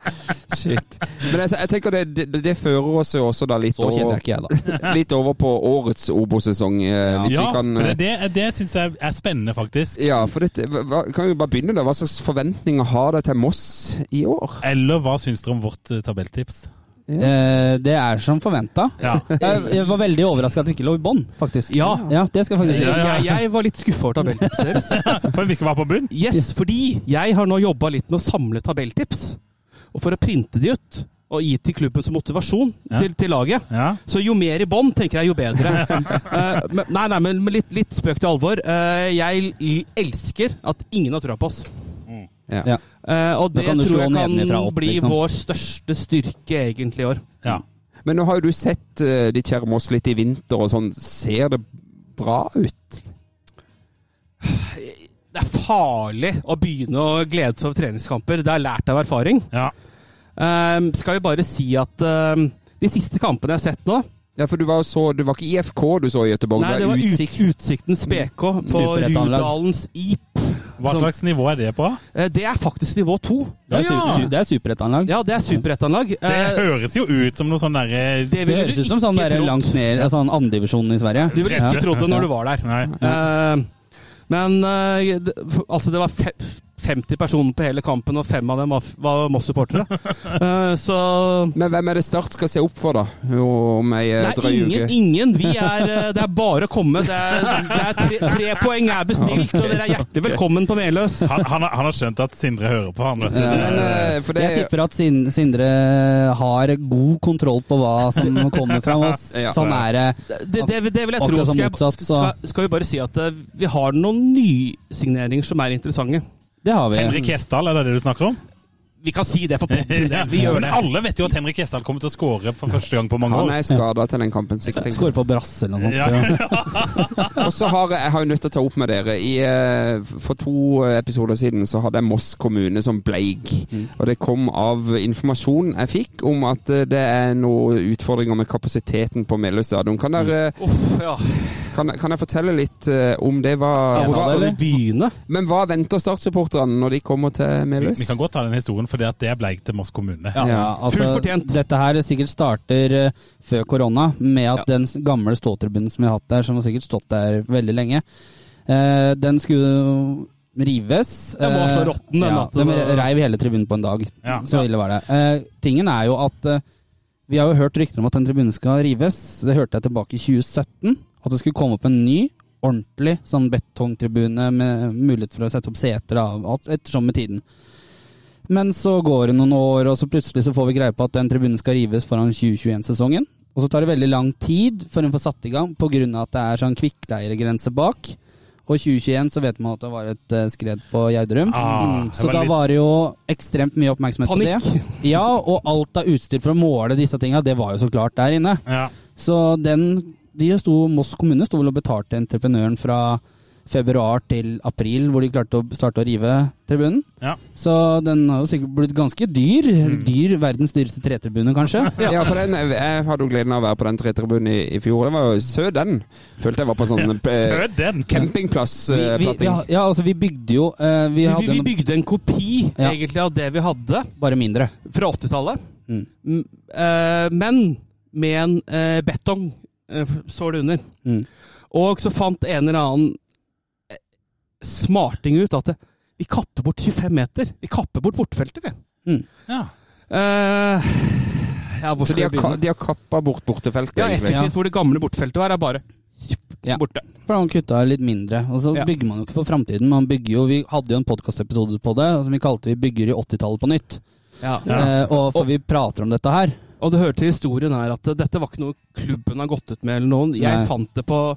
Speaker 1: Shit. Men altså, jeg, jeg tenker det, det, det fører oss jo også da litt,
Speaker 5: Så kjenner
Speaker 1: over,
Speaker 5: jeg ikke jeg, da.
Speaker 1: litt over på årets Obo-sesong. eh, Hvis
Speaker 4: Ja,
Speaker 1: vi kan
Speaker 4: for
Speaker 1: eh,
Speaker 4: det, det, det syns jeg er spennende, faktisk.
Speaker 1: Ja, for dette, hva, hva- kan vi bare begynne da? Hva slags forventninger har dere til Moss i år?
Speaker 4: Eller hva syns dere om vårt eh, tabelltips?
Speaker 5: Eh, det er som forventa.
Speaker 4: Ja.
Speaker 5: Jeg, jeg var veldig overraska at vi ikke lå i bånn, faktisk.
Speaker 6: Ja.
Speaker 5: det skal jeg faktisk si.
Speaker 6: Jeg, jeg, jeg var litt skuffa over tabelltipset deres.
Speaker 4: Men vi ikke var på bunn?
Speaker 6: Yes, fordi jeg har nå jobba litt med å samle tabelltips. Og for å printe de ut og gi til klubben som motivasjon
Speaker 4: Ja.
Speaker 6: til, til laget.
Speaker 4: Ja.
Speaker 6: Så jo mer i bånd, tenker jeg, jo bedre. Eh, men, nei, nei, men litt, litt spøk til alvor. Eh, jeg l- elsker at ingen har trua på oss.
Speaker 1: Ja.
Speaker 5: Ja.
Speaker 6: Eh, og
Speaker 5: Da
Speaker 6: det
Speaker 5: kan du
Speaker 6: tror
Speaker 5: slå
Speaker 6: jeg kan
Speaker 5: nedenifra opp,
Speaker 6: bli
Speaker 5: liksom.
Speaker 6: vår største styrke egentlig i år.
Speaker 4: ja.
Speaker 1: Men nå har jo du sett eh, ditt kjære Moss litt i vinter og sånn. Ser det bra ut?
Speaker 6: Det er farlig å begynne å glede seg over treningskamper. Det har jeg lært av erfaring.
Speaker 4: ja.
Speaker 6: Eh, skal jo bare si at eh, de siste kampene jeg har sett nå,
Speaker 1: Ja, for du var, jo så, du var ikke IFK du så i Gøteborg,
Speaker 6: Nei, det var utsikt. Utsiktens
Speaker 5: Mm.
Speaker 6: BK på
Speaker 5: Superettanlag.
Speaker 6: Rudalens IP.
Speaker 4: Hva
Speaker 1: Sånn.
Speaker 4: slags nivå er det på?
Speaker 6: Eh, Det er faktisk nivå to.
Speaker 5: Det er,
Speaker 4: Ja, ja.
Speaker 5: su- su- det er superettanlag.
Speaker 6: Ja, det er superettanlag.
Speaker 4: Det
Speaker 6: Eh,
Speaker 4: høres jo ut som noe sånn derre
Speaker 6: Det
Speaker 5: Det
Speaker 6: ville
Speaker 5: høres
Speaker 6: du
Speaker 5: ut som
Speaker 6: ikke
Speaker 5: sånn der
Speaker 6: trodd.
Speaker 5: langt ned altså, sånn andredivisjon i Sverige.
Speaker 6: Du ville ikke trodd det når du var der.
Speaker 4: Nei.
Speaker 6: Eh, Men eh, det- altså, det var fe- 50 personer på hele kampen, og fem av dem var, var Moss-supportere. Eh, Så
Speaker 1: Men hvem er det Start skal se opp for, da? Om ei eh,
Speaker 6: Nei,
Speaker 1: drøy
Speaker 6: ingen,
Speaker 1: uke?
Speaker 6: ingen. Vi er, eh, det er bare å komme. Det er, det er tre, tre poeng er bestilt, og dere er hjertelig velkommen på Meløs.
Speaker 4: Han, han, har- han har skjønt at Sindre hører på, han, vet du.
Speaker 1: Ja, men, eh, for det,
Speaker 5: Jeg tipper at Sin- Sindre har god kontroll på hva som kommer fra oss.
Speaker 1: Ja.
Speaker 5: Sånn er det.
Speaker 6: Det, det, det vil jeg
Speaker 5: Akkurat
Speaker 6: tro.
Speaker 5: som
Speaker 6: Skal, jeg,
Speaker 5: motsatt, så-
Speaker 6: skal, skal vi bare si at eh, vi har noen nysigneringer som er interessante.
Speaker 5: Det har vi.
Speaker 4: Henrik Gjesdal, er det det du snakker om?
Speaker 6: Vi kan si det for podden.
Speaker 4: Ja,
Speaker 6: Vi gjør
Speaker 4: men
Speaker 6: det.
Speaker 4: Alle vet jo at Henrik Gjesdal kommer til å skåre for første gang på mange
Speaker 1: han
Speaker 4: år.
Speaker 1: er skada til den kampen, sikkert. tenker jeg.
Speaker 5: Skårer på brass eller noe
Speaker 4: Ja.
Speaker 5: sånt.
Speaker 1: Og så har jeg, jeg har jo nødt til å ta opp med dere. I, eh, for to eh, episoder siden så hadde jeg Moss kommune som bleik.
Speaker 6: Mm.
Speaker 1: Og det kom av informasjon jeg fikk om at eh, det er noen utfordringer med kapasiteten på Meløy stadion. Kan, dere-
Speaker 6: Uff, ja.
Speaker 1: kan, kan jeg fortelle litt eh, om det? Hva,
Speaker 5: Skal jeg ta
Speaker 1: hva,
Speaker 5: det, eller?
Speaker 6: Begynne.
Speaker 1: men hva venter Start-supporterne når de kommer til
Speaker 4: Vi,
Speaker 1: Meløy?
Speaker 4: vi kan godt ta den historien, fordi at det bleik til Moss kommune.
Speaker 5: Ja,
Speaker 1: Ja,
Speaker 5: altså,
Speaker 6: fullt fortjent.
Speaker 5: Dette her sikkert starter eh, før korona, med at
Speaker 6: Ja.
Speaker 5: den s- gamle ståtribunen som vi har hatt der, som har sikkert stått der veldig lenge, eh, den skulle jo rives.
Speaker 6: Den var så
Speaker 5: Eh,
Speaker 6: råtten, den, eh,
Speaker 5: Ja,
Speaker 6: at
Speaker 5: de
Speaker 6: det var-
Speaker 5: reiv hele tribunen på en dag.
Speaker 4: Ja.
Speaker 5: Så ille var det. Eh, tingen er jo at eh, vi har jo hørt rykter om at den tribunen skal rives. Det hørte jeg tilbake i 2017. At det skulle komme opp en ny, ordentlig sånn betongtribune med mulighet for å sette opp seter da, alt ettersom med tiden. Men så går det noen år, og så plutselig så får vi greie på at den tribunen skal rives foran 2021-sesongen. Og så tar det veldig lang tid før hun får satt i gang, pga. at det er sånn kvikkleiregrense bak. Og 2021 så vet man at det var et eh, skred på Gjerdrum.
Speaker 4: Ah,
Speaker 5: Mm,
Speaker 4: det
Speaker 5: så
Speaker 4: var
Speaker 5: da
Speaker 4: litt-
Speaker 5: var det jo ekstremt mye oppmerksomhet på det.
Speaker 6: Panikk.
Speaker 5: Ja, og alt av utstyr for å måle disse tinga, det var jo så klart der inne.
Speaker 4: Ja.
Speaker 5: Så den de sto, Moss kommune sto vel og betalte entreprenøren fra februar til april, hvor de klarte å starte å rive tribunen.
Speaker 4: Ja.
Speaker 5: Så den har jo sikkert blitt ganske dyr. Dyr, Verdens dyreste tretribune, kanskje.
Speaker 1: Ja, for den, jeg, jeg hadde jo gleden av å være på den tretribunen i, i fjor. Det var jo søt, den. Følte jeg var på en sånn eh,
Speaker 4: Sød den!
Speaker 5: Vi, vi, vi,
Speaker 1: campingplass-platting.
Speaker 5: har- ja, altså, vi bygde jo eh, Vi
Speaker 6: Vi,
Speaker 5: hadde
Speaker 6: vi
Speaker 5: den
Speaker 6: bygde en kopi
Speaker 5: Ja.
Speaker 6: egentlig av det vi hadde
Speaker 5: bare mindre.
Speaker 6: fra 80-tallet,
Speaker 5: Mm.
Speaker 6: M- eh, men med en eh, betong eh, sål under.
Speaker 5: Mm.
Speaker 6: Og så fant en eller annen eh, smarting ut at det, vi kapper bort 25 meter. Vi kapper bort bortfeltet, vi.
Speaker 4: Ja.
Speaker 6: Eh, ja, hvor
Speaker 1: Så
Speaker 6: skal
Speaker 1: de
Speaker 6: jeg
Speaker 1: har, ka-
Speaker 6: begynne?
Speaker 1: de har kappa bort bortefeltet,
Speaker 6: Ja,
Speaker 1: egentlig.
Speaker 6: effektivt hvor det gamle bortfeltet var, er bare
Speaker 5: Ja.
Speaker 6: borte.
Speaker 5: For han kutta litt mindre. Og så
Speaker 6: Ja.
Speaker 5: bygger man jo ikke for framtiden. Man bygger jo, vi hadde jo en podkastepisode på det som vi kalte 'Vi bygger i 80-tallet på nytt'. Eh, og for vi prater om dette her.
Speaker 6: Og det hører til historien her at eh, dette var ikke noe klubben har gått ut med eller noen. Jeg
Speaker 5: Nei.
Speaker 6: fant det på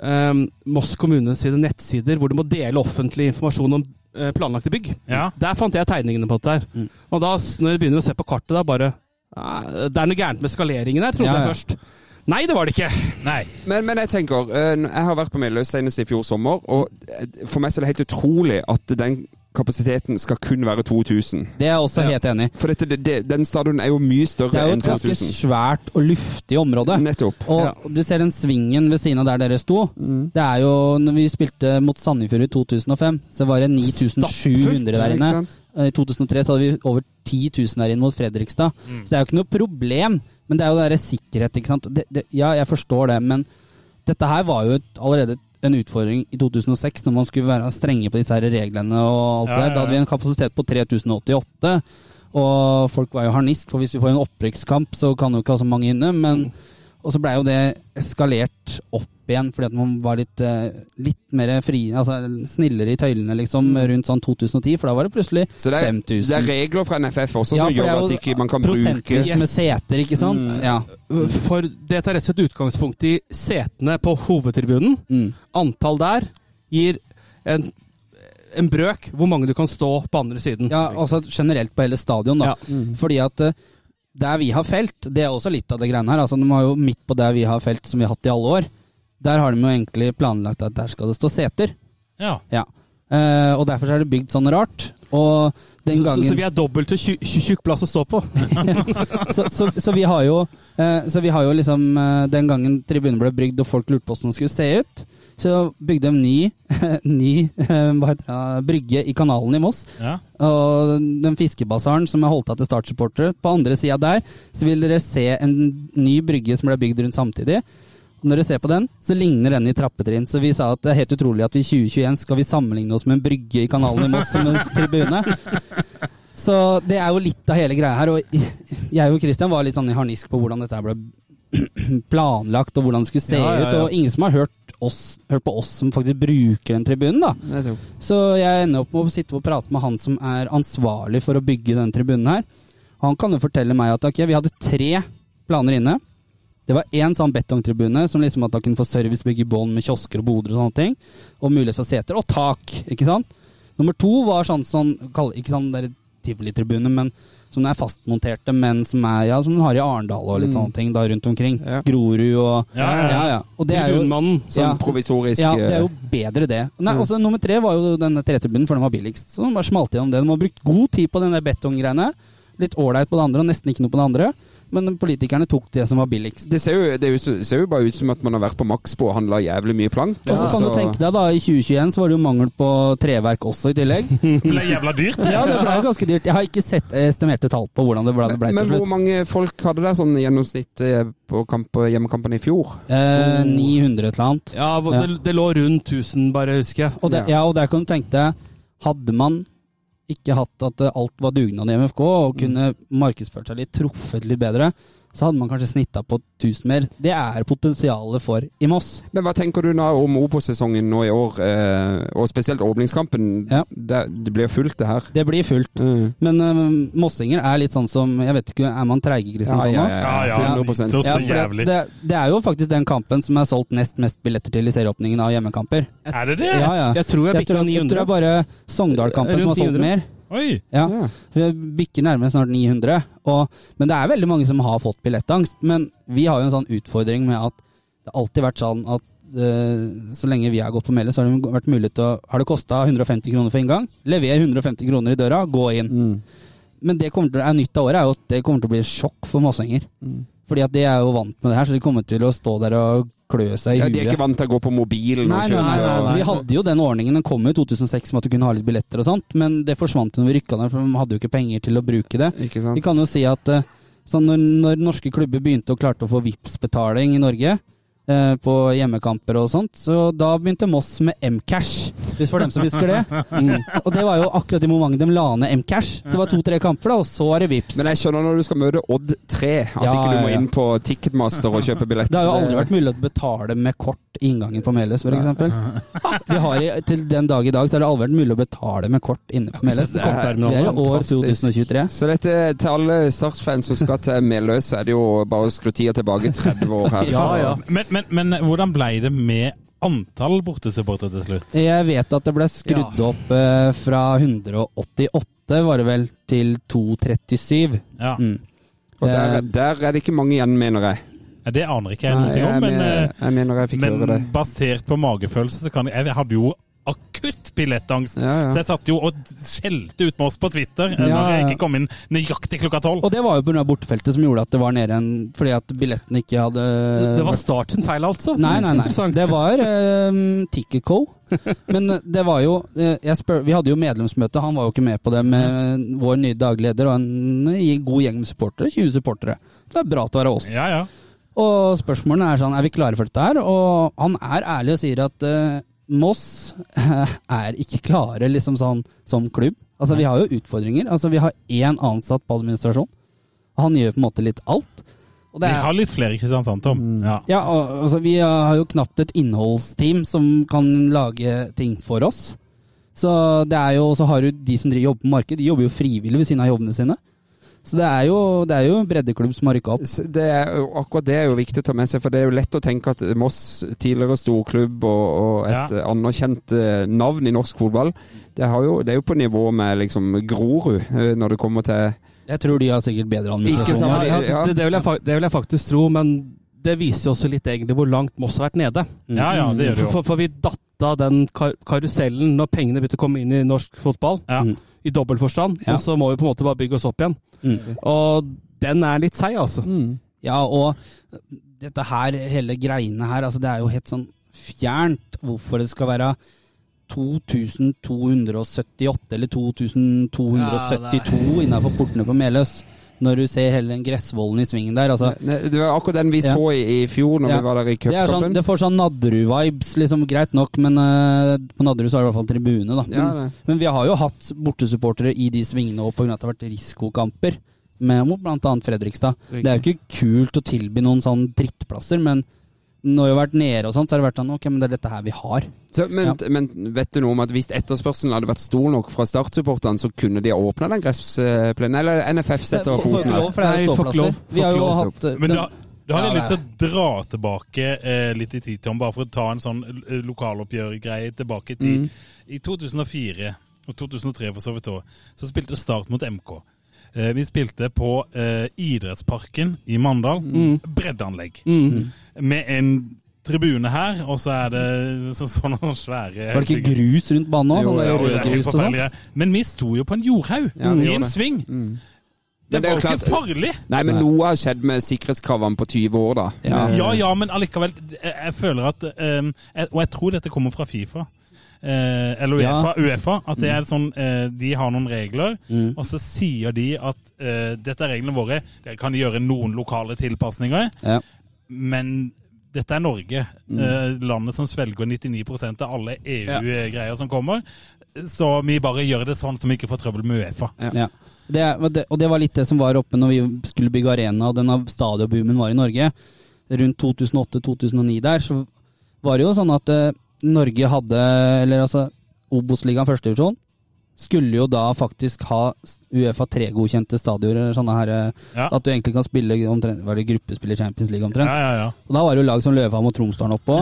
Speaker 6: eh, Moss kommune sine nettsider, hvor du må dele offentlig informasjon om eh, planlagte bygg.
Speaker 4: ja.
Speaker 6: Der fant jeg tegningene på dette her.
Speaker 5: Mm.
Speaker 6: Og da, s- når jeg begynner å se på kartet, da bare "Nei, Det er noe gærent med skaleringen her, trodde
Speaker 5: Ja, ja.
Speaker 6: jeg først. Nei, det var det ikke.
Speaker 4: Nei.
Speaker 1: Men, men jeg tenker, eh, jeg har vært på Meløy senest i fjor sommer, og eh, for meg så er det helt utrolig at den kapasiteten skal kun være 2000.
Speaker 5: Det er jeg også helt enig i.
Speaker 1: For dette, det, det, den stadion er jo mye
Speaker 5: Det
Speaker 1: større
Speaker 5: er jo
Speaker 1: enn
Speaker 5: et ganske
Speaker 1: 2000.
Speaker 5: svært og luftig område.
Speaker 1: Nettopp. Mm.
Speaker 5: Og
Speaker 6: Ja.
Speaker 5: du ser den svingen ved siden av der dere sto. Det er jo når vi spilte mot Sandefjord i 2005, så var det 9700 der inne. Eh,
Speaker 1: Ikke sant?
Speaker 5: I 2003 så hadde vi over 10 000 der inne mot Fredrikstad. Så det er jo ikke noe problem, men det er jo det der sikkerhet, ikke sant. Det, det, ja, jeg forstår det, men dette her var jo et, allerede en utfordring i 2006, når man skulle være strenge på disse her reglene og alt
Speaker 4: Ja, ja,
Speaker 5: det der. Da hadde vi
Speaker 4: ja.
Speaker 5: en kapasitet på 3088. Og folk var jo harnisk, for hvis vi får en opprykkskamp, så kan jo ikke ha så mange inne. Men, Og så blei jo det eskalert opp igjen, fordi at man var litt, eh, litt mer fri, altså snillere i tøylene, liksom, rundt sånn 2010, for da var det plutselig
Speaker 1: Mm. Så det er,
Speaker 5: 5000.
Speaker 1: det er regler fra NFF også
Speaker 5: Ja,
Speaker 1: som
Speaker 5: for det er
Speaker 1: gjør
Speaker 5: jo
Speaker 1: at ikke man kan bruke Mm.
Speaker 5: Prosentvis med seter, ikke sant? Ja.
Speaker 6: For det tar rett og slett utgangspunkt i setene på hovedtribunen.
Speaker 5: Mm.
Speaker 6: Antall der gir en, en brøk hvor mange du kan stå på andre siden.
Speaker 5: Ja, altså generelt på hele stadion, da.
Speaker 6: Ja. Mm.
Speaker 5: Fordi at eh, der vi har felt, det er også litt av det greiene her. Altså, de har jo midt på der vi har felt, som vi har hatt i alle år, der har de jo egentlig planlagt at der skal det stå seter.
Speaker 4: Ja.
Speaker 5: Ja. Eh, og derfor så er det bygd sånn rart. Og den
Speaker 6: så,
Speaker 5: gangen
Speaker 6: så, så vi er dobbelt så tju- tju- tjukk plass å stå på.
Speaker 5: så, så, så vi har jo eh, Så vi har jo liksom eh, Den gangen tribunen ble brygd og folk lurte på hvordan den skulle se ut, så bygde de ny, ny eh, hva heter det, brygge i kanalen i Moss.
Speaker 4: ja.
Speaker 5: Og den fiskebasaren som er holdt av til startsupportere, på andre sida der, så vil dere se en ny brygge som ble bygd rundt samtidig. Og når dere ser på den, så ligner den i trappetrinn. Så vi sa at det er helt utrolig at vi i 2021 skal vi sammenligne oss med en brygge i kanalen i Moss som en tribune. Så det er jo litt av hele greia her. Og jeg og Christian var litt sånn i harnisk på hvordan dette her ble planlagt, og hvordan det skulle se
Speaker 6: Ja, ja,
Speaker 5: ut.
Speaker 6: ja.
Speaker 5: Og ingen som har hørt, oss, hørt på oss som faktisk bruker den tribunen, da. Så jeg ender opp med å sitte og prate med han som er ansvarlig for å bygge denne tribunen her. Han kan jo fortelle meg at ok, vi hadde tre planer inne. Det var én sånn betongtribune som liksom at da kunne få servicebygg i bånn med kiosker og boder og sånne ting. Og mulighet for seter og tak, ikke sant. Nummer to var sånn sånn, kall- ikke sånn der tivolitribune, men som er fastmonterte, men som er, ja, som den har i Arendal og litt sånne ting da rundt omkring.
Speaker 1: Ja.
Speaker 5: Grorud og
Speaker 4: Mm. Ja, ja, ja.
Speaker 5: Og det er jo
Speaker 6: Tribunmannen.
Speaker 1: sånn
Speaker 5: Ja.
Speaker 1: provisorisk eh,
Speaker 5: ja, det er jo bedre det. Nei, også Nummer tre var jo denne tretribunen, for den var billigst. Så den bare smalt gjennom det. De har brukt god tid på den der betonggreiene. Litt ålreit på det andre og nesten ikke noe på det andre. Men politikerne tok det som var billigst.
Speaker 1: Det ser jo, det er jo så- ser jo bare ut som at man har vært på Maxbo og handla jævlig mye plank. altså,
Speaker 5: Og så kan du tenke deg da, i 2021 så var det jo mangel på treverk også i tillegg.
Speaker 4: Det ble jævla dyrt.
Speaker 5: Ja, det ble jo ganske dyrt. Jeg har ikke sett estimerte tall på hvordan det ble, det ble
Speaker 1: Men
Speaker 5: til
Speaker 1: hvor
Speaker 5: slutt.
Speaker 1: mange folk hadde der sånn i gjennomsnitt eh, på kamp, hjemmekampen i fjor?
Speaker 5: Eh, 900 et eller annet.
Speaker 6: Ja, det, det lå rundt 1000, bare husker jeg.
Speaker 5: Og, det, ja, og der kan du tenke deg, hadde man ikke hatt at eh, alt var dugnad i MFK, og kunne
Speaker 6: Mm.
Speaker 5: markedsført seg litt, truffet litt bedre, så hadde man kanskje snitta på 1000 mer. Det er potensialet for i Moss.
Speaker 1: Men hva tenker du nå om Obos-sesongen nå i år, eh, og spesielt åpningskampen?
Speaker 5: Ja.
Speaker 1: Det, det blir fullt, det her.
Speaker 5: Det blir fullt.
Speaker 1: Mm.
Speaker 5: Men eh, mossinger er litt sånn som Jeg vet ikke, er man treige, Kristian? sånn nå?
Speaker 4: Ja, ja.
Speaker 1: 100
Speaker 4: Så, så
Speaker 5: for det,
Speaker 4: jævlig.
Speaker 5: det, det er jo faktisk den kampen som er solgt nest mest billetter til i serieåpningen av hjemmekamper.
Speaker 4: Er det det?
Speaker 5: Ja, ja.
Speaker 6: Jeg tror jeg bikka
Speaker 5: tror, jeg tror det
Speaker 6: 900.
Speaker 5: er bare Sogndal-kampen som
Speaker 6: Rundt
Speaker 5: har solgt
Speaker 6: 900.
Speaker 5: mer.
Speaker 4: Oi.
Speaker 5: Ja, vi bikker nærmere snart 900. Og, men det er veldig mange som har fått billettangst. Men vi har jo en sånn utfordring med at det har alltid vært sånn at eh, så lenge vi har gått på melde, så har det vært mulig til å Har det kosta 150 kroner for inngang, lever 150 kroner i døra, gå inn.
Speaker 1: Mm.
Speaker 5: Men det kommer til, er nytt av året er jo at det kommer til å bli et sjokk for Mossinger.
Speaker 1: Mm.
Speaker 5: Fordi at de er jo vant med det her, så de kommer til å stå der og klø seg i
Speaker 1: Ja,
Speaker 5: huet.
Speaker 1: de er ikke vant til å gå på mobilen. og
Speaker 5: Nei, nei, nei,
Speaker 1: kjøpe-
Speaker 5: nei, Vi hadde jo den ordningen, den kom jo i 2006 med at du kunne ha litt billetter og sånt, men det forsvant jo når vi rykka ned, for de hadde jo ikke penger til å bruke det.
Speaker 1: Ikke
Speaker 5: Vi
Speaker 1: sant?
Speaker 5: kan jo si at eh, sånn når, når norske klubber begynte og klarte å få Vipps-betaling i Norge, eh, på hjemmekamper og sånt, så da begynte Moss med Mcash, hvis for dem som husker det. Og det var jo akkurat i momentet de la ned Mcash. Så det var to-tre kamper, da, og så er det Vipps.
Speaker 1: Men jeg skjønner når du skal møte Odd 3, at
Speaker 5: Ja,
Speaker 1: ikke du
Speaker 5: ja,
Speaker 1: må
Speaker 5: ja.
Speaker 1: inn på Ticketmaster og kjøpe billett.
Speaker 5: Det har jo aldri vært mulig å betale med kort i inngangen på Meløs, for eksempel. Vi har i, til den dag i dag så har det aldri vært mulig å betale med kort inne på Meløs.
Speaker 1: Det er
Speaker 5: Vi er i år
Speaker 1: fantastisk.
Speaker 5: 2023.
Speaker 1: Så dette, til alle Start-fans som skal til Meløy, så er det jo bare å skru tida tilbake 30 år her.
Speaker 6: Ja, ja.
Speaker 4: Men, men, men hvordan ble det med antall bortesupportere til slutt?
Speaker 5: Jeg vet at det ble skrudd opp eh, fra 188, var det vel, til 237.
Speaker 4: Ja.
Speaker 5: Mm.
Speaker 1: Og der,
Speaker 5: Eh,
Speaker 1: der er det ikke mange igjen, mener jeg.
Speaker 4: Ja, Det aner ikke jeg noe
Speaker 1: jeg,
Speaker 4: om, men,
Speaker 1: mener, jeg mener jeg
Speaker 4: eh,
Speaker 1: fikk
Speaker 4: men
Speaker 1: høre det.
Speaker 4: basert på magefølelse så kan jeg Jeg hadde jo akutt billettangst.
Speaker 1: Ja, ja.
Speaker 4: Så jeg satt jo og skjelte ut med oss på Twitter eh,
Speaker 5: Ja,
Speaker 4: når jeg
Speaker 5: ja.
Speaker 4: ikke kom inn nøyaktig klokka tolv.
Speaker 5: Og det var jo pga. bortefeltet som gjorde at det var nede igjen, fordi at billetten ikke hadde
Speaker 6: Det var Start sin feil, altså.
Speaker 5: Eh, Nei, nei, nei.
Speaker 6: Interessant.
Speaker 5: Det var um, Ticketco. Men eh, det var jo eh, jeg spør, Vi hadde jo medlemsmøte, han var jo ikke med på det, med vår nye daglig leder og en eh, god gjeng med supportere. 20 supportere. Så det er bra at det var oss.
Speaker 4: Ja, ja.
Speaker 5: Og spørsmålene er sånn, er vi klare for dette her? Og han er ærlig og sier at eh, Moss eh, er ikke klare liksom sånn som klubb. Altså, vi har jo utfordringer. Altså, vi har én ansatt på administrasjon. Han gjør på en måte litt alt. Og
Speaker 4: Vi har litt flere i Kristiansand, Tom. Ja.
Speaker 5: Ja, al- altså vi har jo knapt et innholdsteam som kan lage ting for oss. Så det er jo, så har du de som driver jobber på marked, de jobber jo frivillig ved siden av jobbene sine. Så det er jo, det er jo en breddeklubb som har rykka opp.
Speaker 1: S- Det er, jo- akkurat det er jo viktig å ta med seg, for det er jo lett å tenke at Moss, tidligere storklubb og, og et eh, anerkjent eh, navn i norsk fotball, det, har jo, det er jo på nivå med liksom Grorud eh, når det kommer til
Speaker 5: Jeg tror de har sikkert bedre
Speaker 1: Ikke
Speaker 5: administrasjon.
Speaker 1: sant?
Speaker 6: Ja, ja,
Speaker 1: Ja.
Speaker 6: det, det, vil jeg, fak- det vil jeg faktisk tro, men det viser jo også litt egentlig hvor langt Moss har vært nede.
Speaker 5: Mm.
Speaker 4: ja, ja, det gjør det
Speaker 6: For,
Speaker 4: jo.
Speaker 6: for, for vi datta den kar karusellen når pengene begynte å komme inn i norsk fotball,
Speaker 4: Ja.
Speaker 6: i dobbel forstand,
Speaker 5: Ja.
Speaker 6: og så må vi på en måte bare bygge oss opp igjen.
Speaker 5: Mm.
Speaker 6: Og den er litt seig, altså.
Speaker 5: Ja, og eh, dette her, hele greiene her, altså det er jo helt sånn fjernt hvorfor det skal være 2278 eller 2272 innenfor portene på Meløs. Når du ser hele den gressvollen i svingen der. altså...
Speaker 1: Nei, Det var akkurat den vi
Speaker 5: Ja.
Speaker 1: så i, i fjor når
Speaker 5: Ja.
Speaker 1: vi var der i
Speaker 5: Det, er
Speaker 1: cupkampen.
Speaker 5: sånn, det får sånn Nadderud-vibes, liksom, greit nok, men eh, på Nadderud så er det i hvert fall tribune. Da. Men,
Speaker 1: Ja, det.
Speaker 5: men vi har jo hatt bortesupportere i de svingene òg pga. at det har vært risikokamper med, mot bl.a. Fredrikstad. Det er jo ikke kult å tilby noen sånn drittplasser, men når vi har vært nede og sånt, så har det vært sånn Ok, men det er dette her vi har.
Speaker 1: Så, men,
Speaker 5: Ja.
Speaker 1: men vet du noe om at hvis etterspørselen hadde vært stor nok fra startsupporterne, så kunne de ha åpna den gressplenen? Eller NFF setter
Speaker 5: Får- får
Speaker 1: foten
Speaker 5: ikke
Speaker 1: her.
Speaker 5: lov, for det er
Speaker 6: Nei,
Speaker 5: jo
Speaker 6: får ikke lov.
Speaker 5: ståplasser.
Speaker 6: Får
Speaker 5: Vi har
Speaker 6: ikke
Speaker 5: jo
Speaker 1: lov.
Speaker 5: hatt eh,
Speaker 4: Men da,
Speaker 5: den-
Speaker 4: da har jeg
Speaker 5: Ja,
Speaker 4: lyst til å dra tilbake eh, litt i tid, Tom, bare for å ta en sånn eh, lokaloppgjørgreie tilbake i tid.
Speaker 1: Mm.
Speaker 4: I 2004, og 2003 for så vidt òg, så spilte Start mot MK. Eh, vi spilte på eh, Idrettsparken i Mandal.
Speaker 1: Mm.
Speaker 4: Breddeanlegg. Med en tribune her, og så er det så, sånne svære
Speaker 5: Var det ikke grus rundt banen òg?
Speaker 1: Jo,
Speaker 5: Sånn
Speaker 1: ja,
Speaker 5: der
Speaker 1: og
Speaker 4: det er
Speaker 5: rød
Speaker 4: helt
Speaker 5: grus og sånt?
Speaker 4: forferdelig. Men vi sto jo på en jordhaug,
Speaker 1: Ja, vi
Speaker 4: i
Speaker 1: gjorde
Speaker 4: en
Speaker 1: det. Mm.
Speaker 4: sving. Det
Speaker 1: Men det er
Speaker 4: var
Speaker 1: jo
Speaker 4: jo ikke
Speaker 1: klart-
Speaker 4: farlig.
Speaker 1: Nei, men noe har skjedd med sikkerhetskravene på 20 år, da.
Speaker 5: Ja.
Speaker 4: Eh, Ja, ja, men allikevel. Jeg, jeg føler at ehm, jeg, Og jeg tror dette kommer fra Fifa. eh, eller
Speaker 5: Ja.
Speaker 4: Uefa, Uefa. At det er sånn eh, De har noen regler,
Speaker 5: Mm.
Speaker 4: og så sier de at eh, dette er reglene våre. Dere kan gjøre noen lokale tilpasninger,
Speaker 5: Ja. Mm.
Speaker 4: men dette er Norge. eh, landet som svelger 99 av alle EU-greier som kommer. Så vi bare gjør det sånn, så vi ikke får trøbbel med Uefa.
Speaker 5: Ja. Det, er- og det- og det var litt det som var oppe når vi skulle bygge arena, og den av stadionboomen var i Norge. Rundt 2008-2009 der, så var det jo sånn at eh, Norge hadde, eller altså Obos-ligaen førstedivisjon, skulle jo da faktisk ha Uefa 3-godkjente stadioner, eller sånne her eh,
Speaker 4: Ja.
Speaker 5: At du egentlig kan spille omtrent Var det gruppespill i Champions League omtrent?
Speaker 4: Ja, ja, ja.
Speaker 5: Og da var det jo lag som Løvham og Tromsdalen oppå.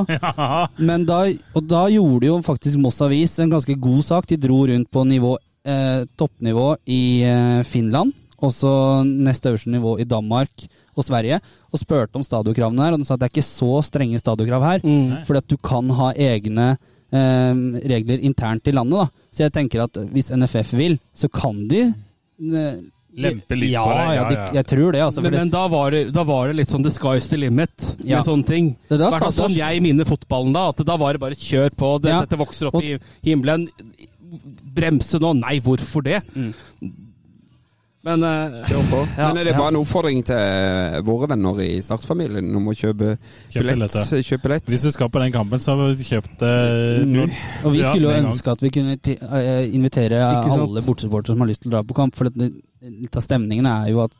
Speaker 5: Men da, og da gjorde jo faktisk Moss Avis en ganske god sak. De dro rundt på nivå, eh, toppnivå i eh, Finland, og så nest øverste nivå i Danmark og Sverige, og spurte om stadiokravene her. Og de sa at det er ikke så strenge stadiokrav her, fordi at du kan ha egne eh, regler internt i landet. da. Så jeg tenker at hvis NFF vil, så kan de eh,
Speaker 4: Lempe litt
Speaker 5: ja,
Speaker 4: på det,
Speaker 5: Ja,
Speaker 4: ja,
Speaker 5: de,
Speaker 4: ja.
Speaker 5: jeg tror det. altså.
Speaker 6: Men,
Speaker 5: fordi-
Speaker 6: men da, var det, da var det litt sånn the sky's the limit
Speaker 5: Ja.
Speaker 6: med sånne ting.
Speaker 5: Det da
Speaker 6: I hvert fall
Speaker 5: sa- da-
Speaker 6: sånn jeg minner fotballen da, at da var det bare kjør på, det,
Speaker 5: Ja.
Speaker 6: dette vokser opp
Speaker 5: Og-
Speaker 6: i himmelen. Bremse nå, nei, hvorfor det?
Speaker 5: Mm.
Speaker 6: Men eh, ja,
Speaker 1: Men er det bare en oppfordring til eh, våre venner i startfamilien om å kjøpe
Speaker 4: Kjøp
Speaker 1: billett?
Speaker 4: billetter.
Speaker 1: Kjøp billett.
Speaker 4: Hvis du skal på den kampen, så har vi kjøpt eh,
Speaker 1: Nå.
Speaker 5: Mm. Og vi
Speaker 4: Ja, med
Speaker 5: skulle
Speaker 4: en
Speaker 5: jo
Speaker 4: gang.
Speaker 5: ønske at vi kunne ti- eh, invitere
Speaker 6: Ikke sant?
Speaker 5: alle bortesupportere som har lyst til å dra på kamp. For at det- litt av stemningen er jo at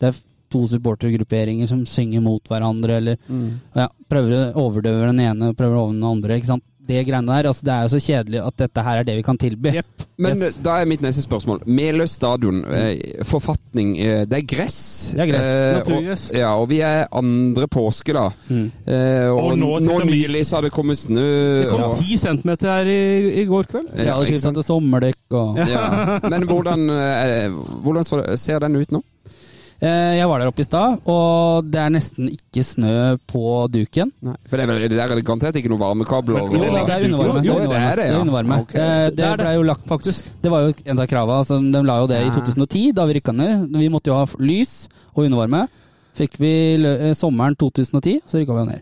Speaker 5: det er to supportergrupperinger som synger mot hverandre, eller ja, prøver å overdøve den ene og prøver å overdøve den andre. ikke sant? Det greiene der, altså Det er jo så kjedelig at dette her er det vi kan tilby.
Speaker 6: jepp.
Speaker 1: Men
Speaker 5: Yes.
Speaker 1: eh, da er mitt neste spørsmål. Meløs stadion, eh, forfatning eh, Det er gress. Eh,
Speaker 5: Det er gress,
Speaker 6: naturgress.
Speaker 1: og, ja, og vi er andre påske, da. Eh, og,
Speaker 4: Og
Speaker 1: nå,
Speaker 4: nå sitter vi-
Speaker 1: nylig så har det kommet snø.
Speaker 6: Det kom
Speaker 1: og-
Speaker 6: ti centimeter her i, i går kveld.
Speaker 5: Vi hadde
Speaker 1: ikke
Speaker 5: skifta
Speaker 1: sant?
Speaker 5: til sommerdekk og
Speaker 1: Ja. Men hvordan, eh, hvordan så- ser den ut nå?
Speaker 5: eh, Jeg var der oppe i stad, og det er nesten ikke snø på duken.
Speaker 1: For det er vel, der er det garantert ikke noen varmekabler?
Speaker 4: Men-
Speaker 5: Jo,
Speaker 4: men
Speaker 5: det
Speaker 1: og-
Speaker 5: er undervarme.
Speaker 1: Jo, det er det, ja.
Speaker 5: Det, undervarme.
Speaker 1: Ok.
Speaker 5: Eh, det, ble jo lagt faktisk. Det var jo en av krava. Altså, de la jo det i 2010, da vi rykka ned. Vi måtte jo ha f- lys og undervarme. Fikk vi lø eh, sommeren 2010, så rykka vi jo ned.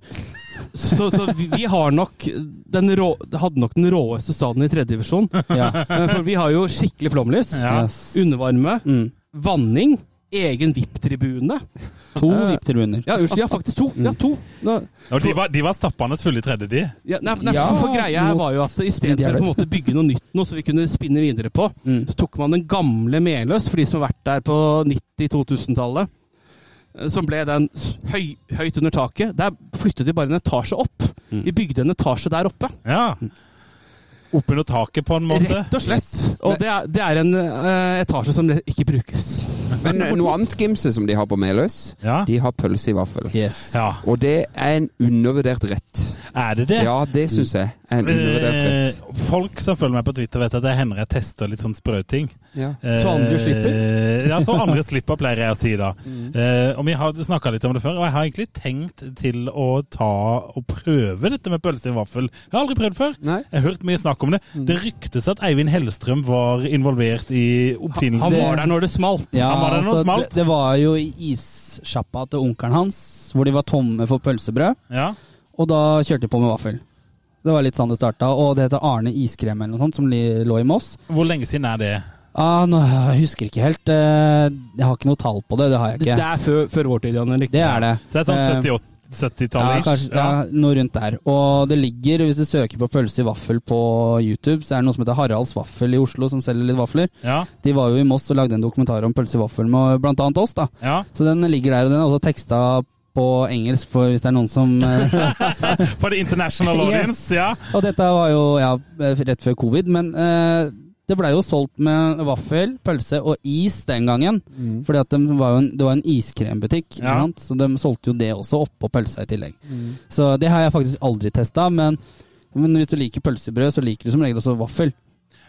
Speaker 6: Så, så vi, vi har nok den rå, hadde nok den råeste staden i tredje divisjon.
Speaker 5: Ja.
Speaker 6: Eh, For vi har jo skikkelig flomlys,
Speaker 4: Ja.
Speaker 5: Yes.
Speaker 6: undervarme,
Speaker 5: Mm.
Speaker 6: vanning egen VIP-tribune.
Speaker 5: To
Speaker 6: Eh,
Speaker 5: VIP-tribuner.
Speaker 6: Ja, unnskyld, ja, faktisk to. Ja, to. Nå,
Speaker 4: Og de var, de var stappende fulle i tredje, de.
Speaker 6: ja, nei, nei,
Speaker 5: Ja,
Speaker 6: for greia her var jo at istedenfor å på en
Speaker 5: dialekt.
Speaker 6: måte bygge noe nytt noe som vi kunne spinne videre på,
Speaker 5: Mm.
Speaker 6: så tok man den gamle Meløs, for de som har vært der på 90-2000-tallet, eh, som ble den s- høy, høyt under taket. Der flyttet vi bare en etasje opp. Vi bygde en etasje der oppe.
Speaker 4: Ja. Oppunder taket, på en måte.
Speaker 6: Rett og slett. Og det er, det er en eh, etasje som ikke brukes.
Speaker 1: Men eh, noe annet gimse som de har på Meløs,
Speaker 4: Ja.
Speaker 1: de har pølse i vaffel.
Speaker 5: Yes.
Speaker 4: ja.
Speaker 1: Og det er en undervurdert rett.
Speaker 4: Er det det?
Speaker 1: Ja, det syns jeg. er En undervurdert rett.
Speaker 4: Eh, folk som følger meg på Twitter, vet at det hender jeg tester litt sånn sprø ting.
Speaker 1: Ja.
Speaker 6: Så andre slipper? Mm.
Speaker 4: Eh, Ja, så andre slipper, pleier jeg å si da. Eh, og vi har snakka litt om det før, og jeg har egentlig tenkt til å ta og prøve dette med pølse i vaffel. Jeg har aldri prøvd før.
Speaker 1: Nei.
Speaker 4: Jeg har hørt mye snakk om det.
Speaker 6: Mm.
Speaker 4: Det ryktes at Eivind Hellstrøm var involvert i oppfinnelsen.
Speaker 6: Han var der når det smalt.
Speaker 5: Ja, altså,
Speaker 4: Han var der når det smalt.
Speaker 5: det, det var jo i issjappa til onkelen hans, hvor de var tomme for pølsebrød.
Speaker 4: Ja.
Speaker 5: Og da kjørte de på med vaffel. Det var litt sånn det starta. Og det heter Arne Iskrem eller noe sånt, som li- lå i Moss.
Speaker 4: Hvor lenge siden er det?
Speaker 5: Ah, nå, jeg husker ikke helt. eh, Jeg har ikke noe tall på det. Det har jeg
Speaker 6: Det
Speaker 5: ikke.
Speaker 6: er før, før vår tid, Jan Erik.
Speaker 5: Det er det.
Speaker 4: Så det er sånn
Speaker 5: Eh,
Speaker 4: 78
Speaker 5: Ja,
Speaker 4: 70-tallet?
Speaker 5: kanskje, ja, noe rundt der. Og det ligger, hvis du søker på pølse i vaffel på YouTube, så er det noe som heter Haralds Vaffel i Oslo, som selger litt vafler.
Speaker 4: ja.
Speaker 5: De var jo i Moss og lagde en dokumentar om pølse i vaffel med blant annet oss, da.
Speaker 4: ja.
Speaker 5: Så den ligger der, og den er også teksta på engelsk, for hvis det er noen som eh,
Speaker 4: For the international audience? Ja.
Speaker 5: Og dette var jo ja, rett før covid, men eh, det blei jo solgt med vaffel, pølse og is den gangen. Fordi at de var jo en, det var en iskrembutikk, ikke
Speaker 4: Mm. Ja. Mm.
Speaker 5: sant? så de solgte jo det også oppå pølsa i tillegg. Så det har jeg faktisk aldri testa, men, men hvis du liker pølsebrød, så liker du som regel også vaffel.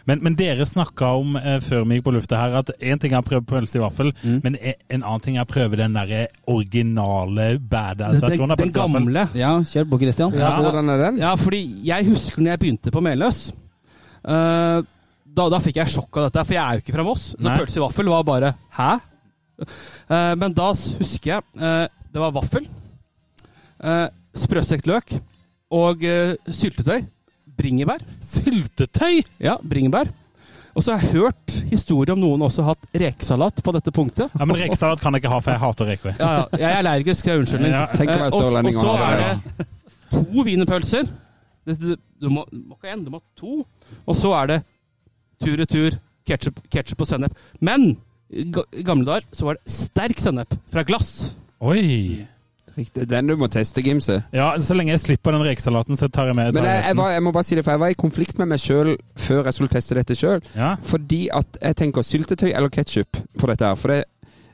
Speaker 4: Men, men dere snakka om eh, før vi gikk på lufta her, at én ting er å prøve pølse i vaffel, men e- en annen ting er å prøve den derre originale
Speaker 6: Den,
Speaker 4: badass-versjonen
Speaker 6: den,
Speaker 4: av
Speaker 6: den
Speaker 4: pølse i vaffel.
Speaker 6: gamle.
Speaker 5: Ja, kjør på, Christian.
Speaker 1: Ja, hvordan er den?
Speaker 6: Ja, fordi jeg husker når jeg begynte på Meløs. eh, da, da fikk jeg sjokk av dette, for jeg er jo ikke fra Moss. Så
Speaker 4: Nei.
Speaker 6: pølse i vaffel var bare Hæ? Eh, men da s- husker jeg eh, det var vaffel, uh, sprøstekt løk og eh, syltetøy. Bringebær.
Speaker 4: Syltetøy!
Speaker 6: Ja, bringebær. Og så har jeg hørt historier om noen også har hatt rekesalat på dette punktet.
Speaker 4: Ja, Men rekesalat kan jeg ikke ha, for jeg hater reker.
Speaker 6: Ja, ja, jeg er allergisk, så jeg unnskyldning.
Speaker 4: Ja.
Speaker 1: Tenk å
Speaker 6: Eh,
Speaker 1: være
Speaker 6: og-
Speaker 1: sørlending
Speaker 6: Og
Speaker 1: og
Speaker 6: så
Speaker 1: ha
Speaker 6: er
Speaker 1: det.
Speaker 6: det to wienerpølser. Det- det- Du må, du må ikke ha en, du må ha to. Og så er det tur-retur ketsjup og sennep. Men i ga- i gamle dager så var det sterk sennep fra glass.
Speaker 4: Oi!
Speaker 1: Det er Den du må teste, Gimse.
Speaker 4: Ja, Så lenge jeg slipper den rekesalaten, så tar jeg med
Speaker 1: Men
Speaker 4: tar
Speaker 1: jeg, jeg,
Speaker 4: resten.
Speaker 1: var, jeg må bare si det, for jeg var i konflikt med meg sjøl før jeg skulle teste dette sjøl.
Speaker 4: Ja.
Speaker 1: Fordi at jeg tenker syltetøy eller ketsjup på dette her. For det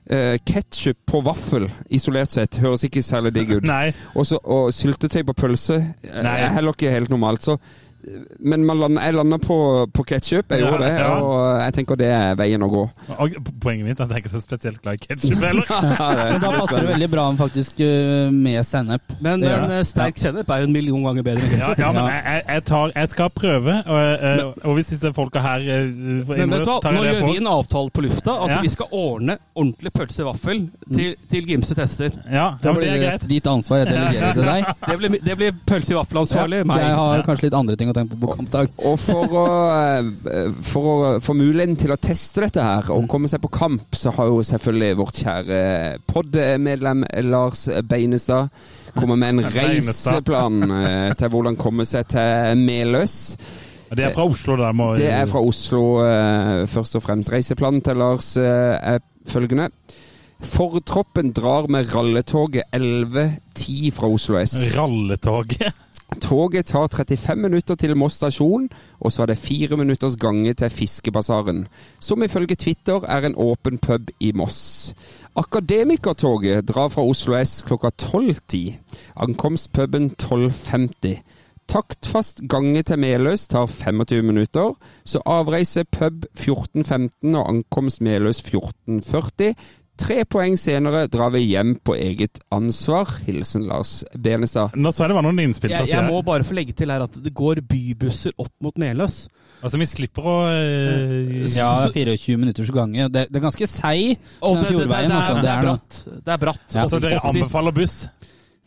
Speaker 1: Uh, Ketsjup på vaffel isolert sett høres ikke særlig digg ut.
Speaker 4: Nei.
Speaker 1: Også, og syltetøy på pølse eh,
Speaker 4: Nei.
Speaker 1: er heller ikke helt normalt. Så. eh, Men man land, jeg landa på, på ketsjup, jeg
Speaker 4: Ja,
Speaker 1: gjorde det.
Speaker 4: ja.
Speaker 1: Og jeg tenker det er veien å gå.
Speaker 4: Og poenget mitt er at jeg er ikke så spesielt glad i ketsjup heller.
Speaker 5: Men da passer det veldig bra faktisk eh, med sennep.
Speaker 6: Men
Speaker 5: Det gjør
Speaker 6: men,
Speaker 5: det.
Speaker 6: eh, sterk sennep er jo en million ganger bedre enn
Speaker 4: Ja,
Speaker 6: ketsjup.
Speaker 4: ja, men jeg, jeg, jeg, tar, jeg skal prøve, og, eh, og hvis disse folka her eh, får
Speaker 6: Men vet
Speaker 4: innrømt,
Speaker 6: du
Speaker 4: så
Speaker 6: hva,
Speaker 4: tar jeg
Speaker 6: nå
Speaker 4: det
Speaker 6: gjør vi
Speaker 4: for.
Speaker 6: en avtale på lufta at
Speaker 4: Ja.
Speaker 6: vi skal ordne ordentlig pølse i vaffel til, til Gimse tester.
Speaker 4: Ja, ja, men det er greit.
Speaker 5: Ditt ansvar er å delegere til deg.
Speaker 6: Det blir, det blir pølse i vaffelansvarlig. meg.
Speaker 5: Jeg har kanskje litt andre ting å tenke på på kampdag.
Speaker 1: Og for å, eh, for å få muligheten til å teste dette her og komme seg på kamp, så har jo selvfølgelig vårt kjære pod-medlem Lars Beinestad kommet med en
Speaker 4: Beinestad.
Speaker 1: reiseplan eh, til hvordan komme seg til Meløs.
Speaker 4: Og Det er fra Oslo, det der. Må,
Speaker 1: Det er fra Oslo eh, først og fremst. Reiseplanen til Lars eh, er følgende. Fortroppen drar med ralletoget 11.10 fra Oslo S.
Speaker 4: Ralletoget.
Speaker 1: Toget tar 35 minutter til Moss stasjon, og så er det fire minutters gange til Fiskebasaren, som ifølge Twitter er en åpen pub i Moss. Akademikertoget drar fra Oslo S klokka 12.10. Ankomstpuben 12.50. Taktfast gange til Meløs tar 25 minutter, så avreise pub 14.15 og ankomst Meløs 14.40. Tre poeng senere drar vi hjem på eget ansvar. Hilsen Lars Benestad.
Speaker 4: Nå så jeg det var noen innspill.
Speaker 6: Jeg,
Speaker 4: da, sier
Speaker 6: jeg må bare få legge til her at det går bybusser opp mot Meløs.
Speaker 4: Altså, vi slipper å eh,
Speaker 5: Ja, 24 minutters gange. Det, det er ganske seig, den
Speaker 6: Og det, det, det,
Speaker 5: fjordveien.
Speaker 6: det,
Speaker 5: altså.
Speaker 6: er, det er
Speaker 5: noe.
Speaker 6: bratt. Det er bratt.
Speaker 5: Ja.
Speaker 4: Så dere Altså, anbefaler buss?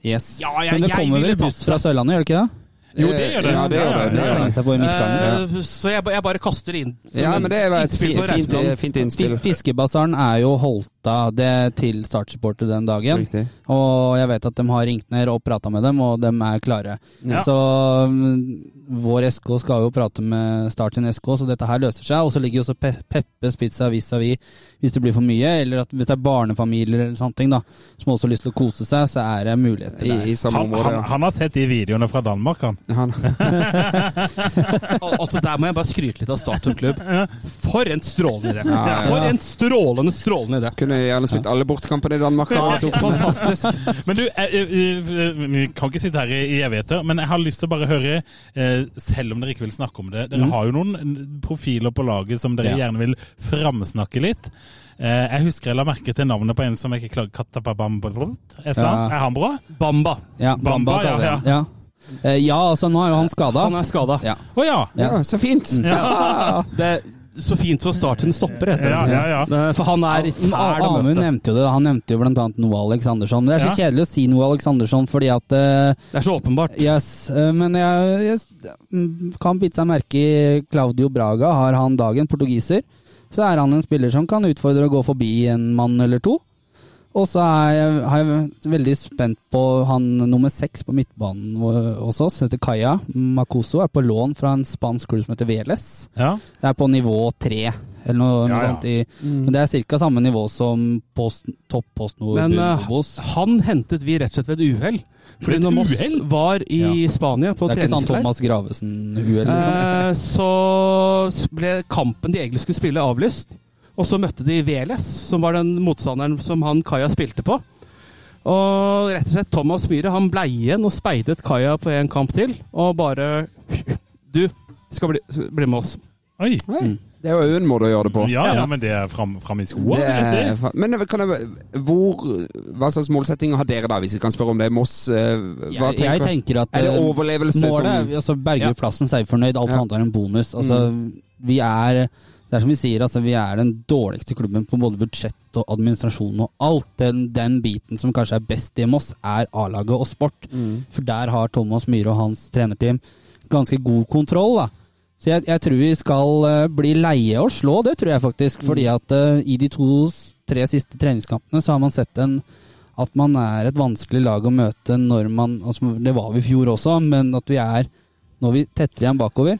Speaker 5: Yes.
Speaker 6: Ja, jeg-
Speaker 5: Men det
Speaker 6: jeg
Speaker 5: kommer
Speaker 6: ville
Speaker 5: vel
Speaker 6: tatt
Speaker 5: buss fra Sørlandet, gjør det ikke det?
Speaker 4: Jo, det gjør det.
Speaker 1: Ja, det gjør det.
Speaker 5: Det
Speaker 1: Ja.
Speaker 5: slenger seg på i midtgangen.
Speaker 6: Eh, så jeg, ba- jeg bare kaster det inn. som
Speaker 1: Ja, men det var et
Speaker 6: innspill
Speaker 1: fi-
Speaker 6: på
Speaker 1: fint,
Speaker 6: reiseplanen.
Speaker 1: fint innspill.
Speaker 5: Fis- Fiskebasaren er jo holdt støtta det til Start-supporter den dagen.
Speaker 1: Riktig.
Speaker 5: Og jeg vet at de har ringt ned og prata med dem, og de er klare.
Speaker 4: Ja.
Speaker 5: Så mm, vår SK skal jo prate med Start sin SK, så dette her løser seg. Og så ligger jo også Pe Peppes Pizza vis-à-vis hvis det blir for mye, eller at hvis det er barnefamilier eller sånne ting da, som også har lyst til å kose seg, så er det muligheter
Speaker 1: I,
Speaker 5: der.
Speaker 1: I samme
Speaker 4: Han,
Speaker 1: område,
Speaker 4: han, han har sett de videoene fra Danmark, han.
Speaker 1: ja. Han,
Speaker 6: Al altså Der må jeg bare skryte litt av Start som klubb. For en strålende idé!
Speaker 1: Ja, ja.
Speaker 6: For en strålende, strålende idé.
Speaker 1: kunne gjerne spilt alle bortekampene i Danmark.
Speaker 6: Ja,
Speaker 1: han tok den.
Speaker 6: fantastisk.
Speaker 4: Men du, jeg, jeg, jeg, vi kan ikke sitte her i i evigheter, men jeg har lyst til å bare høre, eh, selv om dere ikke vil snakke om det Dere
Speaker 1: Mm.
Speaker 4: har jo noen profiler på laget som dere gjerne vil framsnakke litt. Eh, jeg husker jeg la merke til navnet på en som jeg ikke klarer Katapabam- Et eller
Speaker 5: Ja.
Speaker 4: annet. Er han bra?
Speaker 6: Bamba.
Speaker 5: Ja,
Speaker 4: Bamba,
Speaker 5: Bamba, kaller vi
Speaker 4: ja,
Speaker 5: han. ja. Eh, ja, altså nå er jo han skada.
Speaker 6: Han er skada.
Speaker 5: Ja.
Speaker 4: Å ja. Mm.
Speaker 5: Ja.
Speaker 1: Ja, så fint!
Speaker 6: Det er så fint for Start sin stopper, heter
Speaker 4: Ja,
Speaker 6: det.
Speaker 4: ja, ja.
Speaker 6: Det er- For han er fæl å
Speaker 5: Amund
Speaker 6: møte.
Speaker 5: nevnte jo det. Han nevnte jo blant annet Noah Alexandersson. Men Det er så kjedelig å si Noah Alexandersson fordi at eh,
Speaker 6: Det er så åpenbart.
Speaker 5: Yes, eh, men jeg, jeg mm, kan bite seg merke i Claudio Braga. Har han dagen, portugiser, så er han en spiller som kan utfordre å gå forbi en mann eller to. Og så er jeg, har jeg vært veldig spent på han nummer seks på midtbanen vår- hos oss, heter Kaya Makoso. Er på lån fra en spansk klubb som heter Veles.
Speaker 4: ja.
Speaker 5: Det er på nivå tre, eller noe, noe
Speaker 4: Ja, ja.
Speaker 5: sånt. I,
Speaker 6: Mm.
Speaker 5: Men det er ca. samme nivå som post, topp post nord
Speaker 6: Men eh,
Speaker 5: Bobos.
Speaker 6: han hentet vi rett og slett ved et uhell. Fordi når Moss var i
Speaker 4: Ja.
Speaker 6: Spania på
Speaker 5: Det er ikke sånn
Speaker 6: treningsleir,
Speaker 5: Thomas Gravesen-uhell, liksom.
Speaker 6: eh, så s- ble kampen de egentlig skulle spille, avlyst. Og så møtte de Veles, som var den motstanderen som han Kaja spilte på. Og rett og slett Thomas Myhre han blei igjen og speidet Kaja på en kamp til, og bare Du skal bli, skal bli med oss.
Speaker 4: Oi.
Speaker 1: Nei, Det er jo en måte å gjøre det på.
Speaker 4: Mm. Ja, ja, men det er fram, fram i skoa,
Speaker 1: Det
Speaker 4: vil jeg
Speaker 1: er,
Speaker 4: si.
Speaker 1: fa- men eh, kan jeg, hvor, hva slags målsettinger har dere, da, hvis vi kan spørre om det? Moss eh, hva
Speaker 5: Jeg, jeg tenker at
Speaker 1: Er det
Speaker 5: eh,
Speaker 1: overlevelse
Speaker 5: målet
Speaker 1: som
Speaker 5: er- altså Berger
Speaker 6: Ja.
Speaker 5: plassen, så er vi fornøyd. Alt
Speaker 1: Ja. Mm.
Speaker 5: annet er en bonus. Altså, vi er det er som vi sier, altså, vi er den dårligste klubben på både budsjett og administrasjon og alt. Den, den biten som kanskje er best i Moss, er A-laget og sport.
Speaker 1: Mm.
Speaker 5: For der har Thomas Myhre og hans trenerteam ganske god kontroll. da. Så jeg, jeg tror vi skal eh, bli leie å slå, det tror jeg faktisk.
Speaker 1: Mm.
Speaker 5: Fordi at eh, i de to-tre siste treningskampene så har man sett en at man er et vanskelig lag å møte når man altså, Det var vi i fjor også, men at vi er Når vi tetter igjen bakover,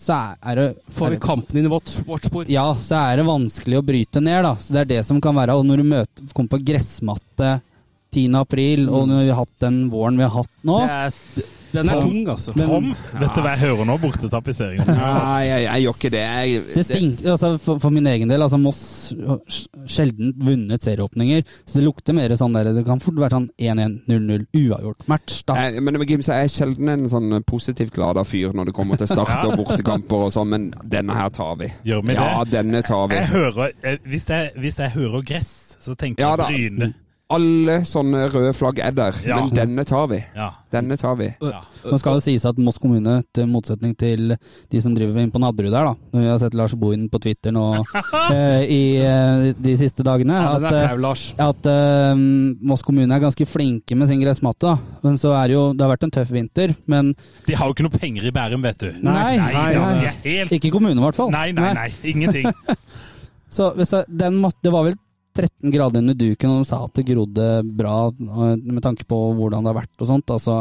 Speaker 5: så er- er det
Speaker 6: Får
Speaker 5: er
Speaker 6: vi
Speaker 5: det-
Speaker 6: kampen inn i vårt vårt spor?
Speaker 5: Ja, så er det vanskelig å bryte ned, da. Så det er det som kan være. Og når du møter, kommer på gressmatte 10. april, og
Speaker 6: Mm.
Speaker 5: når vi har hatt den våren vi har hatt nå
Speaker 6: Det er, den er
Speaker 5: Tom.
Speaker 6: tung, altså.
Speaker 4: Tom, vet du hva jeg hører nå? Bortetapetseringen.
Speaker 1: Nei, jeg, jeg gjør ikke det. Jeg,
Speaker 5: Det stinker, altså for, for min egen del, altså Moss har sj- sjelden vunnet serieåpninger, så det lukter mer sånn der, det kan fort være sånn 1-1-0-0 uavgjort match, da.
Speaker 1: jeg, Eh, men Gims, jeg er sjelden en sånn positivt glada fyr når det kommer til start og bortekamper og sånn, men denne her tar vi.
Speaker 4: Gjør vi det?
Speaker 1: Ja, denne tar vi.
Speaker 4: Jeg hører, eh, hvis, jeg, hvis jeg hører gress, så tenker
Speaker 1: Ja, da.
Speaker 4: jeg Bryne.
Speaker 1: Alle sånne røde flagg er der,
Speaker 4: Ja.
Speaker 1: men denne tar vi.
Speaker 4: Ja.
Speaker 1: Denne tar vi.
Speaker 4: Ja.
Speaker 5: Nå skal det sies at Moss kommune, til motsetning til de som driver inn på Nadderud der, da Når vi har sett Lars Bohin på Twitter nå eh, i eh, de siste dagene
Speaker 6: Ja, den
Speaker 5: at,
Speaker 6: er
Speaker 5: eh,
Speaker 6: flau, Lars.
Speaker 5: at eh, Moss kommune er ganske flinke med sin gressmatte, da. Men så er det jo Det har vært en tøff vinter, men
Speaker 4: De har jo ikke noe penger i Bærum, vet du.
Speaker 5: Nei,
Speaker 4: nei,
Speaker 5: nei,
Speaker 4: da,
Speaker 5: nei.
Speaker 4: de er helt
Speaker 5: ikke kommunen, i hvert fall.
Speaker 4: Nei, nei, nei. Ingenting.
Speaker 5: Så hvis jeg, den måtte, det var vel 13 grader under duken, og de sa at det grodde bra eh, med tanke på hvordan det har vært og sånt. Altså,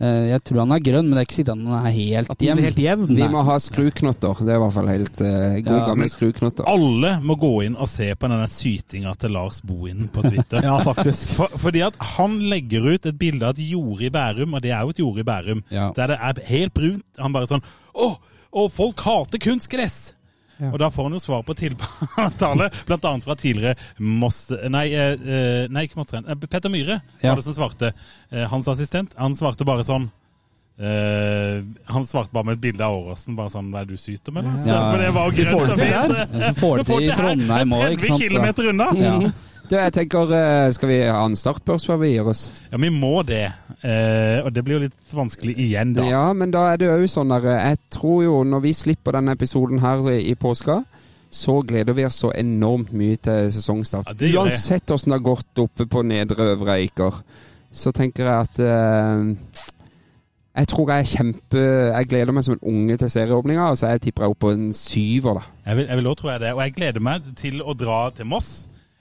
Speaker 5: eh, jeg tror han er grønn, men det er ikke sikkert han er helt
Speaker 6: Den
Speaker 5: jevn.
Speaker 6: blir helt jevn.
Speaker 1: Vi
Speaker 5: Nei.
Speaker 1: må ha skruknotter. Det er i hvert fall helt eh, god
Speaker 5: Ja,
Speaker 1: gamle skruknotter.
Speaker 4: Alle må gå inn og se på denne sytinga til Lars Bohin på Twitter.
Speaker 6: Ja, faktisk.
Speaker 4: For, fordi at han legger ut et bilde av et jorde i Bærum, og det er jo et jorde i Bærum,
Speaker 5: Ja.
Speaker 4: der det er helt brunt. Han bare sånn Å, å folk hater kunstgress! Og da får han jo svar på tiltale, blant annet fra tidligere Moss... Nei, eh, eh, nei ikke Moss Petter Myhre
Speaker 5: Ja.
Speaker 4: var det som svarte. Eh, Hans assistent. Han svarte bare sånn eh, Han svarte bare med et bilde av Åråsen. Bare sånn Hva er det du syter med, da? Så,
Speaker 5: Ja.
Speaker 4: For det var jo grønt og fint.
Speaker 5: Ja, Eh, Så får
Speaker 4: Vi
Speaker 5: de det i
Speaker 4: det her,
Speaker 5: Trondheim òg, ikke
Speaker 4: 30
Speaker 5: sant. så-
Speaker 4: kilometer unna! Ja.
Speaker 5: Ja.
Speaker 1: Du, jeg tenker, eh, Skal vi ha en startbørs før vi gir oss?
Speaker 4: vi må det. Eh, og det blir jo litt vanskelig igjen, da.
Speaker 1: Ja, men da er det jo sånn der Jeg tror jo når vi slipper denne episoden her i påska, så gleder vi oss så enormt mye til
Speaker 4: Ja,
Speaker 1: sesongstart.
Speaker 4: det gjør vi.
Speaker 1: Uansett åssen det har gått oppe på Nedre Øvre Eiker, så tenker jeg at eh, Jeg tror jeg er kjempe Jeg gleder meg som en unge til serieåpninga, og så jeg tipper jeg opp på en syver, da.
Speaker 4: Jeg vil, jeg vil også tro jeg det. Og jeg gleder meg til å dra til Moss.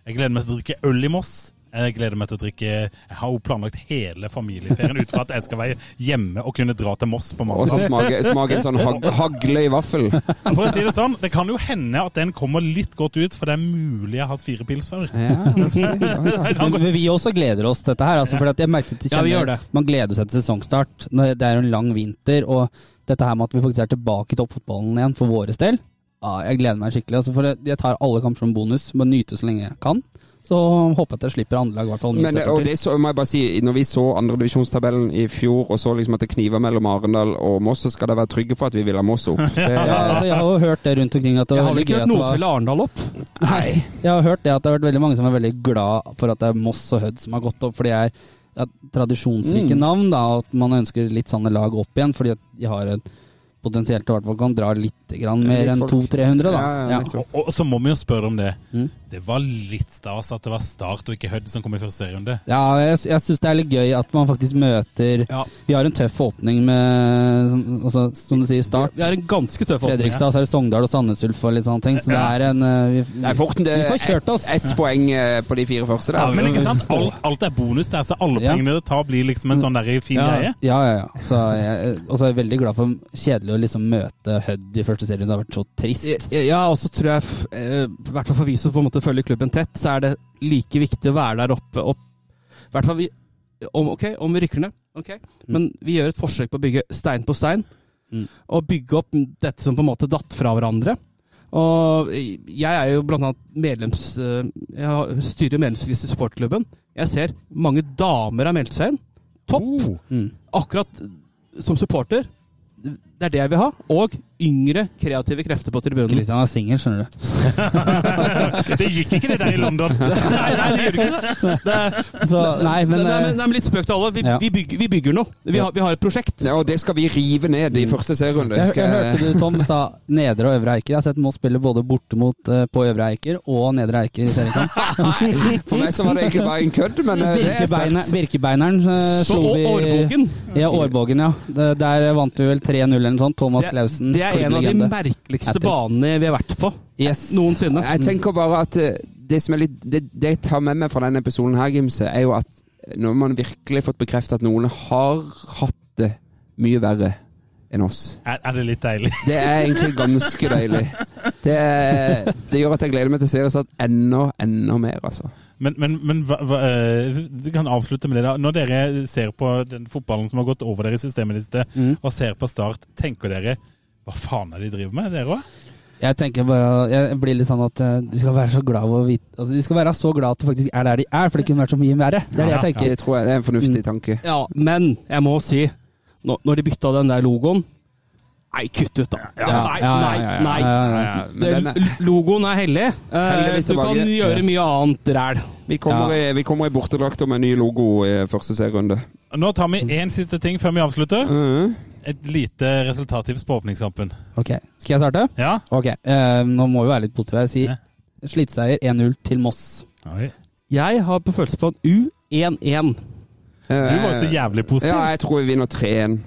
Speaker 4: Jeg gleder meg til å drikke øl i Moss. Jeg gleder meg til å drikke Jeg har jo planlagt hele familieferien ut fra at jeg skal være hjemme og kunne dra til Moss på
Speaker 1: Og
Speaker 4: mandag.
Speaker 1: så smake, smake en sånn hag, hagle i vaffel.
Speaker 4: For å si det sånn, det kan jo hende at den kommer litt godt ut, for det er mulig jeg har hatt fire pilser.
Speaker 1: Ja,
Speaker 4: Jeg kan
Speaker 5: Men
Speaker 4: gå-
Speaker 5: vi også gleder oss til dette her. Altså, for at jeg merket, jeg
Speaker 6: Ja, vi
Speaker 5: kjenner-
Speaker 6: gjør det.
Speaker 5: Man gleder seg til sesongstart. Når det er jo en lang vinter, og dette her med at vi faktisk er tilbake i toppfotballen igjen for våres del ja, Jeg gleder meg skikkelig. Altså, for jeg tar alle kamper som bonus, må nyte så lenge jeg kan. Så håper jeg at jeg slipper andelag, i hvert fall.
Speaker 1: Men, eh, og det så, må jeg bare si, når vi så andredivisjonstabellen i fjor, og så liksom at det kniver mellom Arendal og Moss, så skal dere være trygge på at vi vil ha Moss opp. Det,
Speaker 5: ja, altså, jeg har jo hørt det rundt omkring. At det
Speaker 6: Jeg
Speaker 5: var
Speaker 6: har vel
Speaker 5: veldig
Speaker 6: ikke
Speaker 5: gøy at
Speaker 6: hørt
Speaker 5: det
Speaker 6: noen
Speaker 5: var-
Speaker 6: som ville Arendal opp.
Speaker 1: Nei.
Speaker 5: Jeg har hørt det at det har vært veldig mange som er veldig glad for at det er Moss og Hødd som har gått opp, for de er ja, tradisjonsrike
Speaker 1: Mm.
Speaker 5: navn. Da, og at man ønsker litt sånne lag opp igjen, fordi at de har et potensielt til hvert fall kan dra litt grann mer
Speaker 1: Litt
Speaker 5: enn
Speaker 1: folk.
Speaker 5: 200-300, da.
Speaker 1: Ja, ja,
Speaker 5: Ja,
Speaker 1: nettopp.
Speaker 4: Og, og så må vi jo spørre om det.
Speaker 5: Mm.
Speaker 4: Det var litt stas at det var Start og ikke Hødd som kom i første serierunde.
Speaker 5: ja jeg, s- jeg syns det er litt gøy at man faktisk møter
Speaker 6: Ja.
Speaker 5: Vi har en tøff åpning med, som- altså, som du sier, Start.
Speaker 6: Vi er en ganske tøff åpning.
Speaker 5: Fredrikstad, så er det Sogndal og Sandnes Ulf og litt sånne ting. Så det er en eh, vi,
Speaker 1: Nei, Forten, det
Speaker 5: vi får
Speaker 1: er
Speaker 5: kjørt oss.
Speaker 1: ett poeng eh, på de fire første
Speaker 4: Ja,
Speaker 1: der.
Speaker 4: men ikke sant? Alt, alt er bonus der, så alle
Speaker 5: Ja.
Speaker 4: pengene det tar, blir liksom en sånn der fin
Speaker 5: ja,
Speaker 4: greie.
Speaker 5: Ja, ja, ja. Så jeg, og så er jeg veldig glad for kjedelig å liksom møte Hødd i første serien. Det har vært så trist.
Speaker 6: Ja, Ja, og så tror jeg, f- eh, i hvert fall for vi som på en måte følger klubben tett, så er det like viktig å være der oppe og I hvert fall vi om, Ok, om vi rykker ned, ok, men vi gjør et forsøk på å bygge stein på stein.
Speaker 5: Mm.
Speaker 6: Og bygge opp dette som på en måte datt fra hverandre. Og jeg er jo blant annet medlems... eh, Jeg har- styrer medlemsregisteret i supportklubben. Jeg ser mange damer har meldt seg inn. Topp!
Speaker 5: Mm.
Speaker 6: akkurat eh, som supporter, det er det jeg vil ha. Og yngre, kreative krefter på tribunen.
Speaker 5: Kristian er singel, skjønner du.
Speaker 4: Det gikk ikke det der i London.
Speaker 6: Nei, nei, det gjør ikke det. det er,
Speaker 5: Så, nei, men,
Speaker 6: nei,
Speaker 5: eh,
Speaker 6: men, nei, men litt spøk til alle. Vi,
Speaker 5: Ja.
Speaker 6: vi, bygger, vi bygger noe. Vi har, vi har et prosjekt.
Speaker 1: Ja, og det skal vi rive ned i første serierunde.
Speaker 5: jeg, jeg
Speaker 1: Skal-
Speaker 5: hørte du, Tom, sa Nedre og Øvre Eiker. Jeg har sett Moss spille både borte mot eh, på Øvre Eiker og Nedre Eiker i seriekamp.
Speaker 1: For meg så var det egentlig bare en kødd, men eh, det er
Speaker 5: Virkebeiner-
Speaker 1: sterkt.
Speaker 5: Virkebeineren eh,
Speaker 6: Så,
Speaker 5: slo
Speaker 6: og
Speaker 5: vi
Speaker 6: Årboken.
Speaker 5: Ja, Årbogen, ja. Det- Der vant vi vel 3-0 eller noe sånt. Thomas
Speaker 6: Det,
Speaker 5: Clausen.
Speaker 6: det er en av de
Speaker 5: klubblegende.
Speaker 6: merkeligste
Speaker 5: Etter.
Speaker 6: banene vi har vært på
Speaker 5: Yes.
Speaker 6: noensinne.
Speaker 1: Jeg tenker bare at eh, det som er litt Det, det jeg tar med meg fra denne episoden her, Gimse, er jo at når man virkelig har fått bekreftet at noen har hatt det mye verre enn oss
Speaker 4: Er, er det litt deilig?
Speaker 1: Det er egentlig ganske deilig. Det, er- det gjør at jeg gleder meg til seriestart enda, enda mer, altså.
Speaker 4: Men, men, men hva, hva, eh, du kan avslutte med det. da. Når dere ser på den fotballen som har gått over dere i systemet i det siste, og ser på Start, tenker dere hva faen er det de driver med, dere òg?
Speaker 5: Jeg tenker bare Jeg blir litt sånn at eh, de skal være så glad over å vite altså, De skal være så glad at det faktisk er der de er, for det kunne vært så mye verre. Det er det jeg tenker.
Speaker 1: Det tror jeg det er en fornuftig tanke.
Speaker 6: Ja, men jeg må si, når, når de bytta den der logoen Nei, kutt ut, da.
Speaker 5: Ja,
Speaker 6: Nei,
Speaker 5: ja,
Speaker 6: nei,
Speaker 5: ja, ja,
Speaker 6: nei.
Speaker 5: ja, ja, ja.
Speaker 1: Men
Speaker 6: Det,
Speaker 1: den er-
Speaker 6: logoen er hellig. Eh,
Speaker 1: Heldigvis
Speaker 6: Du
Speaker 1: tilbake.
Speaker 6: kan gjøre
Speaker 5: Yes.
Speaker 6: mye annet ræl.
Speaker 1: Vi kommer, i, vi kommer i bortedrakt og med en ny logo i første serierunde.
Speaker 4: Nå tar vi én siste ting før vi avslutter.
Speaker 1: Mhm.
Speaker 4: Et lite resultattips på åpningskampen.
Speaker 5: Ok, Skal jeg starte?
Speaker 4: Ja?
Speaker 5: Ok, eh, Nå må vi være litt positive. Jeg
Speaker 4: Ja.
Speaker 5: sier sliteseier 1-0 til Moss.
Speaker 6: Jeg har på følelse på en U11.
Speaker 4: Du var jo så
Speaker 1: Eh,
Speaker 4: jævlig positiv.
Speaker 1: Ja, jeg tror vi vinner 3-1.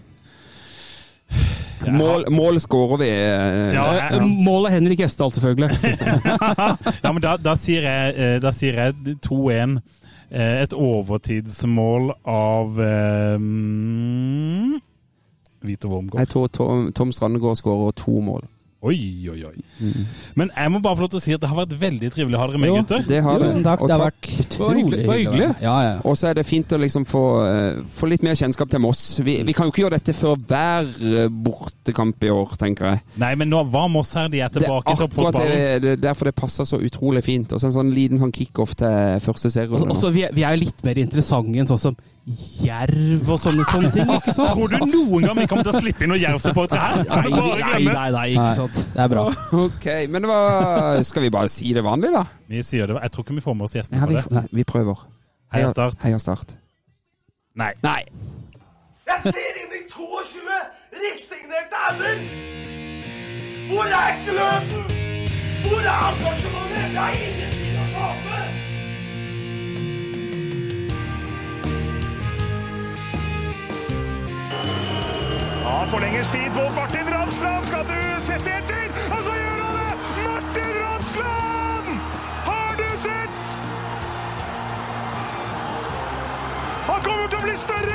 Speaker 1: Mål, mål skårer vi. eh,
Speaker 4: Ja,
Speaker 6: Eh,
Speaker 4: jeg,
Speaker 6: Målet er Henrik Gjesdal, selvfølgelig.
Speaker 4: ja, men da, da sier jeg, eh, da sier jeg 2-1. Eh, Et overtidsmål av eh, mm, Vito Wormgård.
Speaker 1: Jeg tror Tom, Tom Strandegård skårer to mål.
Speaker 4: Oi, oi, oi. Men jeg må bare få lov til å si at det har vært veldig trivelig å ha dere med,
Speaker 5: Jo.
Speaker 4: gutter.
Speaker 1: Det har
Speaker 5: Tusen
Speaker 1: vi.
Speaker 5: takk.
Speaker 1: Og
Speaker 5: Det har
Speaker 1: takk.
Speaker 5: vært
Speaker 6: var hyggelig.
Speaker 5: utrolig
Speaker 6: Det var hyggelig.
Speaker 5: å være- Ja, ja.
Speaker 1: Og så er det fint å liksom få, eh, få litt mer kjennskap til Moss. Vi, vi kan jo ikke gjøre dette før hver eh, bortekamp i år, tenker jeg.
Speaker 4: Nei, men nå var Moss her, de er
Speaker 1: Det er
Speaker 4: tilbake i
Speaker 1: akkurat det,
Speaker 4: toppfotballen.
Speaker 1: det er derfor det passer så utrolig fint. Og så en sånn liten sånn kickoff til første serierunde. nå.
Speaker 6: Også, vi, er- vi er jo litt mer interessante enn sånn som jerv og sånne, sånne ting. ikke sant?
Speaker 4: Tror du noen gang vi kommer til å slippe inn noen Jerv-supportere her?
Speaker 6: Nei,
Speaker 4: Bare
Speaker 6: nei,
Speaker 4: glemme.
Speaker 6: nei, nei, ikke
Speaker 5: Nei,
Speaker 6: sant.
Speaker 5: Sånn, Det er bra.
Speaker 1: Ok, men det var Skal vi bare si det vanlig, da?
Speaker 4: Vi sier det, jeg tror ikke vi får med oss
Speaker 1: Ja,
Speaker 4: gjestene
Speaker 1: vi,
Speaker 4: på det.
Speaker 1: nei, vi prøver.
Speaker 4: Heia Start.
Speaker 1: Heia Start.
Speaker 4: Nei.
Speaker 2: Jeg ser inn i 22 resignerte ender! Hvor er gløden? Hvor er engasjementet? Jeg har ingenting å tape!
Speaker 3: Han forlenges tid på Martin Ramsland. Skal du sette etter? Og så gjør han det! Martin Ramsland! Har du sett? blir større!